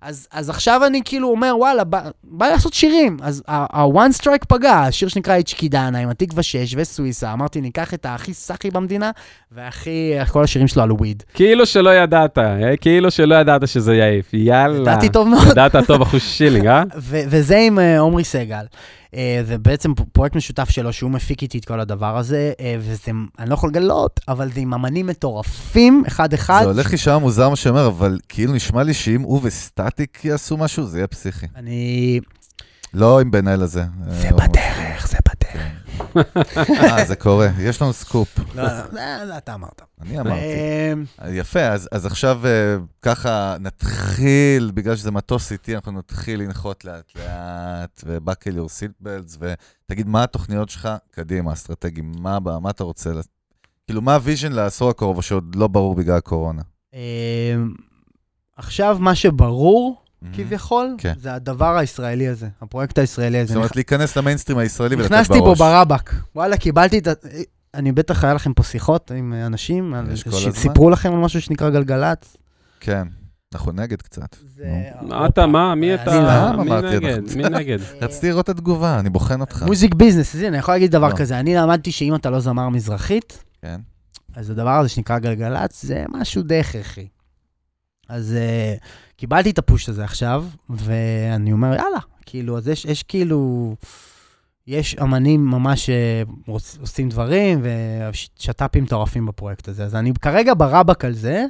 S3: אז, אז עכשיו אני כאילו אומר, וואלה, בא, בא לעשות שירים. אז ה-one strike פגע, השיר שנקרא איץ' קידאנה עם התקווה 6 וסוויסה. אמרתי, ניקח את הכי סאחי במדינה, והכי, כל השירים שלו על וויד.
S2: כאילו שלא ידעת, אה, כאילו שלא ידעת שזה יעיף,
S1: לא.
S2: יאללה.
S3: ידעתי טוב מאוד.
S2: ידעת טוב, אחוז שילינג, אה?
S3: ו- וזה עם אה, עומרי סגל. אה, זה בעצם פ- פרויקט משותף שלו, שהוא מפיק איתי את כל הדבר הזה, אה, וזה, אני לא יכול לגלות, אבל זה עם אמנים מטורפים, אחד-אחד.
S1: זה הולך לי שם מוזר מה שאומר, אבל כאילו נשמע לי שאם הוא וסטטיק יעשו משהו, זה יהיה פסיכי.
S3: אני...
S1: לא עם בן אל הזה.
S3: זה
S1: אה, הוא-
S3: בדרך, זה בדרך.
S1: אה, זה קורה, יש לנו סקופ.
S3: לא, לא, זה- זה אתה אמרת.
S1: אני אמרתי.
S3: אה,
S1: יפה, אז, אז עכשיו אה, ככה נתחיל, בגלל שזה מטוס איטי, אנחנו נתחיל לנחות לאט-לאט, ובאקל יור סילטבלדס, ותגיד, מה התוכניות שלך קדימה, אסטרטגיים, מה, הבא, מה אתה רוצה, לס- כאילו, מה הוויז'ן לעשור הקרוב, או שעוד לא ברור בגלל הקורונה?
S3: אה, עכשיו, מה שברור, כביכול,
S1: Mm-hmm. כן.
S3: זה הדבר הישראלי הזה, הפרויקט הישראלי הזה.
S1: זאת אומרת, להיכנס למיינסטרים הישראלי ולתת בראש.
S3: נכנסתי בו ברבק, וואלה, קיבלתי את ה... אה, אני בטח, היה לכם פה שיחות עם אה, אנשים, על-
S1: יש כל
S3: ש-
S1: הזמן.
S3: סיפרו לכם על משהו שנקרא גלגלצ.
S1: כן, אנחנו נגד
S3: אה,
S1: קצת.
S3: זה-
S2: מה אתה, מה, מי אתה?
S3: לא
S1: סתם
S2: מי
S1: אמרתי,
S2: נגד?
S1: אנחנו-
S2: מי נגד?
S1: רציתי לראות את התגובה, אני בוחן אותך.
S3: מוזיק ביזנס, אז הנה, אני יכול להגיד
S1: לא.
S3: דבר כזה. אני למדתי שאם אתה לא זמר מזרחית,
S1: כן.
S3: אז הדבר הזה שנקרא גלגלצ, זה משהו די הכרחי. אז uh, קיבלתי את הפוש הזה עכשיו, ואני אומר, יאללה, כאילו, אז יש, יש כאילו, יש אמנים ממש uh, עושים דברים, ושת"פים מטורפים בפרויקט הזה. אז אני כרגע ברבק על זה,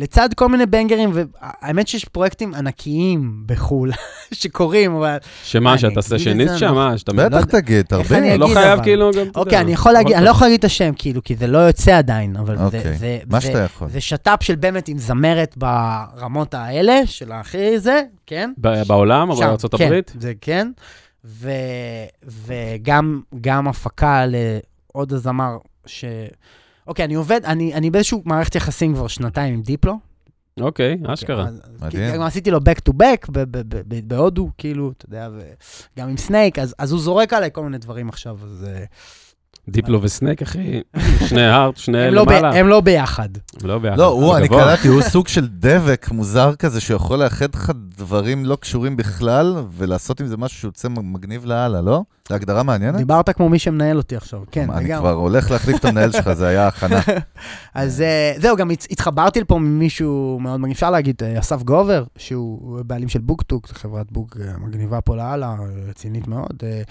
S3: לצד כל מיני בנגרים, והאמת שיש פרויקטים ענקיים בחו"ל שקורים, אבל...
S2: שמה,
S3: אני
S2: שאתה עושה
S3: אגיד את
S2: שנית
S3: זה,
S2: שם?
S3: אני-
S2: מה, שאתה...
S1: בטח תגיד,
S3: לא איך
S1: תרבה.
S3: אני
S2: לא
S3: אגיד,
S2: חייב
S3: אבל.
S2: כאילו גם... אתה
S3: אוקיי,
S2: יודע,
S3: אני יכול להגיד, אני
S2: אבל-
S3: לא יכול להגיד את השם, כאילו, כי זה לא יוצא עדיין, אבל זה-
S1: אוקיי,
S3: זה...
S1: מה
S3: זה-
S1: שאתה יכול.
S3: זה שת"פ של באמת עם זמרת ברמות האלה, של הכי זה, כן?
S2: ב- בעולם, אבל
S3: שם,
S2: בארצות
S3: כן,
S2: הברית?
S3: זה כן. ו, וגם גם הפקה לעוד הזמר ש... אוקיי, אני עובד, אני, אני באיזשהו מערכת יחסים כבר שנתיים עם דיפלו. כן.
S2: אוקיי, אשכרה.
S3: אז- אז
S1: מדהים.
S3: כי גם עשיתי לו back to back ב- ב- ב- ב- בהודו, כאילו, אתה יודע, וגם עם סנייק, אז, אז הוא זורק עליי כל מיני דברים עכשיו, אז אה,
S2: דיפלו וסנק, אחי. שני הארט, שני
S3: הם, לא ב,
S2: אה, למעלה.
S3: הם לא ביחד.
S2: הם לא ביחד.
S1: לא, הוא, אני
S2: גבוה.
S1: קלטתי, הוא סוג של דבק מוזר כזה שיכול לאחד לך דברים לא קשורים בכלל, ולעשות עם זה משהו שיוצא מגניב לאללה, לא? זו הגדרה מעניינת?
S3: דיברת כמו מי שמנהל אותי עכשיו, כן,
S1: אני
S3: לגמרי.
S1: כבר הולך להחליף את המנהל שלך, זה היה הכנה.
S3: אז אה, זהו, גם הצ- התחברתי לפה ממישהו מאוד מגניב, אפשר להגיד, אה, אסף גובר, שהוא בעלים של בוקטוק, זו חברת בוק אה, מגניבה פה לאללה, אה, רצינית מאוד, אה,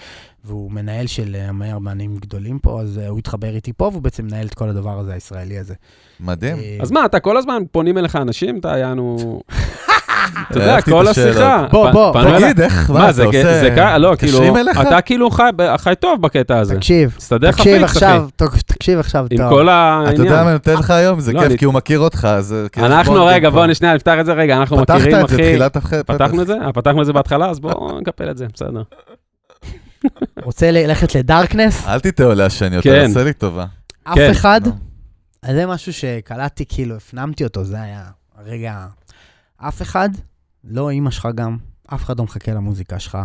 S3: והוא מנהל של אה, המאה ארבענים גדולים פה, אז אה, הוא התחבר איתי פה, והוא בעצם מנהל את כל הדבר הזה, הישראלי הזה.
S1: מדהים.
S3: אה,
S2: אז מה, אתה כל הזמן פונים אליך אנשים, אתה יענו... אתה יודע,
S1: אהבתי את
S2: כל
S1: השאלות.
S2: השיחה.
S3: בוא,
S2: פ-
S3: בוא,
S2: פנו אליי.
S1: תגיד, איך, מה,
S2: מה,
S1: אתה
S2: זה
S1: עושה...
S2: כ- זה קל, לא, כאילו,
S1: מתקשרים אליך?
S2: אתה כאילו חי ב- חי טוב בקטע הזה.
S3: תקשיב,
S2: תסתדר לך
S3: תקשיב
S2: פיקס, אחי.
S3: עכשיו, טוב, תקשיב עכשיו,
S2: עם
S3: טוב.
S2: כל העניין.
S1: אתה יודע מה אני נותן לך היום? זה
S2: לא,
S1: כיף,
S2: אני-
S1: כי הוא מכיר אותך, אז... אה, כאילו,
S2: אנחנו,
S1: בוא,
S2: רגע,
S1: נגיד,
S2: בואו נשניה, נפתח את זה רגע, אנחנו מכירים,
S1: פתחת את זה
S2: אחי.
S1: תחילת החלק.
S2: פתחנו את זה? אה, פתחנו את זה בהתחלה, אז בואו נקפל את זה, בסדר.
S3: רוצה ללכת לדארקנס?
S1: אל תטעה לעשן יותר,
S2: כן.
S1: עשה לי טובה. לא,
S3: אף
S2: כן.
S3: אחד?
S1: נו.
S3: אז זה משהו שקלטתי, כאילו, הפנמתי אותו, זה היה הרגע... אף אחד, לא אימא שלך גם, אף אחד לא מחכה למוזיקה שלך.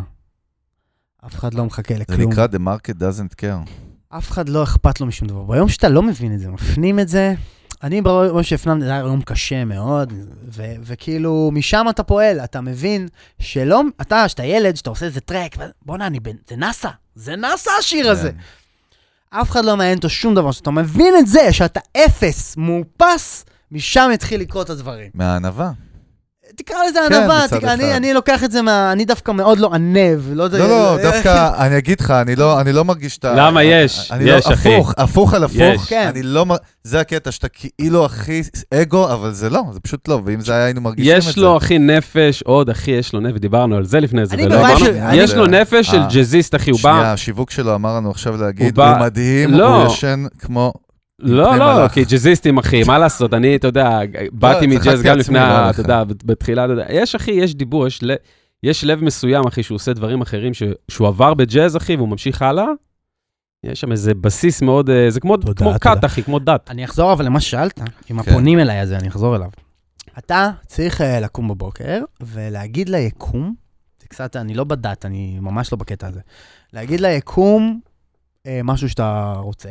S3: אף אחד לא מחכה
S1: זה
S3: לכלום.
S1: נקרא The Market Doesn't Care.
S3: אף אחד לא אכפת לו משום דבר. ביום שאתה לא מבין את זה, מפנים את זה, אני ביום שהפנמתי, זה היה יום קשה מאוד, ו- וכאילו, משם אתה פועל, אתה מבין שלא, אתה, שאתה ילד, שאתה עושה איזה טרק, ו- בואנה, אני בן, זה נאסא, זה נאסא השיר הזה.
S1: כן.
S3: אף אחד לא מעניין אותו שום דבר, שאתה מבין את זה, שאתה אפס, מאופס, משם התחיל לקרות הדברים.
S1: מהענווה.
S3: תקרא לזה
S1: כן,
S3: ענווה,
S1: מצד
S3: תק- אני,
S1: אחד.
S3: אני לוקח את זה מה... אני דווקא מאוד לא ענב, לא יודע...
S1: לא, לא,
S3: אה,
S1: דווקא, אני אגיד לך, אני לא- אני לא מרגיש את ה...
S2: למה? יש,
S1: אני לא-
S2: יש, אחי.
S1: הפוך, הפוך על הפוך.
S2: יש.
S3: כן.
S1: אני לא... מ- זה הקטע שאתה כאילו הכי אגו, אבל זה לא, זה פשוט לא, ואם זה היה, היינו מרגישים את זה.
S2: יש לו, אחי, נפש, עוד, אחי, יש לו נפש, דיברנו על זה לפני זה,
S3: אני
S2: ולא
S3: בבית
S2: אמרנו,
S3: של- אני-
S2: יש לו נפש של
S1: אה.
S2: ג'אזיסט, אחי, הוא
S1: שנייה,
S2: בא,
S1: השיווק שלו אמר לנו עכשיו להגיד,
S2: בא-
S1: הוא מדהים,
S2: לא.
S1: הוא ישן כמו...
S2: לא,
S1: מפני
S2: לא,
S1: מלאך.
S2: כי ג'אזיסטים, אחי, מה לעשות, אני, אתה יודע, באתי
S1: צחקתי
S2: מג'אז גם
S1: לעצמי,
S2: לפני,
S1: לא
S2: ה-
S1: עליך.
S2: אתה יודע, בתחילה, אתה יודע, יש, אחי, יש דיבור, יש ל- יש לב מסוים, אחי, שהוא עושה דברים אחרים, ש- שהוא עבר בג'אז, אחי, והוא ממשיך הלאה, יש שם איזה בסיס מאוד, אה, זה כמו
S3: תודה,
S2: כמו
S3: תודה.
S2: כת, אחי, כמו דת.
S3: אני אחזור אבל למה ששאלת, עם
S1: כן.
S3: הפונים אליי הזה, אני אחזור אליו. אתה צריך אה, לקום בבוקר ולהגיד ליקום, זה קצת, אני לא בדת, אני ממש לא בקטע הזה, להגיד ליקום אה, משהו שאתה רוצה,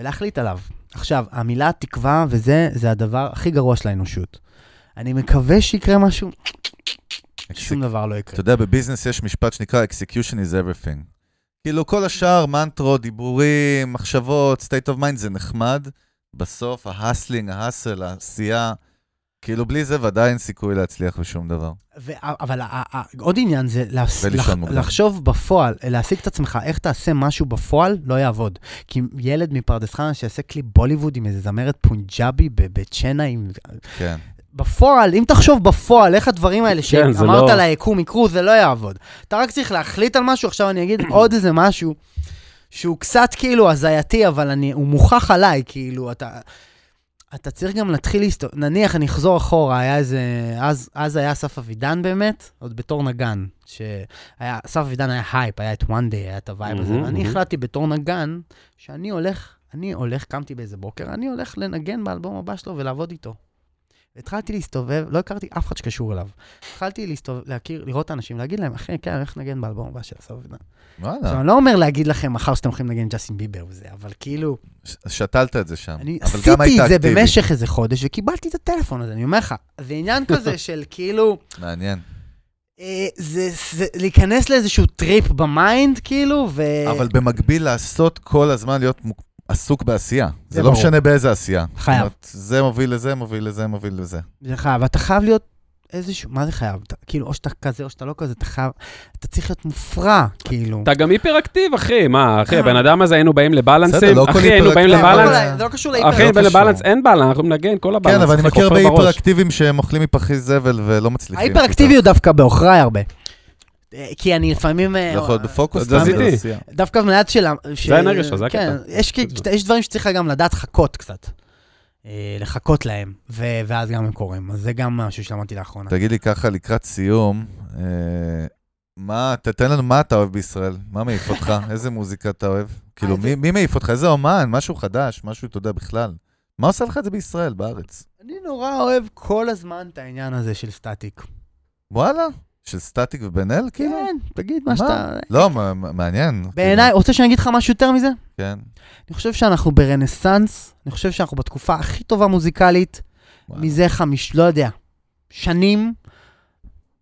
S3: ולהחליט עליו. עכשיו, המילה תקווה וזה, זה הדבר הכי גרוע של האנושות. אני מקווה שיקרה משהו, שום דבר לא יקרה.
S1: אתה יודע, בביזנס יש משפט שנקרא execution is everything. כאילו, כל השאר, מנטרות, דיבורים, מחשבות, state of mind, זה נחמד. בסוף, ההסלינג, ההסל, העשייה, כאילו, בלי זה ודאי אין סיכוי להצליח בשום דבר.
S3: ו- אבל ה- ה- ה- עוד עניין זה להס-
S1: ולישון
S3: לח-
S1: מוקדם.
S3: לחשוב בפועל, להשיג את עצמך, איך תעשה משהו בפועל, לא יעבוד. כי ילד מפרדס חנה שיעשה קליפ בוליווד עם איזה זמרת פונג'אבי ב- בצ'נה, עם...
S1: כן.
S3: בפועל, אם תחשוב בפועל איך הדברים האלה
S2: כן, זה
S3: שאמרת
S2: לא-
S3: ליקום יקרו, זה לא יעבוד. אתה רק צריך להחליט על משהו, עכשיו אני אגיד עוד איזה משהו שהוא קצת כאילו הזייתי, אבל אני, הוא מוכח עליי, כאילו, אתה... אתה צריך גם להתחיל להסתובב, נניח אני אחזור אחורה, היה איזה, אז, אז היה אסף אבידן באמת, עוד בתור נגן, שהיה, אסף אבידן היה הייפ, היה את one day, היה את הווייב הזה,
S2: מהמם,
S3: ואני
S2: מהמם.
S3: החלטתי בתור נגן, שאני הולך, אני הולך, קמתי באיזה בוקר, אני הולך לנגן באלבום הבא שלו ולעבוד איתו. התחלתי להסתובב, לא הכרתי אף אחד שקשור אליו. התחלתי להסתובב, להכיר, לראות אנשים, להגיד להם, אחי, כן, אני הולך לנגן באלבום הבא של אסף אבידן. עכשיו,
S1: וואלה,
S2: אה.
S3: אני לא אומר להגיד לכם מחר שאתם הולכים לנגן עם ג'סטין ביבר וזה, אבל כאילו...
S1: ש- שתלת את זה שם.
S3: אני
S1: אבל גם
S3: עשיתי
S1: היית
S3: את זה
S1: אקטיבי.
S3: במשך איזה חודש, וקיבלתי את הטלפון הזה, אני אומר לך. זה עניין כזה של כאילו,
S1: מעניין.
S3: אה, זה זה להיכנס לאיזשהו טריפ במיינד, כאילו, ו...
S1: אבל במקביל לעשות כל הזמן להיות מוק- עסוק בעשייה. זה
S3: זה
S1: לא
S3: ברור.
S1: משנה באיזה עשייה.
S3: חייב.
S1: זאת אומרת, זה מוביל לזה, מוביל לזה, מוביל לזה.
S3: זה חייב, ואתה חייב להיות איזשהו, מה זה חייב? אתה, כאילו, או שאתה כזה או שאתה לא כזה, אתה חייב, אתה צריך להיות מופרע, כאילו.
S2: אתה גם היפראקטיב, אחי, מה, אחי, הבן אדם הזה היינו באים
S1: בסדר,
S2: לבלנסים,
S1: לא כל
S2: אחי, היינו באים
S1: היפראקטיב-
S2: לבלנס,
S1: לא,
S3: זה לא קשור
S2: אחי,
S1: לא
S2: היינו באים
S1: קשור.
S2: לבלנס, אין בלנס, אנחנו מנגן כל הבלנס,
S1: כן, אבל אני
S2: אחי,
S1: מכיר
S2: חופר בראש.
S1: בהיפראקטיבים שהם אוכלים מפחי זבל ולא מצליחים.
S3: ההיפראקטיביות דווקא בעוכריי הרבה. אה, כי אני לפעמים... אה,
S1: לא יכול להיות בפוקוס.
S2: זה
S1: גם
S2: זיתי.
S1: בעשייה.
S3: דווקא מנהל של... ש-
S2: האנרגיה שלך, זה הקטע.
S3: כן, יש כי-
S2: בקיצור.
S3: יש דברים שצריך גם לדעת לחכות קצת. אה, לחכות להם, ו- ואז גם הם קורים. אז זה גם משהו שלמדתי לאחרונה.
S1: תגיד לי ככה, לקראת סיום, אה, מה, תתן לנו מה אתה אוהב בישראל, מה מעיף אותך, איזה מוזיקה אתה אוהב? כאילו,
S3: איזה-
S1: מי- מי מעיף אותך, איזה אומן, משהו חדש, משהו, אתה יודע, בכלל. מה עושה לך את זה בישראל, בארץ?
S3: אני נורא אוהב כל הזמן את העניין הזה של סטטיק.
S1: וואלה, של סטטיק ובן אל, כאילו?
S3: כן, תגיד
S1: מה?
S3: מה שאתה...
S1: לא, מה- מה- מעניין.
S3: בעיניי, רוצה שאני אגיד לך משהו יותר מזה?
S1: כאילו, כן.
S3: אני חושב שאנחנו ברנסאנס, אני חושב שאנחנו בתקופה הכי טובה מוזיקלית,
S1: וואלה.
S3: מזה חמיש, לא יודע, שנים,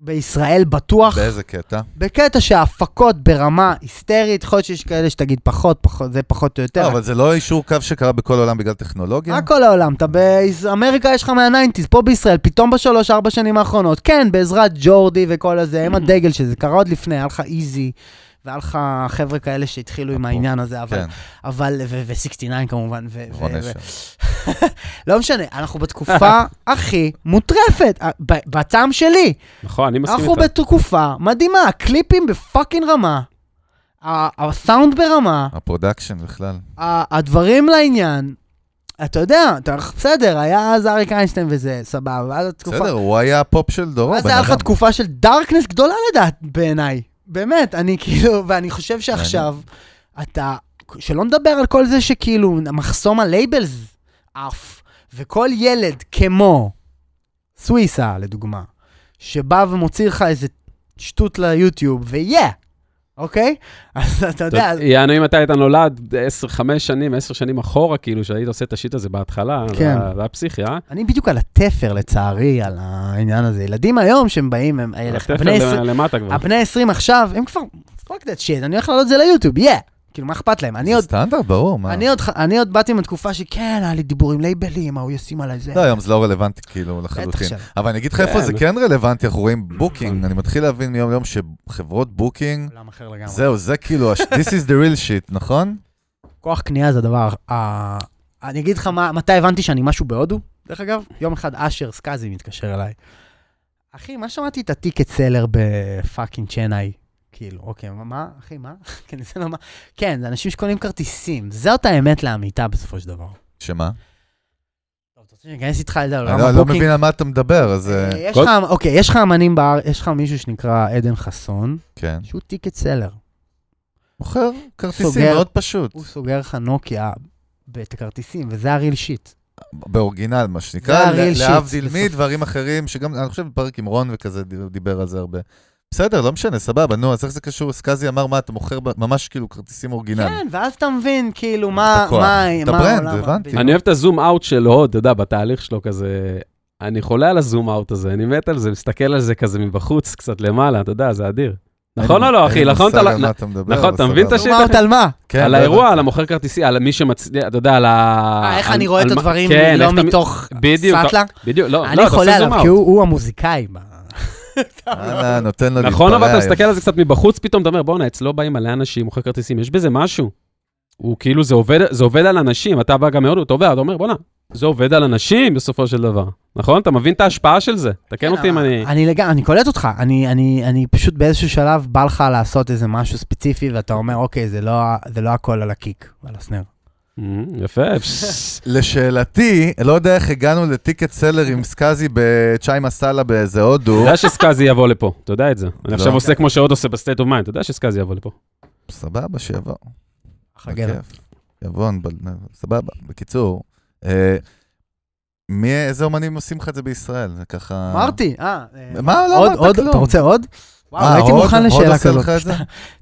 S3: בישראל בטוח,
S1: באיזה קטע?
S3: בקטע שההפקות ברמה היסטרית, יכול להיות שיש כאלה שתגיד פחות, פחות, זה פחות או
S1: לא,
S3: יותר.
S1: אבל זה לא אישור קו שקרה בכל העולם בגלל טכנולוגיה?
S3: הכל העולם, אתה באמריקה יש לך מהניינטיז, פה בישראל, פתאום בשלוש, ארבע שנים האחרונות, כן, בעזרת ג'ורדי וכל הזה, הם הדגל של זה, קרה עוד לפני, היה לך איזי, והיה לך חבר'ה כאלה שהתחילו עם
S1: אפו,
S3: העניין הזה, אבל,
S1: כן,
S3: אבל, ו-69 כמובן, ו- ו-
S1: רון
S3: ו-
S1: אשר.
S3: לא משנה, אנחנו בתקופה הכי מוטרפת, אה, ב- בטעם שלי.
S2: נכון, אני מסכים
S3: אנחנו
S2: איתך.
S3: בתקופה מדהימה, הקליפים בפאקינג רמה, ה- הסאונד ברמה,
S1: הפרודקשן בכלל.
S3: ה- הדברים לעניין. אתה יודע, אתה בסדר, היה אז אריק איינשטיין וזה, סבבה, ואז התקופה...
S1: בסדר, הוא היה הפופ של דורו,
S3: אז
S1: בן
S3: היה לך
S1: אדם.
S3: תקופה של דארקנס גדולה לדעת בעיניי. באמת, אני כאילו, ואני חושב שעכשיו, אתה, שלא נדבר על כל זה שכאילו, מחסום הלייבלס עף, וכל ילד כמו סוויסה, לדוגמה, שבא ומוציא לך איזה שטות ליוטיוב, ויהיה, אוקיי? אז אתה יודע, אז-
S2: יענו אם אתה היית נולד 10, 5 שנים, 10 שנים אחורה, כאילו, שהיית עושה את השיט הזה בהתחלה,
S3: כן.
S2: זה היה- זה היה פסיכי, אה?
S3: אני בדיוק על התפר, לצערי, על העניין הזה. ילדים היום שהם באים, הם... אלה-
S2: התפר
S3: בני עשרים-
S2: ל- למטה
S1: לא
S2: כבר.
S3: הבני 20 עכשיו, הם כבר, fuck that shit, אני הולך לעלות את זה ליוטיוב, יא. כאילו, מה אכפת להם? אני
S1: זה
S3: עוד...
S1: סטנדרט, ברור, מה?
S3: אני עוד, ח- אני עוד באתי מתקופה שכן, היה לי דיבור עם לייבלים, מה הוא ישים עליי זה.
S1: לא, היום זה לא רלוונטי כאילו
S3: בטח
S1: לחלוטין.
S3: שלא.
S1: אבל אני אגיד לך איפה
S2: כן.
S1: זה כן רלוונטי, אנחנו רואים בוקינג, אני מתחיל להבין מיום ליום שחברות בוקינג,
S3: עולם אחר לגמרי.
S1: זהו, זה כאילו, הש- this is the real shit, נכון?
S3: כוח קנייה זה הדבר... ה- אני אגיד לך מה, מתי הבנתי שאני משהו בהודו, דרך אגב, יום אחד אשר סקאזי מתקשר אליי. אחי, מה שמעתי את הטיקט סלר בפאקינג צ'נאי? כאילו, אוקיי, מה- מה, אחי, מה? כן, זה לא מה... כן, זה אנשים שקונים כרטיסים, זאת האמת לאמיתה בסופו של דבר.
S1: שמה?
S3: טוב, אתה רוצה שניכנס איתך אל
S1: אני לא-
S3: העולם
S1: לא
S3: הבוקינג?
S1: מבין על מה אתה מדבר, אז אה,
S3: אה, יש
S2: כל-
S3: לך, אוקיי, יש לך אמנים בארץ, יש לך מישהו שנקרא עדן חסון,
S1: כן.
S3: שהוא טיקט סלר.
S1: מוכר כרטיסים
S3: סוגר.
S1: מאוד פשוט,
S3: הוא סוגר לך נוקיה את הכרטיסים, וזה הריל שיט.
S1: באורגינל, מה
S3: זה
S1: שנקרא,
S3: ה-real
S1: ל-
S3: shit,
S1: להבדיל
S3: בסוף.
S1: מדברים אחרים, שגם, אני חושב בפרק עם רון וכזה, ד- דיבר על זה הרבה. בסדר, לא משנה, סבבה, נו, אז איך זה קשור? סקאזי אמר, מה, אתה מוכר ב- ממש כאילו כרטיסים אורגינל.
S3: כן, ואז אתה מבין, כאילו, מה,
S1: הכוח.
S3: מה,
S1: את
S3: מה
S1: הברנד,
S3: העולם
S1: הבנתי.
S3: הבא.
S2: אני אוהב את הזום אאוט של הוד, אתה יודע, בתהליך שלו כזה... אני חולה על הזום אאוט הזה, אני מת על זה, מסתכל על זה כזה מבחוץ, קצת למעלה, אתה יודע, זה אדיר. נכון
S1: אין-
S2: או לא, אחי?
S1: אין לי
S2: נכון, אתה...
S1: מושג
S2: לא-
S1: על מה אתה מדבר,
S2: נכון,
S1: אבל
S2: אתה מבין את
S1: סבבה.
S2: השאלה?
S3: מה אמרת על מה?
S1: כן,
S2: על
S1: לא
S2: האירוע,
S1: הבנתי.
S2: על המוכר כרטיסי, על מי שמצליח, אתה יודע, על ה...
S3: אה, איך
S2: על-
S3: אני רואה
S2: על
S3: את
S2: מה-
S3: הדברים
S2: כן, איך
S3: לא
S2: אתה-
S3: מתוך
S2: בדיוק,
S3: סאטלה?
S2: בדיוק, לא, לא,
S3: אני
S2: אתה
S3: חולה
S2: עושה
S3: עליו,
S2: זום
S3: כי
S2: אאוט.
S3: הוא הוא המוזיקאי. ב-
S1: אהלן, אה, נותן לו להתפרע.
S2: נכון, אבל אתה
S1: היום.
S2: מסתכל על זה קצת מבחוץ, פתאום אתה אומר, בואנה, אצלו באים מלא אנשים, מוכר כרטיסים, יש בזה משהו. הוא כאילו, זה עובד, זה עובד על אנשים, אתה בא גם מהודו, אתה עובד, אתה אומר, בואנה, זה עובד על אנשים בסופו של דבר. נכון? אתה מבין את ההשפעה של זה.
S3: כן,
S2: תקן אותי אם אני...
S3: אני לגמרי, אני קולט אותך, אני, אני, אני פשוט באיזשהו שלב בא לך לעשות איזה משהו ספציפי ואתה אומר, אוקיי, זה לא, ה- זה לא הכל על הקיק, על הסנר.
S2: אמ, יפה, פס.
S1: לשאלתי, לא יודע איך הגענו לטיקט סלר עם סקאזי בצ'אי מסאלה באיזה
S2: אתה
S1: הודו.
S2: יודע שסקאזי יבוא לפה, אתה יודע את זה.
S1: לא.
S2: אני עכשיו עושה כמו שעוד עושה בסטייט אוף מיינד, אתה יודע שסקאזי יבוא לפה.
S1: סבבה, שיבוא.
S3: חגר.
S1: בכיף. יבוא, נבל- סבבה. בקיצור, אה, מי, איזה אומנים עושים לך את זה בישראל? זה ככה...
S3: אמרתי, אה. אה,
S1: מה, לא
S3: עוד,
S1: אמרת
S3: עוד,
S1: כלום.
S3: אתה רוצה עוד?
S1: אה,
S3: וואו, לא הייתי
S1: הוד-
S3: מוכן
S1: הוד
S3: לשאלה
S1: עושה
S3: כזאת.
S1: לך את זה?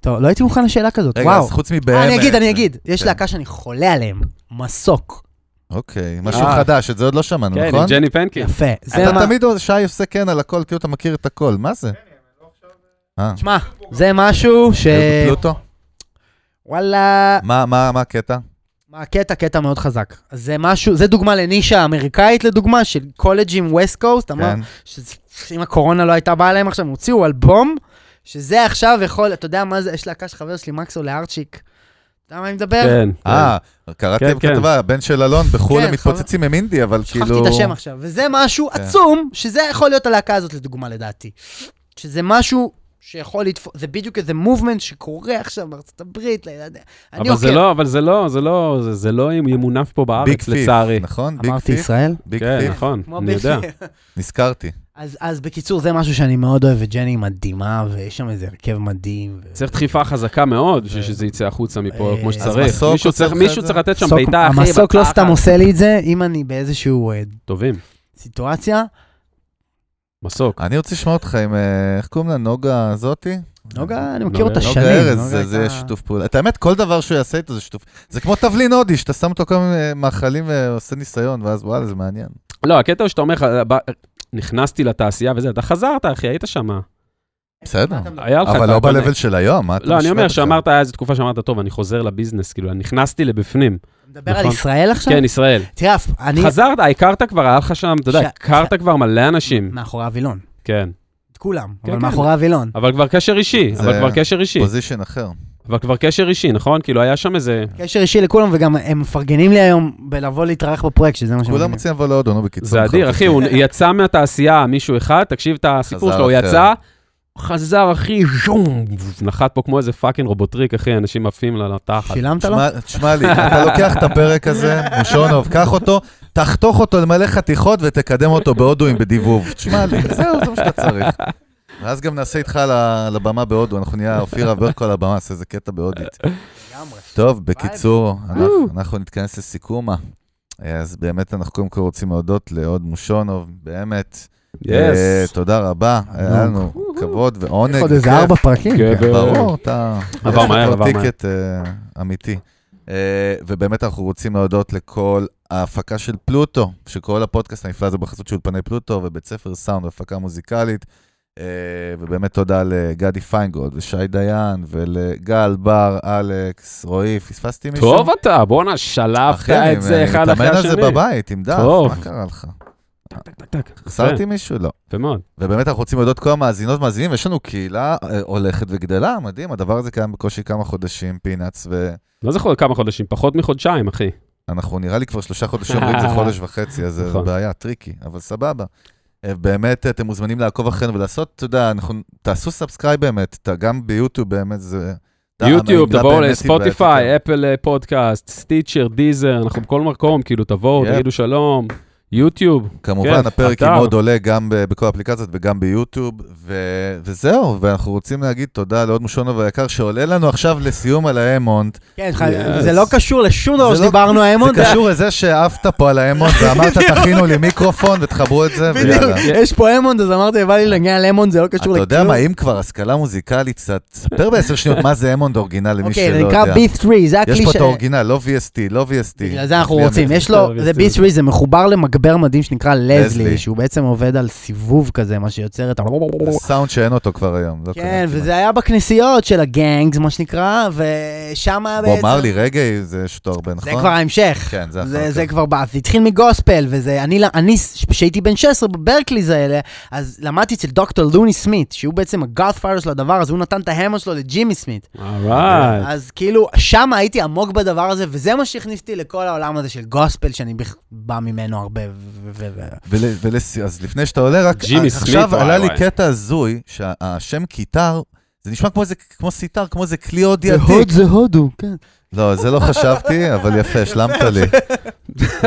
S3: טוב, לא הייתי מוכן לשאלה כזאת,
S1: רגע,
S3: וואו.
S1: אז חוץ מבאמת.
S3: אה, אני אגיד, אני אגיד. יש
S1: כן.
S3: להקה שאני חולה עליהם, מסוק.
S1: אוקיי, משהו
S2: אה.
S1: חדש, את זה עוד לא שמענו,
S2: כן, עם
S1: נכון?
S2: ג'ני פנקין.
S3: יפה. זה
S1: אתה
S3: מה...
S1: תמיד, שי עושה כן על הכל, כאילו אתה מכיר את הכל, מה זה? אה,
S3: שמע, זה משהו ש...
S1: פלוטו?
S3: וואלה...
S1: מה- מה מה הקטע?
S3: מה הקטע? קטע מאוד חזק. אז זה משהו, זה דוגמה לנישה אמריקאית לדוגמה, של קולג'ים ווסט קוסט, אמר,
S1: כן.
S3: שזה- אם הקורונה לא הייתה באה להם עכשיו, הם הוציאו אלבום, שזה עכשיו יכול, אתה יודע מה זה, יש להקה של חבר שלי, מקסו לארצ'יק. אתה יודע מה אני מדבר?
S2: כן.
S1: אה, קראתי
S2: כן, כן.
S1: כתבה, הבן של אלון בחו"ל
S3: כן,
S1: הם מתפוצצים עם אינדי, אבל כאילו...
S3: שכחתי את השם עכשיו, וזה משהו
S1: כן.
S3: עצום, שזה יכול להיות הלהקה הזאת לדוגמה לדעתי. שזה משהו שיכול לתפוס, זה בדיוק איזה מובמנט שקורה עכשיו בארצות הברית, לילדים. אני
S2: אבל זה
S3: עוקב.
S2: לא, אבל זה לא, זה לא, זה- זה לא ימונף פה
S1: ביג
S2: בארץ,
S1: פיף,
S2: לצערי.
S1: נכון? ביג
S3: אמרתי
S1: פיף,
S3: ישראל?
S1: ביג
S2: כן,
S1: פיף,
S2: נכון,
S3: כמו
S2: אני
S3: ביג
S2: יודע.
S3: פיף.
S1: נזכרתי.
S3: אז, אז בקיצור, זה משהו שאני מאוד אוהב, וג'ני מדהימה, ויש שם איזה הרכב מדהים. ו...
S2: צריך דחיפה חזקה מאוד בשביל שזה יצא החוצה מפה
S3: אה,
S2: כמו
S3: אז
S2: שצריך.
S1: כן. מסוק
S2: מישהו
S1: עוצר
S2: צריך-
S1: לך
S2: מישהו
S1: את
S2: צריך
S1: זה?
S2: לתת שם
S3: סוק-
S2: בעיטה, אחי,
S3: המסוק לא
S2: בתחת.
S3: סתם עושה לי את זה, אם אני באיזשהו אה,
S2: טובים,
S3: סיטואציה,
S2: מסוק.
S1: אני רוצה לשמוע אותך עם, אה, איך קוראים לה, נוגה הזאתי?
S3: נוגה, אני
S1: לא
S3: מכיר
S2: נוגה-
S3: אותה
S2: נוגה
S3: שנים.
S1: נוגה ארז,
S3: נוגה
S1: זה- זה
S3: הייתה-
S1: שיתוף פעולה. את האמת, כל דבר שהוא יעשה איתו זה שיתוף. זה כמו תבלין הודי, שאתה שם אותו כל מיני אה, מאכלים ועושה ניסיון, ואז וואלה, זה מעניין.
S3: אוקיי,
S2: לא, הקטע הוא שאתה אומר לך, ב- נכנסתי לתעשייה וזה, אתה חזרת, אחי, היית שם.
S1: בסדר.
S2: היה לך...
S1: אבל
S2: אתה-
S1: לא
S2: אתה-
S1: ב-level של היום, מה אתה
S2: לא, אני אומר
S1: בכלל?
S2: שאמרת, היה איזו תקופה שאמרת, טוב, אני חוזר לביזנס, כאילו, נכנסתי לבפנים.
S3: אתה מדבר על
S2: נכון.
S3: ישראל עכשיו?
S2: כן, ישראל.
S3: תראה, אף- אני...
S2: חזרת, הכרת כבר, היה לך שם, אתה יודע,
S3: ש-
S2: הכרת כבר מלא אנשים.
S3: מאחורי הווילון.
S2: כן.
S3: את כולם,
S2: כן,
S3: אבל
S2: כן.
S3: מאחורי הווילון.
S2: אבל כבר קשר אישי,
S1: זה-
S2: אבל כבר קשר אישי.
S1: פוזיישן אחר.
S2: אבל כבר קשר אישי, נכון? כאילו, היה שם איזה...
S3: קשר אישי לכולם, וגם הם מפרגנים לי היום בלבוא להתארח בפרויקט, שזה מה שהם
S1: כולם
S3: אומרים.
S1: רוצים לבוא להודו, נו, בקיצור.
S2: זה אדיר, אחי, הוא יצא מהתעשייה, מישהו אחד, תקשיב את הסיפור
S1: חזר
S2: שלו, הוא
S1: אחר.
S2: יצא, חזר, אחי, ז'ום, נחת פה כמו איזה פאקינג רובוטריק, אחי, אנשים עפים לה לתחת.
S3: שילמת לו?
S1: תשמע- תשמע לי, אתה לוקח את הפרק הזה, מושונוב, קח אותו, תחתוך אותו למלא חתיכות ותקדם אותו בהודואים בדיבוב. תשמע לי, זהו, זה מה שאתה צריך. ואז גם נעשה איתך על הבמה בהודו, אנחנו נהיה אופירה ברקו על הבמה, נעשה איזה קטע בהודית.
S3: לגמרי.
S1: טוב, בקיצור, אנחנו- אנחנו נתכנס לסיכומה. אז באמת אנחנו קודם כל רוצים להודות להוד מושונוב, באמת. אה,
S2: יס.
S1: תודה רבה, היה לנו כבוד ועונג.
S3: יש עוד איזה
S1: וכיף.
S3: ארבע פרקים.
S2: כן.
S1: כן,
S2: ו-
S1: ברור, אתה...
S2: עבר
S1: יש לך
S2: מהר,
S1: כבר
S2: עבר מהר.
S1: טיקט אה, אמיתי. אה, ובאמת אנחנו רוצים להודות לכל ההפקה של פלוטו, שכל הפודקאסט הנפלא הזה בחסות של אולפני פלוטו ובית ספר סאונד והפקה מוזיקלית. אה, ובאמת תודה לגדי פיינגולד ושי דיין ולגל בר, אלכס, רועי, פספסתי מישהו?
S2: טוב אתה, בואנה, שלפת
S1: אחי, אני
S2: את זה אחד אחרי
S1: מתאמן על זה
S2: השני.
S1: בבית עם דף,
S2: טוב.
S1: מה קרה לך?
S2: טק, טק.
S1: חסרתי מישהו? לא.
S2: יפה מאוד.
S1: ובאמת אנחנו רוצים להודות כל המאזינות והמאזינים, ויש לנו קהילה אה, הולכת וגדלה, מדהים, הדבר הזה קיים בקושי כמה חודשים, פינאץ,
S2: לא זוכר כמה חודשים, פחות מחודשיים, אחי.
S1: ואנחנו נראה לי כבר שלושה חודשים, אומרים זה חודש וחצי, אז זה
S2: נכון.
S1: בעיה, טריקי, אבל סבבה. אה, באמת, אתם מוזמנים לעקוב אחרינו ולעשות, אתה יודע, אנחנו, תעשו סאבסקרייב באמת, ת- גם ביוטיוב באמת זה... אתה-
S2: יוטיוב,
S1: המדינה
S2: תבואו
S1: באמת כן. היא
S2: לספוטיפיי,
S1: בעצם-
S2: אפל אה, פודקאסט, סטיצ'ר, דיזר, אנחנו בכל מקום, כאילו, תבואו,
S1: יפ.
S2: תגידו שלום, יוטיוב.
S1: כמובן,
S2: כיף,
S1: הפרק
S2: כן, אתר.
S1: עם עוד עולה גם ב- בכל האפליקציות וגם ביוטיוב, ו- וזהו, ואנחנו רוצים להגיד תודה להוד מושונוב היקר, שעולה לנו עכשיו לסיום על האמונט.
S3: כן,
S2: Yes.
S3: זה לא קשור לשום
S1: זה
S3: דבר
S1: לא-
S3: שדיברנו
S1: זה
S3: האמון.
S1: קשור לזה שעפת פה על האמון ואמרת, תכינו לי מיקרופון ותחברו את זה, ויאללה.
S3: בדיוק, יש פה אמון, אז אמרתי, בא לי לנגן על אמון, זה לא קשור
S1: כן. אתה
S3: לכלום.
S1: יודע מה, אם כבר השכלה מוזיקלית, קצת, ספר בעשר שניות מה זה אמונד אורגינל למי שלא
S3: אוקיי, זה
S1: יודע.
S3: נקרא B3, זה הכלי
S1: יש
S3: ש...
S1: פה את האורגינל, לא VST, לא VST.
S3: בגלל זה אנחנו
S1: לפי
S3: רוצים,
S1: המ-
S3: יש לו,
S2: בסדר,
S3: זה
S2: בסדר.
S3: B3, זה מחובר למגבר מדהים שנקרא
S1: לזלי.
S3: לזלי, שהוא בעצם עובד על סיבוב כזה, מה שיוצר את ה...
S1: זה סאונד שאין אותו כבר היום. לא
S3: כן,
S1: קיים כמעט.
S3: וזה היה בכנסיות של הגנגס, מה שנקרא, ושם
S1: בוא,
S3: בעצם...
S1: אמר לי, רגע, זה יש אותו הרבה,
S3: זה
S1: נכון?
S3: כבר ההמשך.
S1: כן, זה
S3: זה,
S1: אחר
S3: זה
S1: כך.
S3: כבר בא, זה התחיל מגוספל, וזה, אני, אני כשהייתי בן 16 בברקליז האלה, אז למדתי אצל דוקטור לוני סמית, שהוא בעצם הגאדפייר של הדבר הזה, הוא נתן את ההמר שלו לג'ימי סמית.
S2: אורייט.
S3: אז כאילו, שם הייתי עמוק בדבר הזה, וזה מה שהכניס אותי לכל העולם הזה של גוספל, שאני בכ- בא ממנו הרבה. ו- ו- ו- ו-
S1: ול- ולס- אז לפני שאתה עולה, רק אה,
S2: ג'ימי סמית,
S1: עכשיו
S2: וואי,
S1: עלה לי
S2: וואי.
S1: קטע הזוי, שהשם קיטר, זה נשמע כמו איזה- כמו סיטר, כמו איזה כלי הודי
S3: זה הוד
S1: עתיק.
S3: זה הודו, כן.
S1: לא, זה לא חשבתי, אבל יפה, השלמת לי.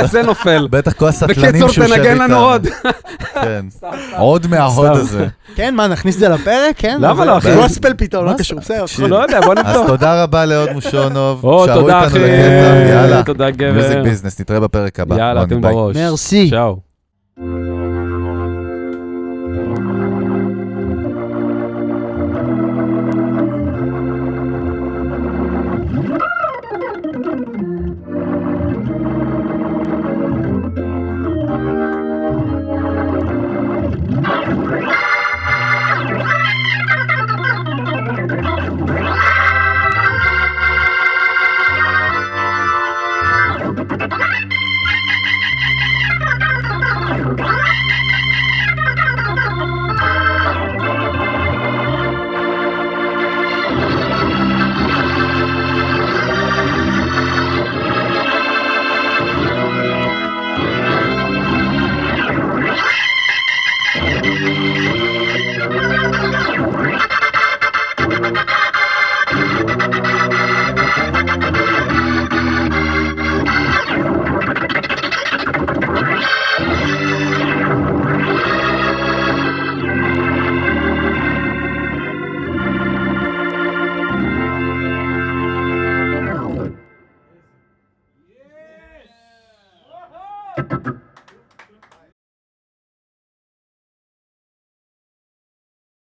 S2: זה נופל.
S1: בטח כל הסטלנים
S2: בקיצור,
S1: שהוא שב
S2: תנגן
S1: איתם.
S2: לנו עוד.
S1: כן. עוד מההוד
S2: סתם.
S1: הזה.
S3: כן, מה, נכניס את זה לפרק? כן?
S2: למה
S3: זה-
S2: לא, אחי?
S3: גוספל פתאום, לא
S1: מה זה?
S3: קשור, בסדר.
S1: תקשיב.
S2: לא יודע, בוא
S1: אז
S2: נבדוק.
S1: תודה רבה להוד מושונוב.
S2: או,
S1: שערו
S2: תודה
S1: איתנו
S2: אחי.
S1: לקטע, יאללה.
S2: תודה
S1: מיוזיק
S2: גבר.
S1: ביזנס, נתראה בפרק הבא.
S2: יאללה,
S1: רוני,
S2: אתם
S1: ביי.
S2: בראש.
S3: מרסי.
S2: צ'או.